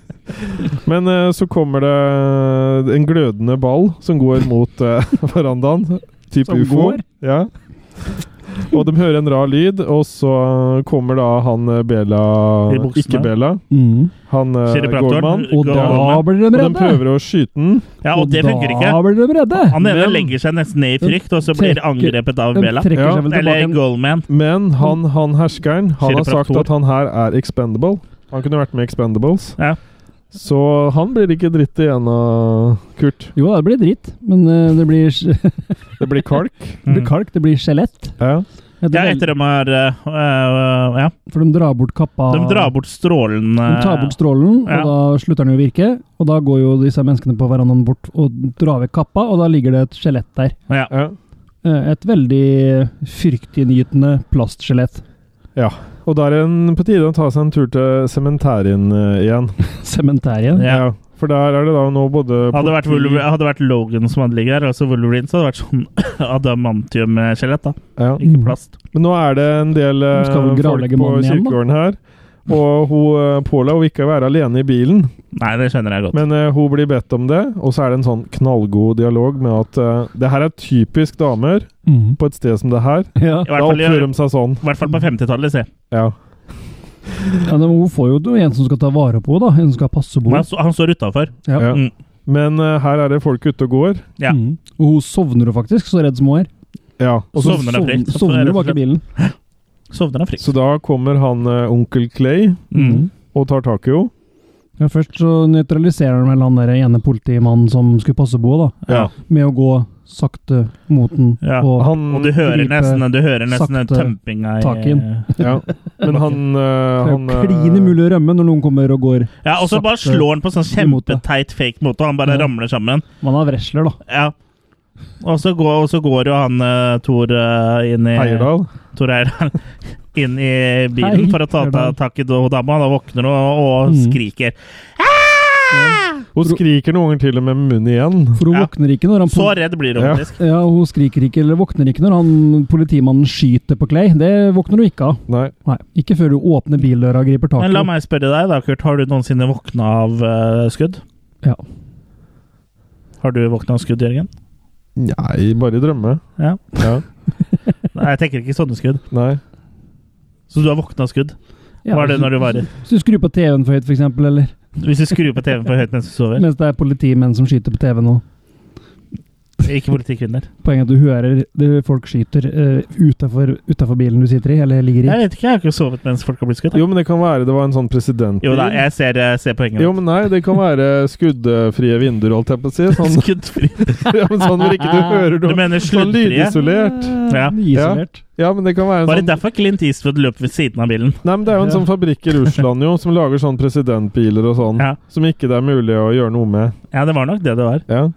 Men eh, så kommer det eh, en glødende ball som går mot eh, verandaen. Type Som ufo. går? Ja. Og de hører en rar lyd, og så kommer da han eh, Bela I buksene. Ikke Bela. Han eh, Kiropraktoren. Gorman. Og da Galene. blir de Og de redde! prøver å skyte den. ja, og det funker ikke. Da blir de redde! Han ene Men- legger seg nesten ned i frykt, og så blir Trekker- angrepet av De Bella. trekker Ja. seg vel tilbake. Eller igjen. Goldman. Men han, han herskeren Han har sagt Kiropraktor. at han her er expendable. Han kunne vært med i Expendables. Ja. Så han blir ikke dritt igjen av Kurt. Jo, det blir dritt, men eh, det blir, det Det blir kalk. blir Mm. kalk, det blir skjelett. Ja. Etter Ja, vel- etter de har eh, eh, Ja, For de drar bort kappa de drar bort strålen Ah. De tar eh, bort strålen, Ja. og da slutter den jo å virke. Og da går jo disse menneskene på verandaen bort og drar vekk kappa, og da ligger det et skjelett der. ja. Ja. Eh, Et veldig fryktinngytende plastskjelett. Og da er det på tide å ta seg en tur til sementerien eh, igjen. Sementerien. Ja. For der er det da nå både Hadde det vært, Wolver- hadde det vært Logan som hadde ligget her, altså Wolverine, så hadde det vært sånn adamantium-skjelett. da, ja. Mm. Ikke plast. Men nå er det en del eh, Nå skal vel folk gravlegge på mannen igjen, da. kirkegården her. Og hun, eh, Paula hun vil ikke være alene i bilen, Nei, det skjønner jeg godt. men eh, hun blir bedt om det. Og så er det en sånn knallgod dialog med at eh, det her er typisk damer Mhm. på et sted som det her. Ja. I hvert Da fall, oppfører i, de seg sånn. i hvert fall på 50-tallet, si. Ja. ja, men Hun får jo en som skal ta vare på henne, da. En som skal passe på Men henne. han, så- han står utafor. Ja. Ja. Mm. Men eh, her er det folk ute og går. Ja. Mhm. Og hun sovner jo faktisk, så redd som hun er. Ja. Og Så sovner av sovn- frykt. Sovner hun bak i bilen. Sovner av frykt. Så da kommer han eh, onkel Clay Mm. og tar tak i henne. Ja, Først så nøytraliserer han vel han der ene politimannen som skulle passe på henne, da. Ja. Med å gå sakte mot den. Ja. Og Han- Og du hører gripe nesten, du hører nesten den sakte tømpinga i tak inn. Ja. Men han, eh, Det er han jo eh, klin umulig å rømme når noen kommer og går. Ja, Og så bare Sakte slår han på sånn imot det. kjempeteit fake motor, han bare Ja. ramler sammen. Man har wrestler, da. Ja. Og så går, og så går jo han uh, Tor eh, inn i Heierdal. Tor Eirdal inn i bilen Hei, for å ta ta- Eirdal. tak i do- dama. Da våkner hun og, og Mm. skriker. Hun skriker noen ganger til og med med munnen igjen. For hun Ja. våkner ikke når han Så redd blir hun Ja. faktisk. Ja, hun skriker ikke eller våkner ikke når han politimannen skyter på Clay. Det våkner hun ikke av. Nei. Nei, Ikke før du åpner bildøra og griper tak i Men la henne. meg spørre deg, da, Kurt. Har du noensinne våkna av eh, skudd? Ja. Har du våkna av skudd, Jørgen? Nei, bare i drømme. Ja. Ja. Nei, jeg tenker ikke sånne skudd. Nei. Så du har våkna av skudd? Hva er det når du varer? Hvis du skrur på TV-en for høyt, f.eks., eller Hvis du skrur på TV-en for høyt mens du sover? mens det er politimenn som skyter på TV nå. Ikke politikvinner. Poenget er at du hører det folk skyter uh, utafor bilen du sitter i, eller ligger i. Jeg vet ikke, jeg har ikke sovet mens folk har blitt skutt. da. Jo, men det kan være det var en sånn president... Jo da, jeg ser, jeg ser poenget. Jo, men nei, det kan være skuddfrie vinduer, holdt jeg på å si. Sånn, Skuddfri. ja, men sånn hvor ikke du hører Ah. Du noe. mener Sånn sluddfrie? lydisolert. Ja. Isolert. Ja, men det kan være en Var det sånn derfor Clint Eastwood løp ved siden av bilen? Nei, men det er jo en sånn fabrikk i Russland jo, som lager sånn presidentbiler og sånn. Ja. Som ikke det er mulig å gjøre noe med. Ja, det var nok det det var. Ja.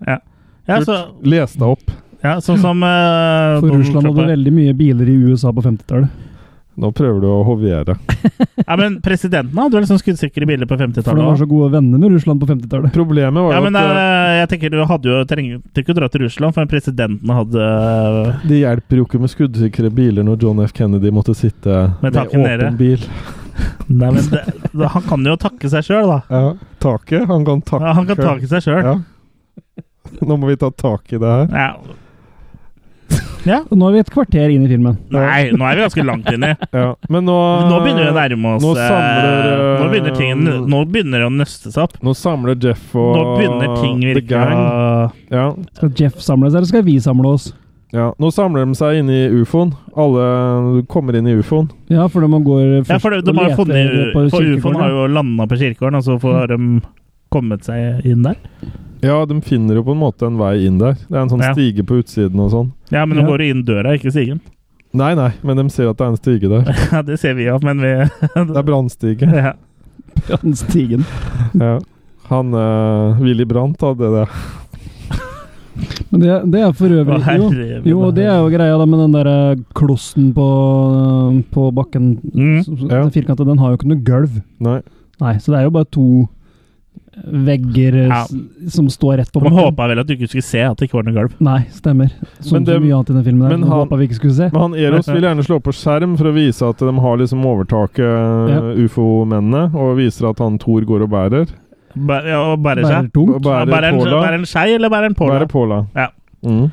Ja, Kurt, så, Les deg opp. ja sånn som eh, For Donald Russland Trump hadde er. veldig mye biler i USA på 50-tallet. Nå prøver du å hoviere. Ja, men presidenten hadde vel sånn skuddsikre biler på For de 50-tallet var også. så gode venner med Russland på 50-tallet. Problemet var Ja, jo men at eh, eh, jeg tenker du hadde jo trengte ikke å dra til Russland, for presidenten hadde eh, det hjelper jo ikke med skuddsikre biler når John F. Kennedy måtte sitte Med med, taket åpen nede. bil. Nei, men det, det, han kan jo takke seg sjøl, da. Ja, taket. Han kan takke. Ja, han kan takke seg sjøl. Ja. Nå må vi ta tak i det her. Ja. Ja. Og Nå er vi et kvarter inn i filmen. Nei, nå er vi ganske langt inni. Ja, men nå Nå begynner det å nærme oss Nå eh, samler, eh, Nå begynner ting Nå begynner det å nøste seg opp. Nå samler Jeff og Nå begynner ting The virkelig Gang. å Ja, Skal Jeff samle seg, eller skal vi samle oss? ja. Nå samler de seg inne i ufoen. Alle kommer inn i ufoen. Ja, for man går Ja, for de, de og har jo leter funnet på For ufoen kirkegården, har jo landa på kirkegården, og så får de kommet seg inn der. Ja, de finner jo på en måte en vei inn der. Det er en sånn Ja. stige på utsiden og sånn. Ja, men de Ja. går jo inn døra, ikke stigen. Nei, nei, men de ser at det er en stige der. Ja, det ser vi jo, men vi Det er brannstige. ja. ja. Den stigen. Ja. Han eh, Willy Brandt hadde det. Men det, det er for Å, øvrig jo, herre jo, og det er jo greia da med den der eh, klossen på, eh, på bakken. Mm. Så- så- Ja. Den firkantet, den har jo ikke noe gulv. Nei. Nei, så det er jo bare to vegger eh, Ja. s- som står rett på De bakken. håpa vel at du ikke skulle se at det ikke var noe gulv. Nei, stemmer. Som Men det- så mye annet i den filmen der. men som vi han- håpet vi ikke skulle se. Men han Eros vil gjerne slå på skjerm for å vise at de har liksom overtaket eh, ufo-mennene, og viser at han Thor går og bærer. Bæ- ja, og Bærer Bærer seg. tungt. Bærer Bærer en, påla. bærer en skei, eller bærer en påla? Bærer påla. Ja. Mm.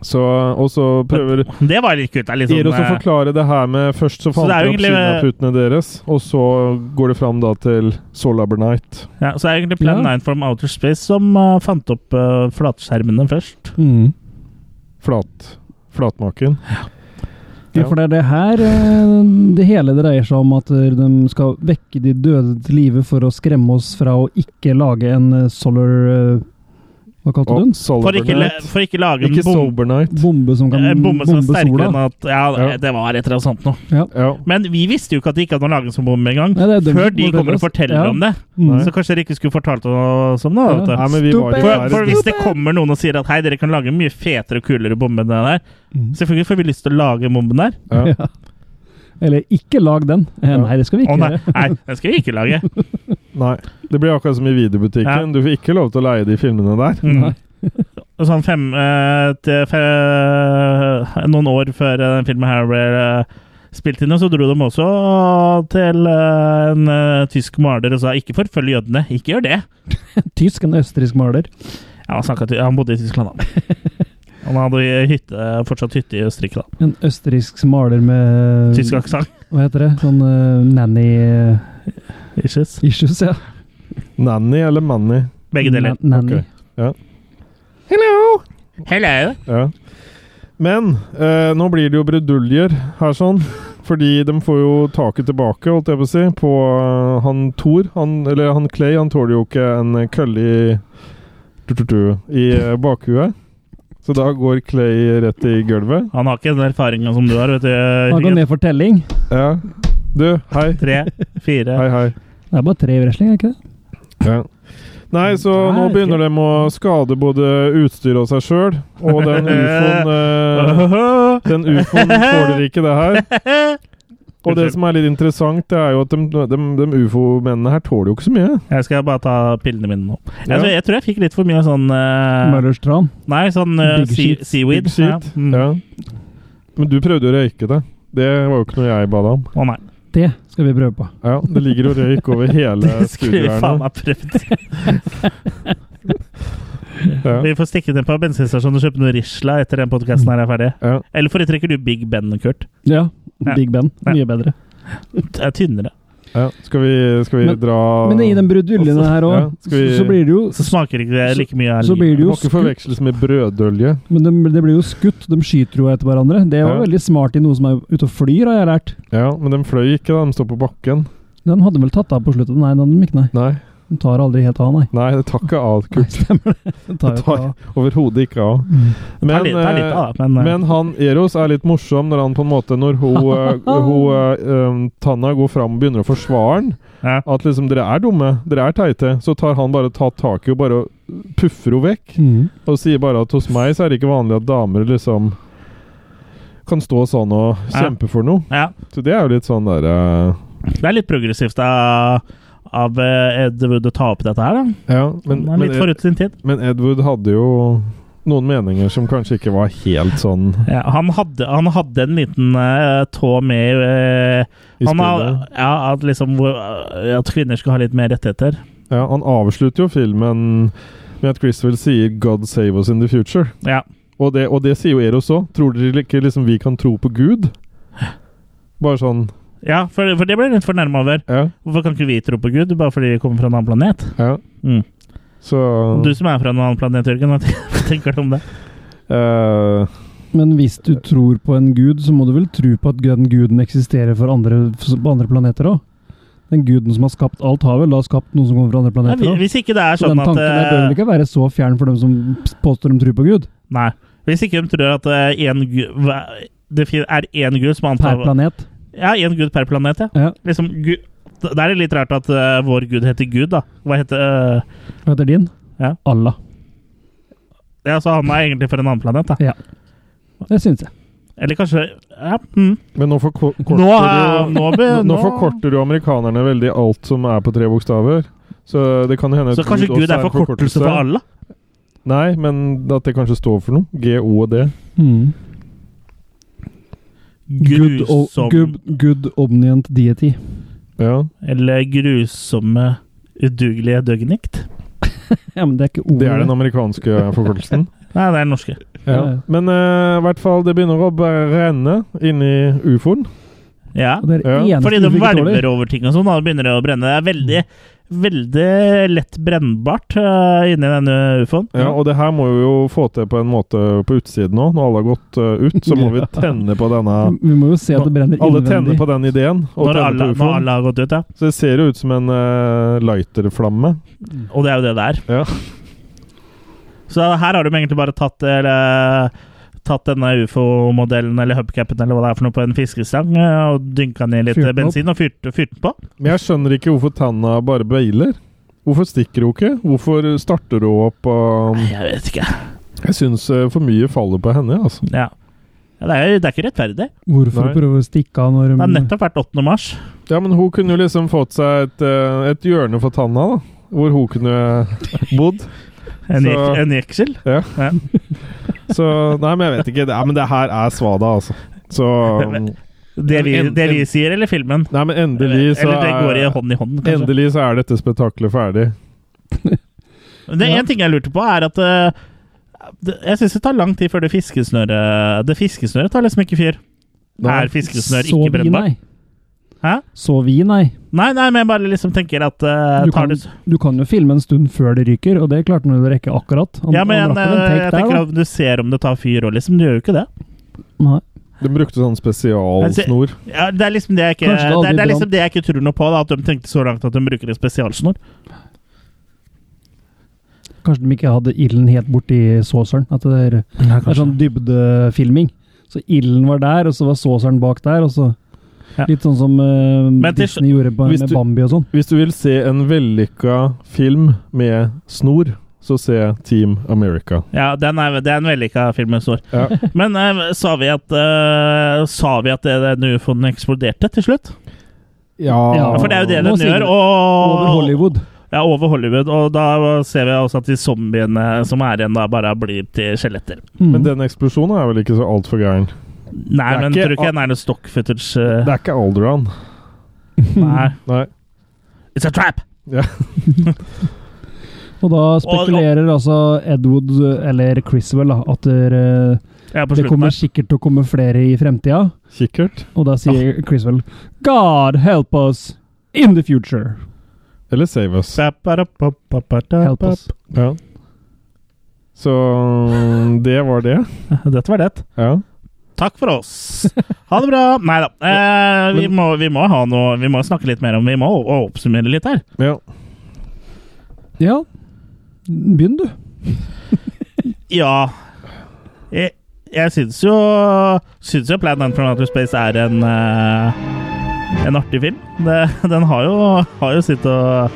Så, og så prøver Det var litt kutta. Litt sånn, Eros å eh, forklare det her med Først Så så fant det er de jo opp egentlig- eh, kinaputene deres, og så går det fram da til Solaber Night. ja, så er det egentlig Plan Ja. 9 from Outer Space som eh, fant opp eh, flatskjermene først. Mm. Flat, flatmaken. Ja, for det er det her eh, det hele dreier seg om. At eh, de skal vekke de døde til live for å skremme oss fra å ikke lage en eh, solar eh, Hva kalte du Og den? For Solaber ikke, le- Night. for ikke lage Ikke en bom, Sober Night. Bombe som kan en Eh, bombe bombe, som er sterkere enn sola. at Ja, Ja. det var et eller annet sånt noe. Ja. Men vi visste jo ikke at de ikke hadde noen lagringsbombe engang. Nei, det er dem Før som de kommer og forteller oss. forteller Ja. om det. Mm. Så kanskje dere ikke skulle fortalt oss om det. da, Nei, Vet du. men vi var jo Stupid. For, der. for hvis det kommer noen og sier at hei, dere kan lage en mye fetere og kulere bombe enn den der, Mm. selvfølgelig får vi lyst til å lage bomben der. Ja. Ja. Eller ikke lag den. Eh, Nei, det skal vi Å ikke nei, gjøre. nei, den skal vi ikke lage. Nei. Det blir akkurat som i videobutikken. Ja. Du får ikke lov til å leie de filmene der. Mm. Og sånn fem, eh, til fe, Noen år før eh, den filmen her ble eh, spilt inn, så dro de også til eh, en eh, tysk maler og sa 'ikke forfølg jødene', ikke gjør det. Tysk, en østerriksk maler. Ja, han, snakket, han bodde i Tyskland, da. Han hadde hytte, fortsatt hytte i Østerrike, da. En østerriksk maler med Tysk aksent. Hva heter det? Sånn eh, nanny-issues, Issues. ja. Nanny eller Manny? Begge deler. Na- Nanny. Ok. Hello! Hello! Ja. Men eh, nå blir det jo bruduljer her, sånn. Fordi de får jo taket tilbake, holdt jeg på å si, på eh, han Thor. Han, eller han Clay, han tåler jo ikke en kølle i tu-tu-tu i eh, bakhuet. Så da går Clay rett i gulvet. Han har ikke den erfaringa som du har, vet du. Han går Jørgen. ned for telling. Ja. Du, hei. Tre, fire Hei, hei. Det er bare tre i wrestling, er det ikke det? Ja. Nei, så Nei, nå ok. begynner de å skade både utstyret og seg sjøl. Og den ufoen eh, Den ufoen tåler ikke det her. Og det som er litt interessant, det er jo at de, de, de ufo-mennene her tåler jo ikke så mye. Jeg skal bare ta pillene mine nå. Jeg, Ja. tror, jeg tror jeg fikk litt for mye sånn eh, Møllers tran. Nei, sånn eh, Big sea, shit. seaweed. Big shit. Ja. Mm. Ja. Men du prøvde å røyke det. Det var jo ikke noe jeg ba deg om. Å nei. Det skal vi prøve på. Ja, Det ligger jo røyk over hele Det skulle vi faen studioet meg prøvd. Ja. Vi får stikke ned på bensinstasjonen og kjøpe noe Risla etter den podkasten her er ferdig. Ja. Eller foretrekker du Big Ben, Kurt? Ja. Ja. Big Ben. Ja. Mye bedre. Det er tynnere. Ja. Skal vi, skal vi Men- dra Men i den bruduljene her òg, Ja, skal vi- så blir det jo Så smaker ikke det like mye av så blir det Det jo må ikke skutt, forveksles med brødølje. men det, det blir jo skutt. De skyter jo etter hverandre. Det var Ja. veldig smart i noe som er ute og flyr, har jeg lært. Ja, men de fløy ikke, da. De står på bakken. Den hadde vel tatt av på slutten? Nei, den hadde de ikke, nei. Nei, Den tar aldri helt av, nei. nei det tar ikke av, Kurt. Nei, stemmer Mm. det. Den tar jo Det tar ikke av. overhodet ikke av. Men, Ta litt, ta litt av, da, eh, men, eh, men han Eros er litt morsom når han på en måte Når hun, eh, hun eh, um, Tanna går fram og begynner å forsvare han. ja. At liksom 'dere er dumme, dere er teite', så tar han bare tatt tak i og bare puffer henne vekk. Mm. Og sier bare at hos meg så er det ikke vanlig at damer liksom kan stå sånn og Ja. kjempe for noe. ja. Så det er jo litt sånn derre Det er litt progressivt av, av eh, Ed Wood å ta opp dette her, da. Ja, men, Han er men, litt forut sin tid. men Edward hadde jo noen meninger som kanskje ikke var helt sånn Ja, han, hadde, han hadde en liten eh, tå med eh, i han har, spillet. ja, at, liksom, hvor- at kvinner skal ha litt mer rettigheter. Ja, han avslutter jo filmen med at Chris sier 'God save us in the future'. Ja. Og det, og det sier jo Eros òg. Tror dere ikke liksom vi kan tro på Gud? Bare sånn Ja, for, for det blir jeg litt fornærma over. Ja, Hvorfor kan ikke vi tro på Gud bare fordi vi kommer fra en annen planet? ja. Mm. Så Du som er fra en annen planet, Jørgen, hva tenker du om det? eh, Men hvis du tror på en gud, så må du vel tro på at den guden eksisterer for andre, på andre planeter òg? Den guden som har skapt alt, har vel da skapt noen som kommer fra andre Nei, planeter vi- òg? hvis ikke det er Så sånn den at tanken der bør eh, vel ikke være så fjern for dem som påstår de tror på Gud? Nei. Hvis ikke de tror at eh, en gu- hva- det fin- er én gud som antar Per planet? Ja, én gud per planet, ja. Ja. Liksom, gu- da er det litt rart at eh, vår gud heter Gud, da. Hva heter eh, Hva heter din? Ja. Allah. Ja, så han er egentlig fra en annen planet, da. Ja. Det syns jeg. Eller kanskje ja, mm. Men nå forkorter Nå, eh, du nå, be- Nå, nå nå- forkorter jo amerikanerne veldig alt som er på tre bokstaver. Så det kan hende Så kanskje Gud også er en forkortelse for Allah? Nei, men at det kanskje står for noe. G, O og D. Mm. Good, o- Grusom good, good omnient deity. Ja. Eller grusomme udugelige døgnikt? Ja, men det er ikke ordet. Det Mm. er den amerikanske forkortelsen. Nei, det er den norske. Ja. Ja. Men eh, i hvert fall, det begynner å brenne inni ufoen. Ja. Og det er Ja. eneste Fordi vi de ikke tåler. hvelver over ting og sånn, da begynner det å brenne. Det er veldig, veldig lett brennbart eh, inni denne ufoen. Ja, og det her må vi jo få til på en måte på utsiden òg. Når alle har gått eh, ut, så må vi Ja. tenne på denne Vi må jo se at det brenner Alle tenner innvendig. på den ideen. Og Når tenner alle, når på ufoen. alle har gått ut, ja. Så det ser jo ut som en eh, lighterflamme. Og det er jo det det er. Ja. Så her har de egentlig bare tatt eller, Tatt denne ufo-modellen eller hubcapen eller hva det er for noe på en fiskestang eh, og dynka ned litt Fyrt den bensin og fyrt, fyrt den på. Men jeg skjønner ikke hvorfor tanna bare beiler. Hvorfor stikker hun ikke? Hvorfor starter hun opp? Og um, Jeg vet ikke. jeg syns for mye faller på henne. altså. Ja. Ja, det, er, det er ikke rettferdig. Hvorfor Nei. prøve å stikke av når Det har de nettopp vært 8. mars. Ja, men hun kunne jo liksom fått seg et, eh, et hjørne for tanna, da. Hvor hun kunne eh, bodd. En, Så- jek, en jeksel. Så Nei, men jeg vet ikke. Det, er- men det her er svada, altså. Så Nei, Det vi, En- det vi en- sier, eller filmen. men endelig så Eller det går i er hånd i hånd, kanskje. Endelig så er dette spetakkelet ferdig. Det er Ja. én ting jeg lurte på, er at eh, det, Jeg syns det tar lang tid før det fiskesnøret Det fiskesnøret tar liksom ikke fyr. Nei. Er fiskesnør Så ikke vi, brennbart? nei. Hæ? Så vi, nei. Nei, nei, men jeg bare liksom tenker at eh, Du tar kan, det, du kan jo filme en stund før det ryker, og det klarte han å rekke akkurat. Han, Ja, men jeg, han rakk vel en take jeg der, tenker da. at du ser om det tar fyr og liksom. Du gjør jo ikke det. Nei. De brukte sånn spesialsnor. Ja, det er liksom det jeg ikke, Kanskje det det aldri er, det er brant. liksom det jeg ikke tror noe på, da, at de tenkte så langt at de bruker en spesialsnor. Kanskje de ikke hadde ilden helt borti såseren. At det er, det er sånn dybdefilming. Så ilden var der, og så var såseren bak der, og så Ja. Litt sånn som eh, Men til- Disney gjorde på, Hvis med du- Bambi og sånn. Hvis du vil se en vellykka film med snor, så se Team America. Ja, den er, det er en vellykka film med snor. Ja. Men eh, sa vi at, eh, sa vi at det- den ufoen eksploderte til slutt? Ja, Ja, for det er jo det nå den sier gjør. du- Og, Over Hollywood. Ja, over Hollywood. Og da ser vi også at de zombiene som er igjen, da bare blir til skjeletter. Mm. Men den eksplosjonen er vel ikke så altfor gæren? Nei, Det er men ikke- tror du ikke den er noe stock footage? eh, Det er ikke Alderan. Nei. Nei. It's a trap! Og da spekulerer altså Ed Wood, eller Criswell, da, at eh, Ja, på det slutten kommer der. sikkert til å komme flere i fremtida. Kikkert. Og da sier Criswell God help us in the future. Eller Save Us. Help us. Ja. Så det var det. Dette var det. Ja. Takk for oss. Ha det bra. Nei da. Eh, vi, må, vi må ha noe Vi må snakke litt mer om Vi må o- oppsummere litt her. ja. Ja, begynn du. Ja Jeg, jeg syns jo Syns jo Plan 9 from Outer Space er en eh, En artig film. Det, den har jo, har jo sitt og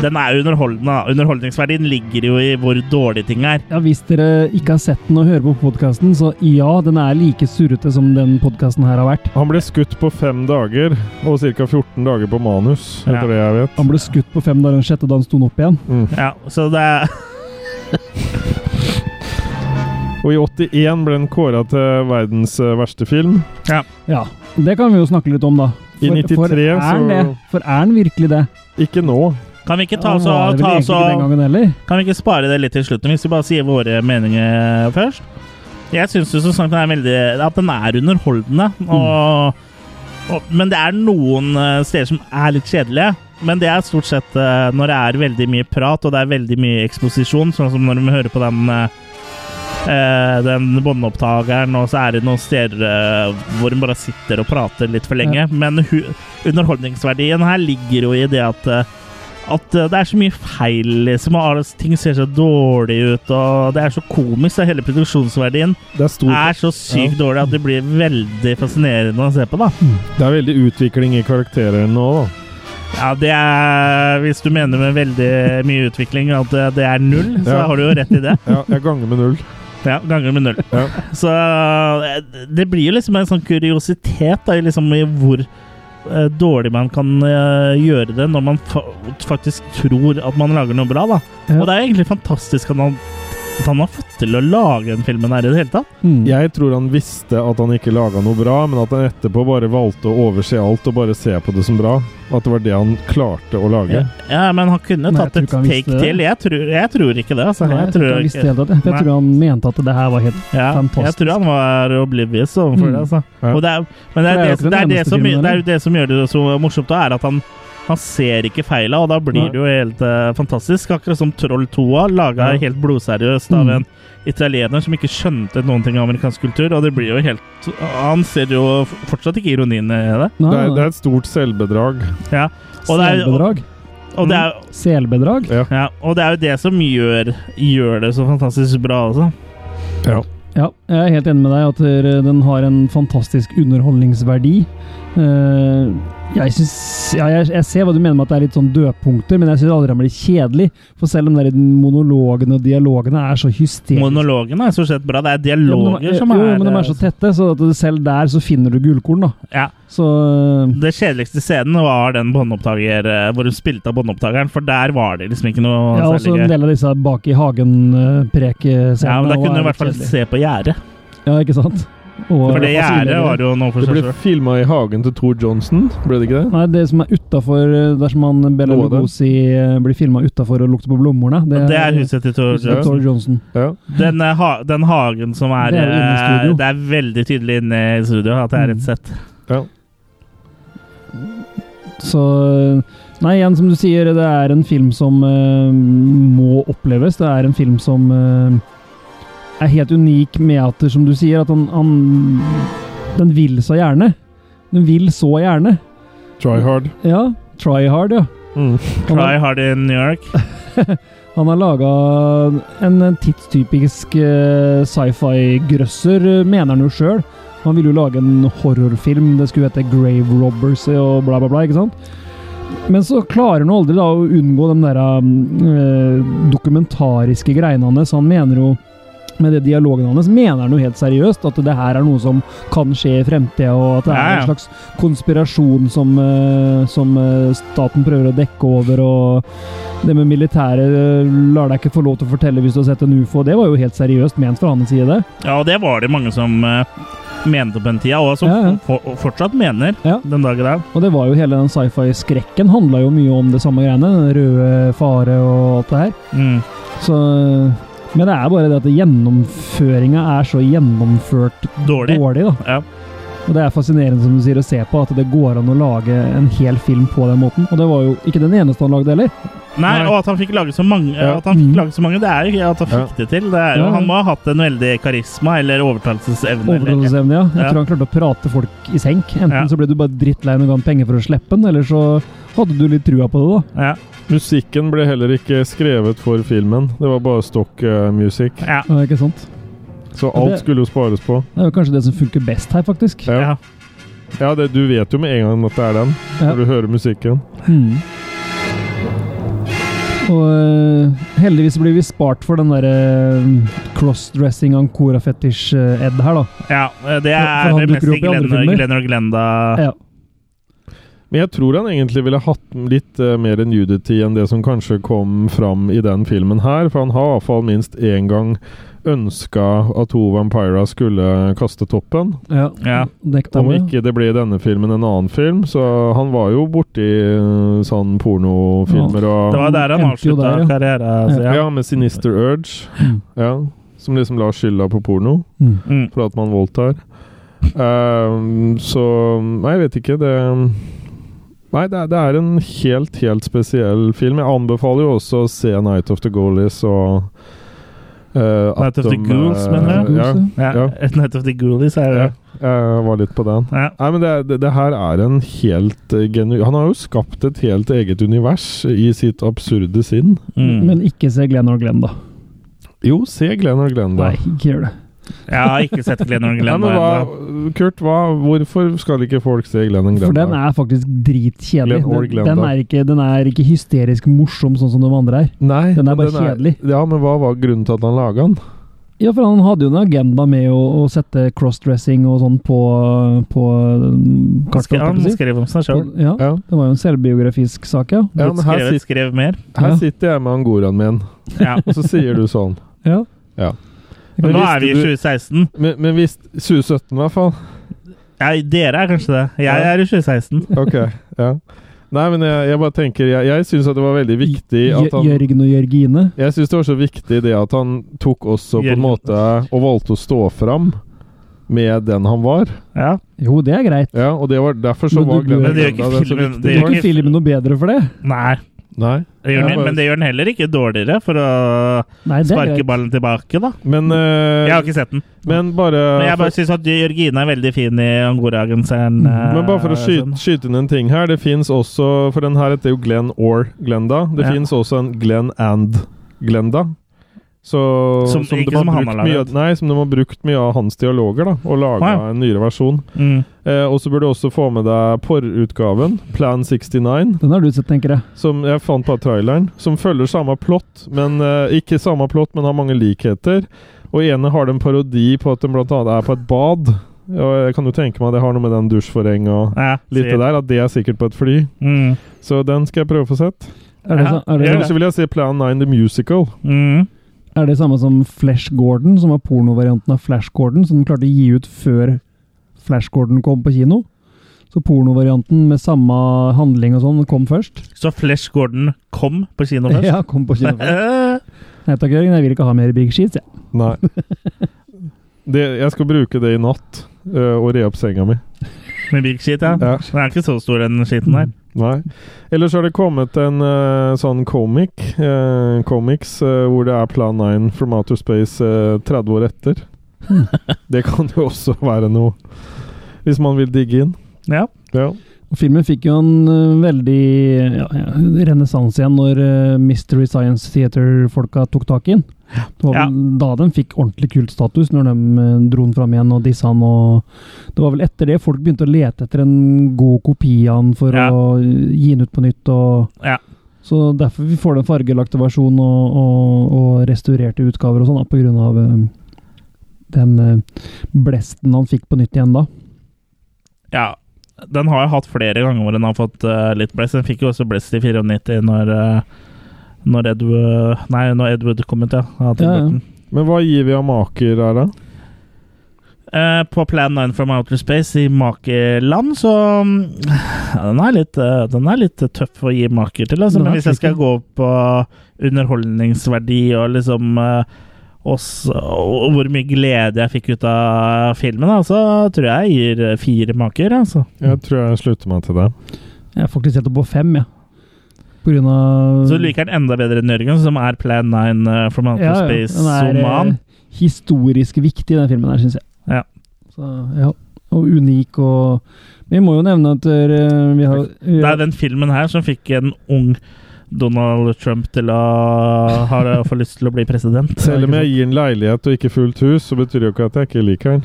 Den er jo underholdende. da. Underholdningsverdien ligger jo i hvor dårlige ting er. Ja, Hvis dere ikke har sett den og hører på podkasten, så ja, den er like surrete som den podkasten her har vært. Han ble skutt på fem dager, og ca. 14 dager på manus, etter Ja. det jeg vet. Han ble skutt på fem dager den sjette da han sto opp igjen. Mm. Ja, så det er Og i 81 ble den kåra til verdens eh, verste film. Ja, Det kan vi jo snakke litt om, da. I 93 for er han så- det? For er han virkelig det? Ikke nå. Kan vi ikke ta Han oss og var det ta vel oss egentlig ikke den og gangen heller. Kan vi ikke spare det litt til slutten, hvis vi bare sier våre meninger først? Jeg syns jo som sagt den er veldig At den er underholdende. Og, og, men det er noen eh, steder som er litt kjedelige. Men det er stort sett eh, når det er veldig mye prat og det er veldig mye eksposisjon, sånn som når vi hører på den eh, eh, den båndopptakeren, og så er det noen steder eh, hvor hun bare sitter og prater litt for lenge. Men hu underholdningsverdien her ligger jo i det at eh, at eh, det er så mye feil, liksom. Og alle ting ser så dårlig ut, og det er så komisk. Og hele produksjonsverdien Det er stor er så sykt dårlig at det blir veldig fascinerende å se på, da. Det er veldig utvikling i karakterene nå, da. Ja, det er Hvis du mener med veldig mye utvikling at eh, det er null, så Ja. har du jo rett i det. Ja, jeg ganger med null. Ja, ganger med null. Ja. Så eh, det blir jo liksom en sånn kuriositet da, i liksom i hvor eh, dårlig man kan eh, gjøre det når man fa faktisk tror at man lager noe bra. da. Ja. Og det er egentlig fantastisk at han, at han har fått til å lage den filmen her i det hele tatt. Mm. Jeg tror han visste at han ikke laga noe bra, men at han etterpå bare valgte å overse alt og bare se på det som bra. At det var det han klarte å lage. Ja, Men han kunne Nei, tatt et jeg tror ikke han visste take det. til. Jeg tror, jeg tror ikke det. altså. Nei, jeg, jeg tror ikke tror han visste ikke det hele tatt. jeg Nei. tror han mente at det her var helt ja, jeg fantastisk. tror han var oblivious overfor Mm. det. Altså. Ja. Og det er, men det For er det er jo det, ikke den det, er det, eneste som, filmen, det er eller? jo det som gjør det så morsomt, da, er at han, han ser ikke feila, og da blir Nei. det jo helt eh, fantastisk. Akkurat som Troll 2, laga Ja. helt blodseriøst Mm. av en italiener som ikke skjønte noen ting av amerikansk kultur, og det blir jo helt Han ser jo f- fortsatt ikke ironien i det. Det, Nei, er, det nei, er et stort selvbedrag. Og det er, og, Selbedrag. og det Mm. er Selbedrag. ja, og det er jo det som gjør, gjør det så fantastisk bra, altså. Ja, jeg er helt enig med deg at eh, den har en fantastisk underholdningsverdi. Eh, Jeg synes, ja, jeg, jeg ser hva du mener med at det er litt sånn dødpunkter, men jeg syns aldri han blir kjedelig. For selv om de der monologene og dialogene er så hysteriske Monologene er stort sett bra. Det er Ja, men dialoger de- som Jo, er eh, altså. men de er så tette, så at du selv der så finner du gullkorn, da. Ja. Så Det kjedeligste scenen var den båndopptaker eh, hvor hun spilte av båndopptakeren, for der var det liksom ikke noe ja, også en særlig gøy. del av disse bak i eh, hagen-prek-scenene. Ja, men Da kunne du i hvert fall se på gjerdet. Ja, ikke sant? Og, For det gjerdet var jo noe for Det seg ble selv. filma i hagen til Tor Johnson, ble det ikke det? Nei, det som er utafor eh, dersom han Bella Noe av det. Lugosi eh, blir filma utafor og lukter på blomstene Det er huset til Tor huset til Johnson. Tor Johnson. Ja. Den, eh, ha, den hagen som er Det er jo inne i eh, studio. Det er veldig tydelig inne i studio at det er Mm. et sett. Så eh, Nei, igjen som du sier, det er en film som eh, må oppleves. Det er en film som eh, er helt unik med at, som du sier, at han, han Den vil så gjerne. Den vil så gjerne. Try hard. Ja. Try hard, ja. Mm. Han har- Try hard in New York. Han har laga en tidstypisk eh, sci-fi-grøsser, eh, mener han jo sjøl. Han ville jo lage en horrorfilm, det skulle hete Grave Robbers og bla, bla, bla. ikke sant? Men så klarer han jo aldri da å unngå de der um, eh, dokumentariske greiene hans. Han mener jo med det dialogen hans mener han jo helt seriøst at det her er noe som kan skje i fremtida, og at det er Ja, ja. en slags konspirasjon som, eh, som eh, staten prøver å dekke over, og det med militæret eh, lar deg ikke få lov til å fortelle hvis du har sett en ufo. Det var jo helt seriøst ment fra hans side. Ja, og det var det mange som eh, mente på den tida, og som Ja, ja. for- og fortsatt mener Ja. den dag i dag. Og det var jo hele den sci-fi-skrekken handla jo mye om det samme greiene. Den røde fare og alt det her. Mm. Så Men det er bare det at gjennomføringa er så gjennomført Dårlig. dårlig, da. Ja. Og det er fascinerende som du sier å se på at det går an å lage en hel film på den måten. Og det var jo ikke den eneste han lagde heller. Nei, Nei. og at han fikk lage så mange, Ja. at han fikk Mhm. lage så mange det er jo ikke at han fikk det til. Det er jo, Ja. han må ha hatt en veldig karisma eller overtalelsesevne. eller- Overdoseevne, ja. Jeg Ja. tror han klarte å prate folk i senk. Enten Ja. så ble du bare drittlei og ga han penger for å slippe den, eller så hadde du litt trua på det, da. Ja. Musikken ble heller ikke skrevet for filmen. Det var bare stock eh, music. Ja. Ja, ikke sant? Så Ja, det- alt skulle jo spares på. Det er jo kanskje det som funker best her, faktisk. Ja, Ja. ja det, du vet jo med en gang at det er den, Ja. når du hører musikken. Mm. Og øh, heldigvis blir vi spart for den derre crossdressing ancora fetish øh, ed her, da. ja. Det For- for er han det mest dukker opp i andre Glenn, filmer. Glenn og Glenda Ja. Men jeg tror han egentlig ville hatt litt eh, mer nudity enn det som kanskje kom fram i den filmen her, for han har i hvert fall minst én gang ønska at Ho Vampira skulle kaste toppen. ja. Ja. Dekta Om med. ikke det ble i denne filmen, en annen film. Så han var jo borti eh, sånn pornofilmer Det og var der han Endte jo avslutta der, ja. karrieren. Så, ja. Ja, med Sinister Urge. Mm. Ja. som liksom la skylda på porno Mm. Mm. for at man voldtar. Ehm, så Nei, jeg vet ikke. Det Nei, det er, det er en helt, helt spesiell film. Jeg anbefaler jo også å se 'Night of the Goalies' og eh, at Night of the de, Ghouls, eh, mener du? Ja, Ja. Ja. Night of the Ghoulies er det. jeg var litt på den. Ja. Nei, men det, det, det her er en helt eh, genu... Han har jo skapt et helt eget univers i sitt absurde sinn. Mm. Men ikke se Glenn og Glenn, da. Jo, se Glenn og Glenn, da. Nei, ikke gjør det. Jeg har ikke sett Glenn og Nei, Glenn. men ennå. hva, Kurt, hva, hvorfor skal ikke folk se Glenn og Glenn? For den da? er faktisk dritkjedelig. Glenn og Glenn, Den, den, da. er ikke, den er ikke hysterisk morsom sånn som de andre er. Nei, den er men bare kjedelig. Ja, men hva var grunnen til at han laga den? Ja, for han hadde jo en agenda med å, å sette crossdressing og sånn på, på mm, kartet. Skal- Han holdt jeg på å si. skrev om seg sjøl. Ja, Ja. det var jo en selvbiografisk sak, ja. Ja, men her, Skrev, sit, skrev mer. her Ja. sitter jeg med angoraen min, Ja. og så sier du sånn. ja. Men nå visste er vi i du- 2016. Men, men hvis 2017, i hvert fall. Ja, dere er kanskje det. Jeg Ja. er i 2016. Ok, ja. Nei, men jeg, jeg bare tenker Jeg, jeg syns at det var veldig viktig Jø- at han Jørgen og Jørgine. Jeg syns det var så viktig det at han tok også på en måte og valgte å stå fram med den han var. Ja. Jo, det er greit. Ja, og det var derfor så Men du- var Glenn men det gjør ikke Grøndahl den så filmen- viktig. det Gjør gjør ikke filmen noe bedre for det? Nei, Nei. det gjør den, men det gjør den heller ikke dårligere, for å Nei, det er sparke greit. ballen tilbake, da. Men, eh, Jeg har ikke sett den. men bare Men jeg bare syns at Jørgine er veldig fin i eh, angoragenseren. Mm, Men bare for å sånn. skyte, skyte inn en ting her Det fins også For den her heter jo Glenn or Glenda. Det Ja. finnes fins også en Glenn and Glenda. Så, Som- ikke har som han brukt har laget. mye, Nei, som de har brukt mye av hans dialoger, da. Og laga Å, ja. en nyere versjon. Mm. Eh, og så burde du også få med deg porrutgaven, Plan 69, Den har du sett, tenker jeg. som jeg fant på traileren. Som følger samme plott, men eh, ikke samme plott, men har mange likheter. Og ene har det en parodi på at den blant annet er på et bad. Og jeg kan jo tenke meg at det har noe med den dusjforheng og Ja, litt det sier- der, at det er sikkert på et fly. Mm. Så den skal jeg prøve å få sett. Er det, Ja, sa- er det, gjør Ellers så vil jeg se Plan 9 The Musical. Mm. er det samme som Flash Gordon, som var pornovarianten av Flash Gordon, som de klarte å gi ut før Flash Gordon kom på kino? Så pornovarianten med samme handling og sånn kom først? Så Flesh Gordon kom på kino først? Ja, kom på kino først. Eh, Nei takk, Jørgen, jeg vil ikke ha mer Big Sheets, jeg. Nei. Det, jeg skal bruke det i natt. øh, og re opp senga mi. Med big shit, ja. Ja. Mm. Den er ikke så stor, den skiten der. Nei. Ellers har det kommet en eh, sånn comic, eh, comics, eh, hvor det er Plan 9 from Outer Space eh, 30 år etter. Det kan jo også være noe, hvis man vil digge inn. Ja. Ja. Og Filmen fikk jo en ø, veldig ja, ja, renessanse igjen når ø, Mystery Science Theater-folka tok tak i den. Det var Ja. vel da den fikk ordentlig kultstatus, når de ø, dro den fram igjen og dissa den. Og det var vel etter det folk begynte å lete etter en god kopi av den for Ja. å gi den ut på nytt. Og, Ja. Så derfor vi får den fargelagte versjonen og, og, og restaurerte utgaver og sånn, da, på grunn av ø, den ø, blesten han fikk på nytt igjen da. ja. Den har jeg hatt flere ganger hvor den har fått eh, litt blest. Den fikk jo også blest i 94 når, eh, når, Edward, nei, når Edward kom ut, ja. av Tim Ja, ja. Burton. Men hva gir vi av maker her, da? Eh, på Plan 9 from Outer Space i makeland, så mm, ja, den, er litt, eh, den er litt tøff å gi maker til. Altså. Den Men er hvis jeg skal tricky. gå på underholdningsverdi og liksom eh, oss, og, og hvor mye glede jeg fikk ut av filmen, da, så tror jeg jeg gir eh, fire maker. Altså. Jeg tror jeg slutter meg til det. Jeg er faktisk helt oppe på fem, jeg. På grunn av Så liker jeg den enda bedre enn Jørgen, som er Plan 9 eh, from Outer Mm. Ja, ja. Den er, Space-somaen. eh, historisk viktig, den filmen her, syns jeg. Ja. Så, ja. Og unik og Vi må jo nevne at eh, vi har Det er den filmen her som fikk en ung Donald Trump til å ha, få lyst til å bli president. Selv om jeg gir en leilighet og ikke fullt hus, så betyr det jo ikke at jeg ikke liker den.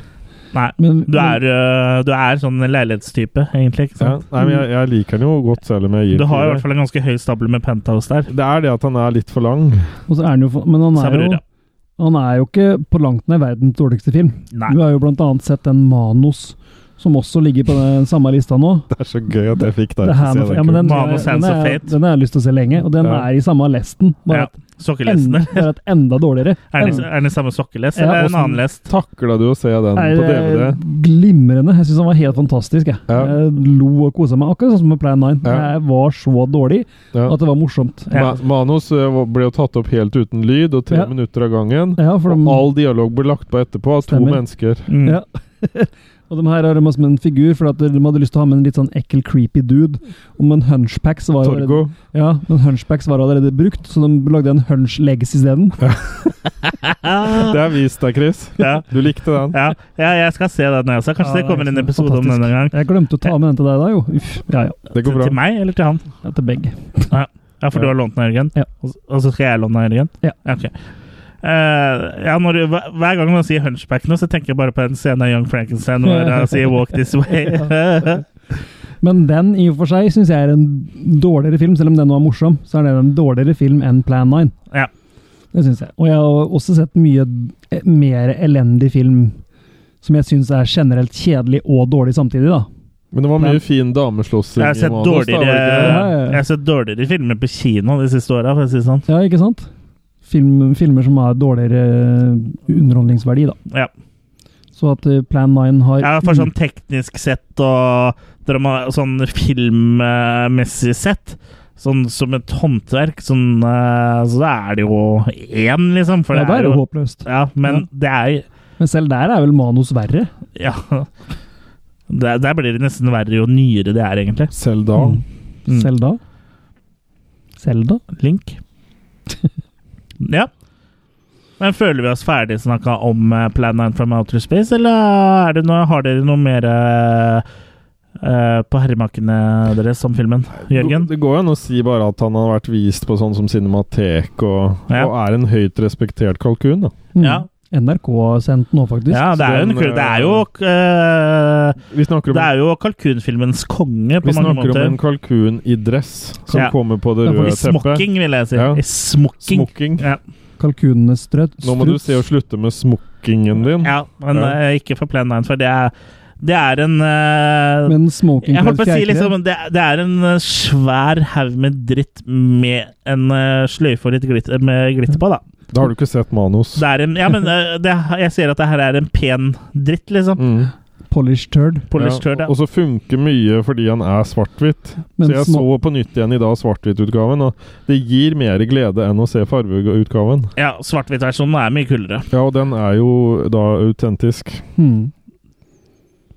Nei, men, Du er, øh, du er sånn en leilighetstype, egentlig. ikke Ja. sant? Nei, men jeg, jeg liker den jo godt, selv om jeg gir Du har i fire. hvert fall en ganske høy stabel med penthouse der. Det er det at han er litt for lang. Og så er han jo for- Men han Så jeg er beror, jo, ja. han er jo ikke på langt nær verdens dårligste film. Nei. Du har jo blant annet sett den Manos, som også ligger på den samme lista nå. Det er så gøy at jeg fikk deg til Det å her se må- ja, den. men kulen. den, Mama den, Sans of er, Fate. den har jeg lyst til å se lenge, og den Ja. er i samme lesten. Bare Ja. at Sokkelesten, enda, eller? bare at enda dårligere. Er den, Enda- er den samme sokkelest, Ja, eller er det og sånn. en annen lest? Takla du å se den på er eh, DVD? glimrende. Jeg syns han var helt fantastisk. Jeg. Ja. jeg lo og kosa meg, akkurat sånn som med Plan 9. Ja. Jeg var så dårlig Ja. at det var morsomt. Ma manus eh, var- ble jo tatt opp helt uten lyd, og tre Ja. minutter av gangen. Ja, for Og de, all dialog ble lagt på etterpå av to Stemmer. mennesker. Mm. Ja. og de her har de som en figur, for at de hadde lyst til å ha med en litt sånn ekkel, creepy dude. Om en hunchback så var allerede, Torgo. ja, men hunchbacks var allerede brukt, så de lagde en hunch legs isteden. Det er vist deg, Chris. Ja. Du likte den. Ja. ja, jeg skal se den også. Kanskje Ja, det kommer det er en episode om fantastisk. den en gang. Jeg glemte å ta med den til deg da, jo. Uff, ja ja. Det går Til- bra. Til meg eller til han? Ja, Til begge. Ja, for Ja. du har lånt den av Jørgen? Ja. Og s- Og så skal jeg låne den av Jørgen? Ja. ok. Eh, ja, når, du- hver hver gang man sier hunchback nå, så tenker jeg bare på den scenen av Young Frankenstein hvor han sier 'walk this way'. Men den i og for seg syns jeg er en dårligere film, selv om den var morsom. Så er den en dårligere film enn Plan 9. Ja. Det syns jeg. Og jeg har også sett mye eh, mer elendig film som jeg syns er generelt kjedelig og dårlig samtidig, da. Men det var Ja. mye fin dameslåssing jeg har sett dårligere Ja, ja, ja. Jeg har sett dårligere filmer på kino de siste åra, for å si det sånn. Ja, ikke sant? Film, filmer som har dårligere eh, underholdningsverdi, da. Ja. Så at eh, Plan 9 har Ja, for sånn teknisk sett og drama, sånn filmmessig sett, sånn som et håndverk, sånn, eh, så da er det jo én, liksom. For Ja, det er jo håpløst. Ja, men det er Men selv der er vel manus verre. Ja. Der, der blir det nesten verre jo nyere det er, egentlig. Selv da. Mm. Mm. Selv da. Selv da. Link. ja. Men føler vi oss ferdig snakka om eh, Plan 9 from Outer Space, eller er det noe, har dere noe mer eh, eh, på herremakene deres om filmen? Jørgen? Det går jo an å si bare at han har vært vist på sånn som Cinematek, og, Ja. og er en høyt respektert kalkun. da. Mm. Ja. NRK har sendt nå, faktisk. Ja, det er jo, en, kul- det er jo eh, Vi snakker om, Det er jo kalkunfilmens konge på mange vi snakker om måter. en kalkun i dress som Ja. kommer på det Ja, for røde I teppet. smokking, vil jeg si. Ja. I smokking. Smokking. Ja. Kalkunenes strøt. Nå må du se å slutte med smokkingen din. Ja, men Ja. eh, ikke for Plan 9, for det er, det er en eh, Men smoking Jeg holdt på å si fjærkre. liksom Det, det er en eh, svær haug med dritt med en eh, sløyfe og litt glitt, med glitter på, da. Da har du ikke sett manus. Det er en Ja, men eh, det, jeg ser at det her er en pen dritt, liksom. Mm. Polished turd. Polished turd, Ja, ja. og så funker mye fordi han er svart-hvitt. Så Men jeg små- så på nytt igjen i dag svart-hvitt-utgaven, og det gir mer glede enn å se fargeutgaven. ja Svart-hvitt-versjonen er mye kulere. Ja, og den er jo da autentisk. Hmm.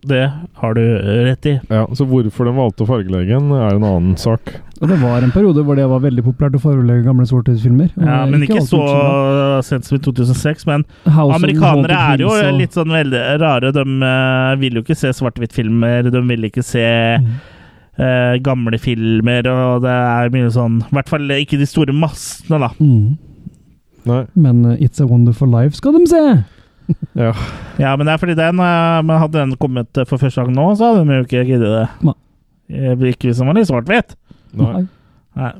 Det har du eh, rett i. Ja, Så hvorfor den valgte å fargelegge den, er en annen sak. Og det var en periode hvor det var veldig populært å forelegge gamle svarthetsfilmer. og Ja, det er men ikke alltid så bra. sent som i 2006. Men House of amerikanere Haunted er jo Hills og- litt sånn veldig rare. De eh, vil jo ikke se svart-hvitt-filmer. De vil ikke se Mm. eh, gamle filmer, og det er mye sånn I hvert fall ikke de store massene, da. Mm. Nei. Men eh, It's a Wonderful Life skal de se! Ja. Ja, men det er fordi den eh, men Hadde den kommet eh, for første gang nå, så hadde de jo ikke giddet det. Nei. Eh, Ikke hvis den var litt svart-hvitt. Nei. Nei. Nei.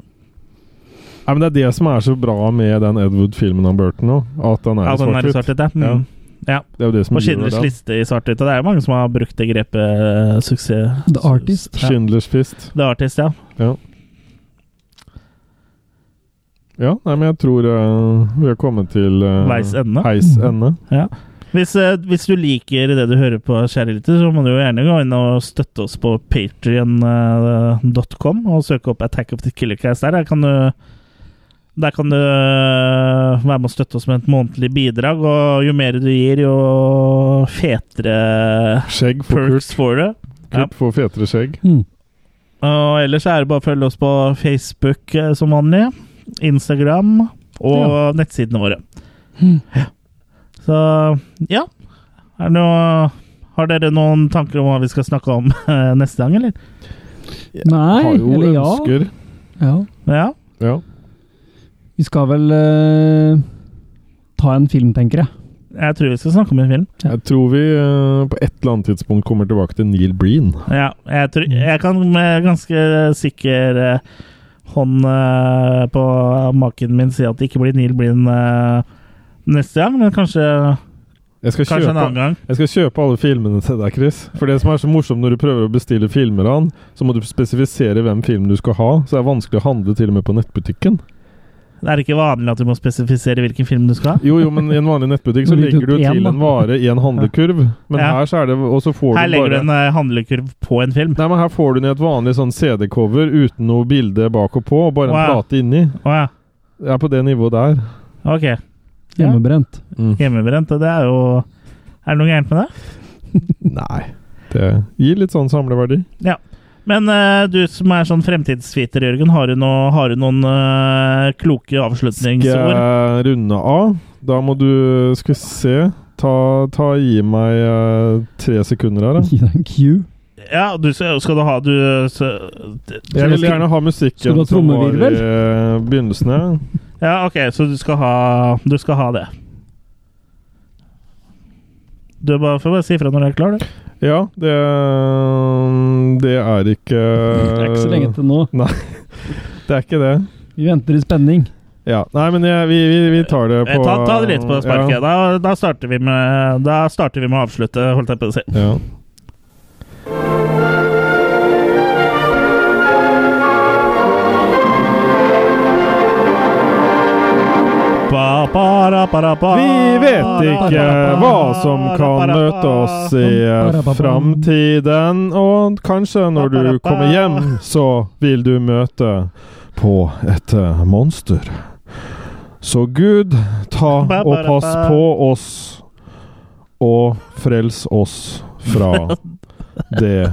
Nei, men Det er det som er så bra med den Ed Wood-filmen av Burton nå. At den er Ja, i den er i svart-hvitt. svart-hvitt, ja. Ja. Mm. Det er jo det som Og gjør Schindlers det. liste i svart-hvitt. Og det er jo mange som har brukt det grepet eh, suksess. The Artist. Ja. Schindlers fist. The Artist, ja. Ja, nei, men jeg tror eh, vi har kommet til eh, Veis ende. Mm. Heis ende. Hvis, eh, hvis du liker det du hører på, kjære lytter, så må du jo gjerne gå inn og støtte oss på patrion.com og søke opp Attack of the Killer Cast der. Der kan du der kan du eh, være med og støtte oss med et månedlig bidrag, og jo mer du gir, jo fetere Skjegg for Kurt. perks får du. ja. Kurt får fetere skjegg. Mm. Og ellers er det bare å følge oss på Facebook eh, som vanlig, Instagram og nettsidene våre. Mm. Ja. Så ja. Er det noe, har dere noen tanker om hva vi skal snakke om eh, neste gang, eller? Nei, Har jo eller ja. ønsker. ja. Ja. Ja. Vi skal vel eh, ta en film, tenker jeg. Jeg tror vi skal snakke om en film. Ja. Jeg tror vi eh, på et eller annet tidspunkt kommer tilbake til Neil Breen. Ja, jeg, tror, jeg kan med ganske sikker eh, hånd eh, på maken min si at det ikke blir Neil Blind eh, neste gang, men kanskje Jeg skal, Kanskje en kjøpe, annen gang. jeg skal kjøpe alle filmene til deg, Chris. For det som er så morsomt når du prøver å bestille filmer av han, så må du spesifisere hvem film du skal ha. Så det er vanskelig å handle til og med på nettbutikken. Det er ikke vanlig at du må spesifisere hvilken film du skal ha. Jo, jo, men i en vanlig nettbutikk så Når du legger du tok en, til da. en vare i en handlekurv. Men Ja. her så er det Og så får Her du legger du bare en eh, handlekurv på en film. Nei, men her får du den i et vanlig sånn CD-cover uten noe bilde bak og på, og bare en Wow. plate inni. Å ja. Jeg er på det nivået der. Ok. Hjemmebrent. Hjemmebrent. og Det er jo Er det noe gærent med det? Nei. Det gir litt sånn samleverdi. Ja. Men eh, du som er sånn fremtidsviter, Jørgen, har du, noe, har du noen eh, kloke Skal avslutningsord? jeg runde av? Da må du Skal vi se Ta, ta Gi meg eh, tre sekunder her, da. Gi deg en cue. Ja, du, skal skal du ha du, så, Jeg vil gjerne ha Skal musikken som var du ha i trommevirvel? eh, begynnelsen, ja. Ja, ok, så du skal ha, du skal ha det. Du bare, får bare si ifra når du er klar, du. Ja, det eh, Det er ikke Det Eh. er ikke så lenge til nå. Det er ikke det. Vi venter i spenning. Ja. Nei, men jeg, vi, vi, vi tar det Eh, på Eh, Ta, ta det litt på sparket. Da, da, starter vi med, da starter vi med å avslutte, holdt jeg på å si. Ja, ja. Ba, ba, ra, ba, ra, ba. Vi vet ikke hva som kan møte oss i framtiden, og kanskje når du kommer hjem, så vil du møte på et eh, monster. Så Gud, ta og pass på oss, og frels oss fra det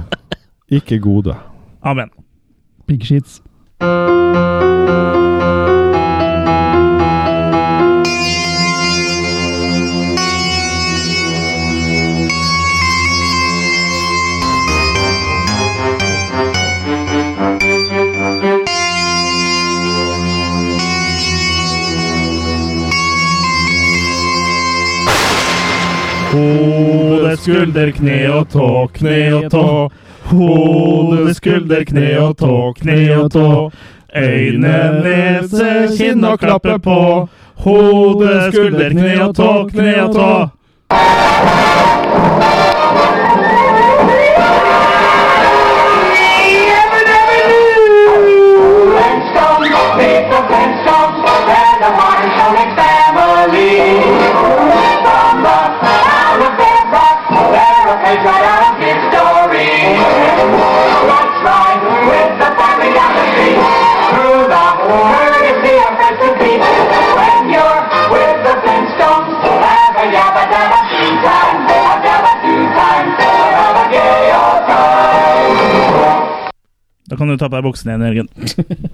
ikke gode. Amen. Big sheets. Hode, skulder, kne og tå, kne og tå. Hode, skulder, kne og tå, kne og tå. Øyne, nese, kinn og klappe på. Hode, skulder, kne og tå, kne og tå. Time. Da kan du ta på deg buksene igjen, Jørgen.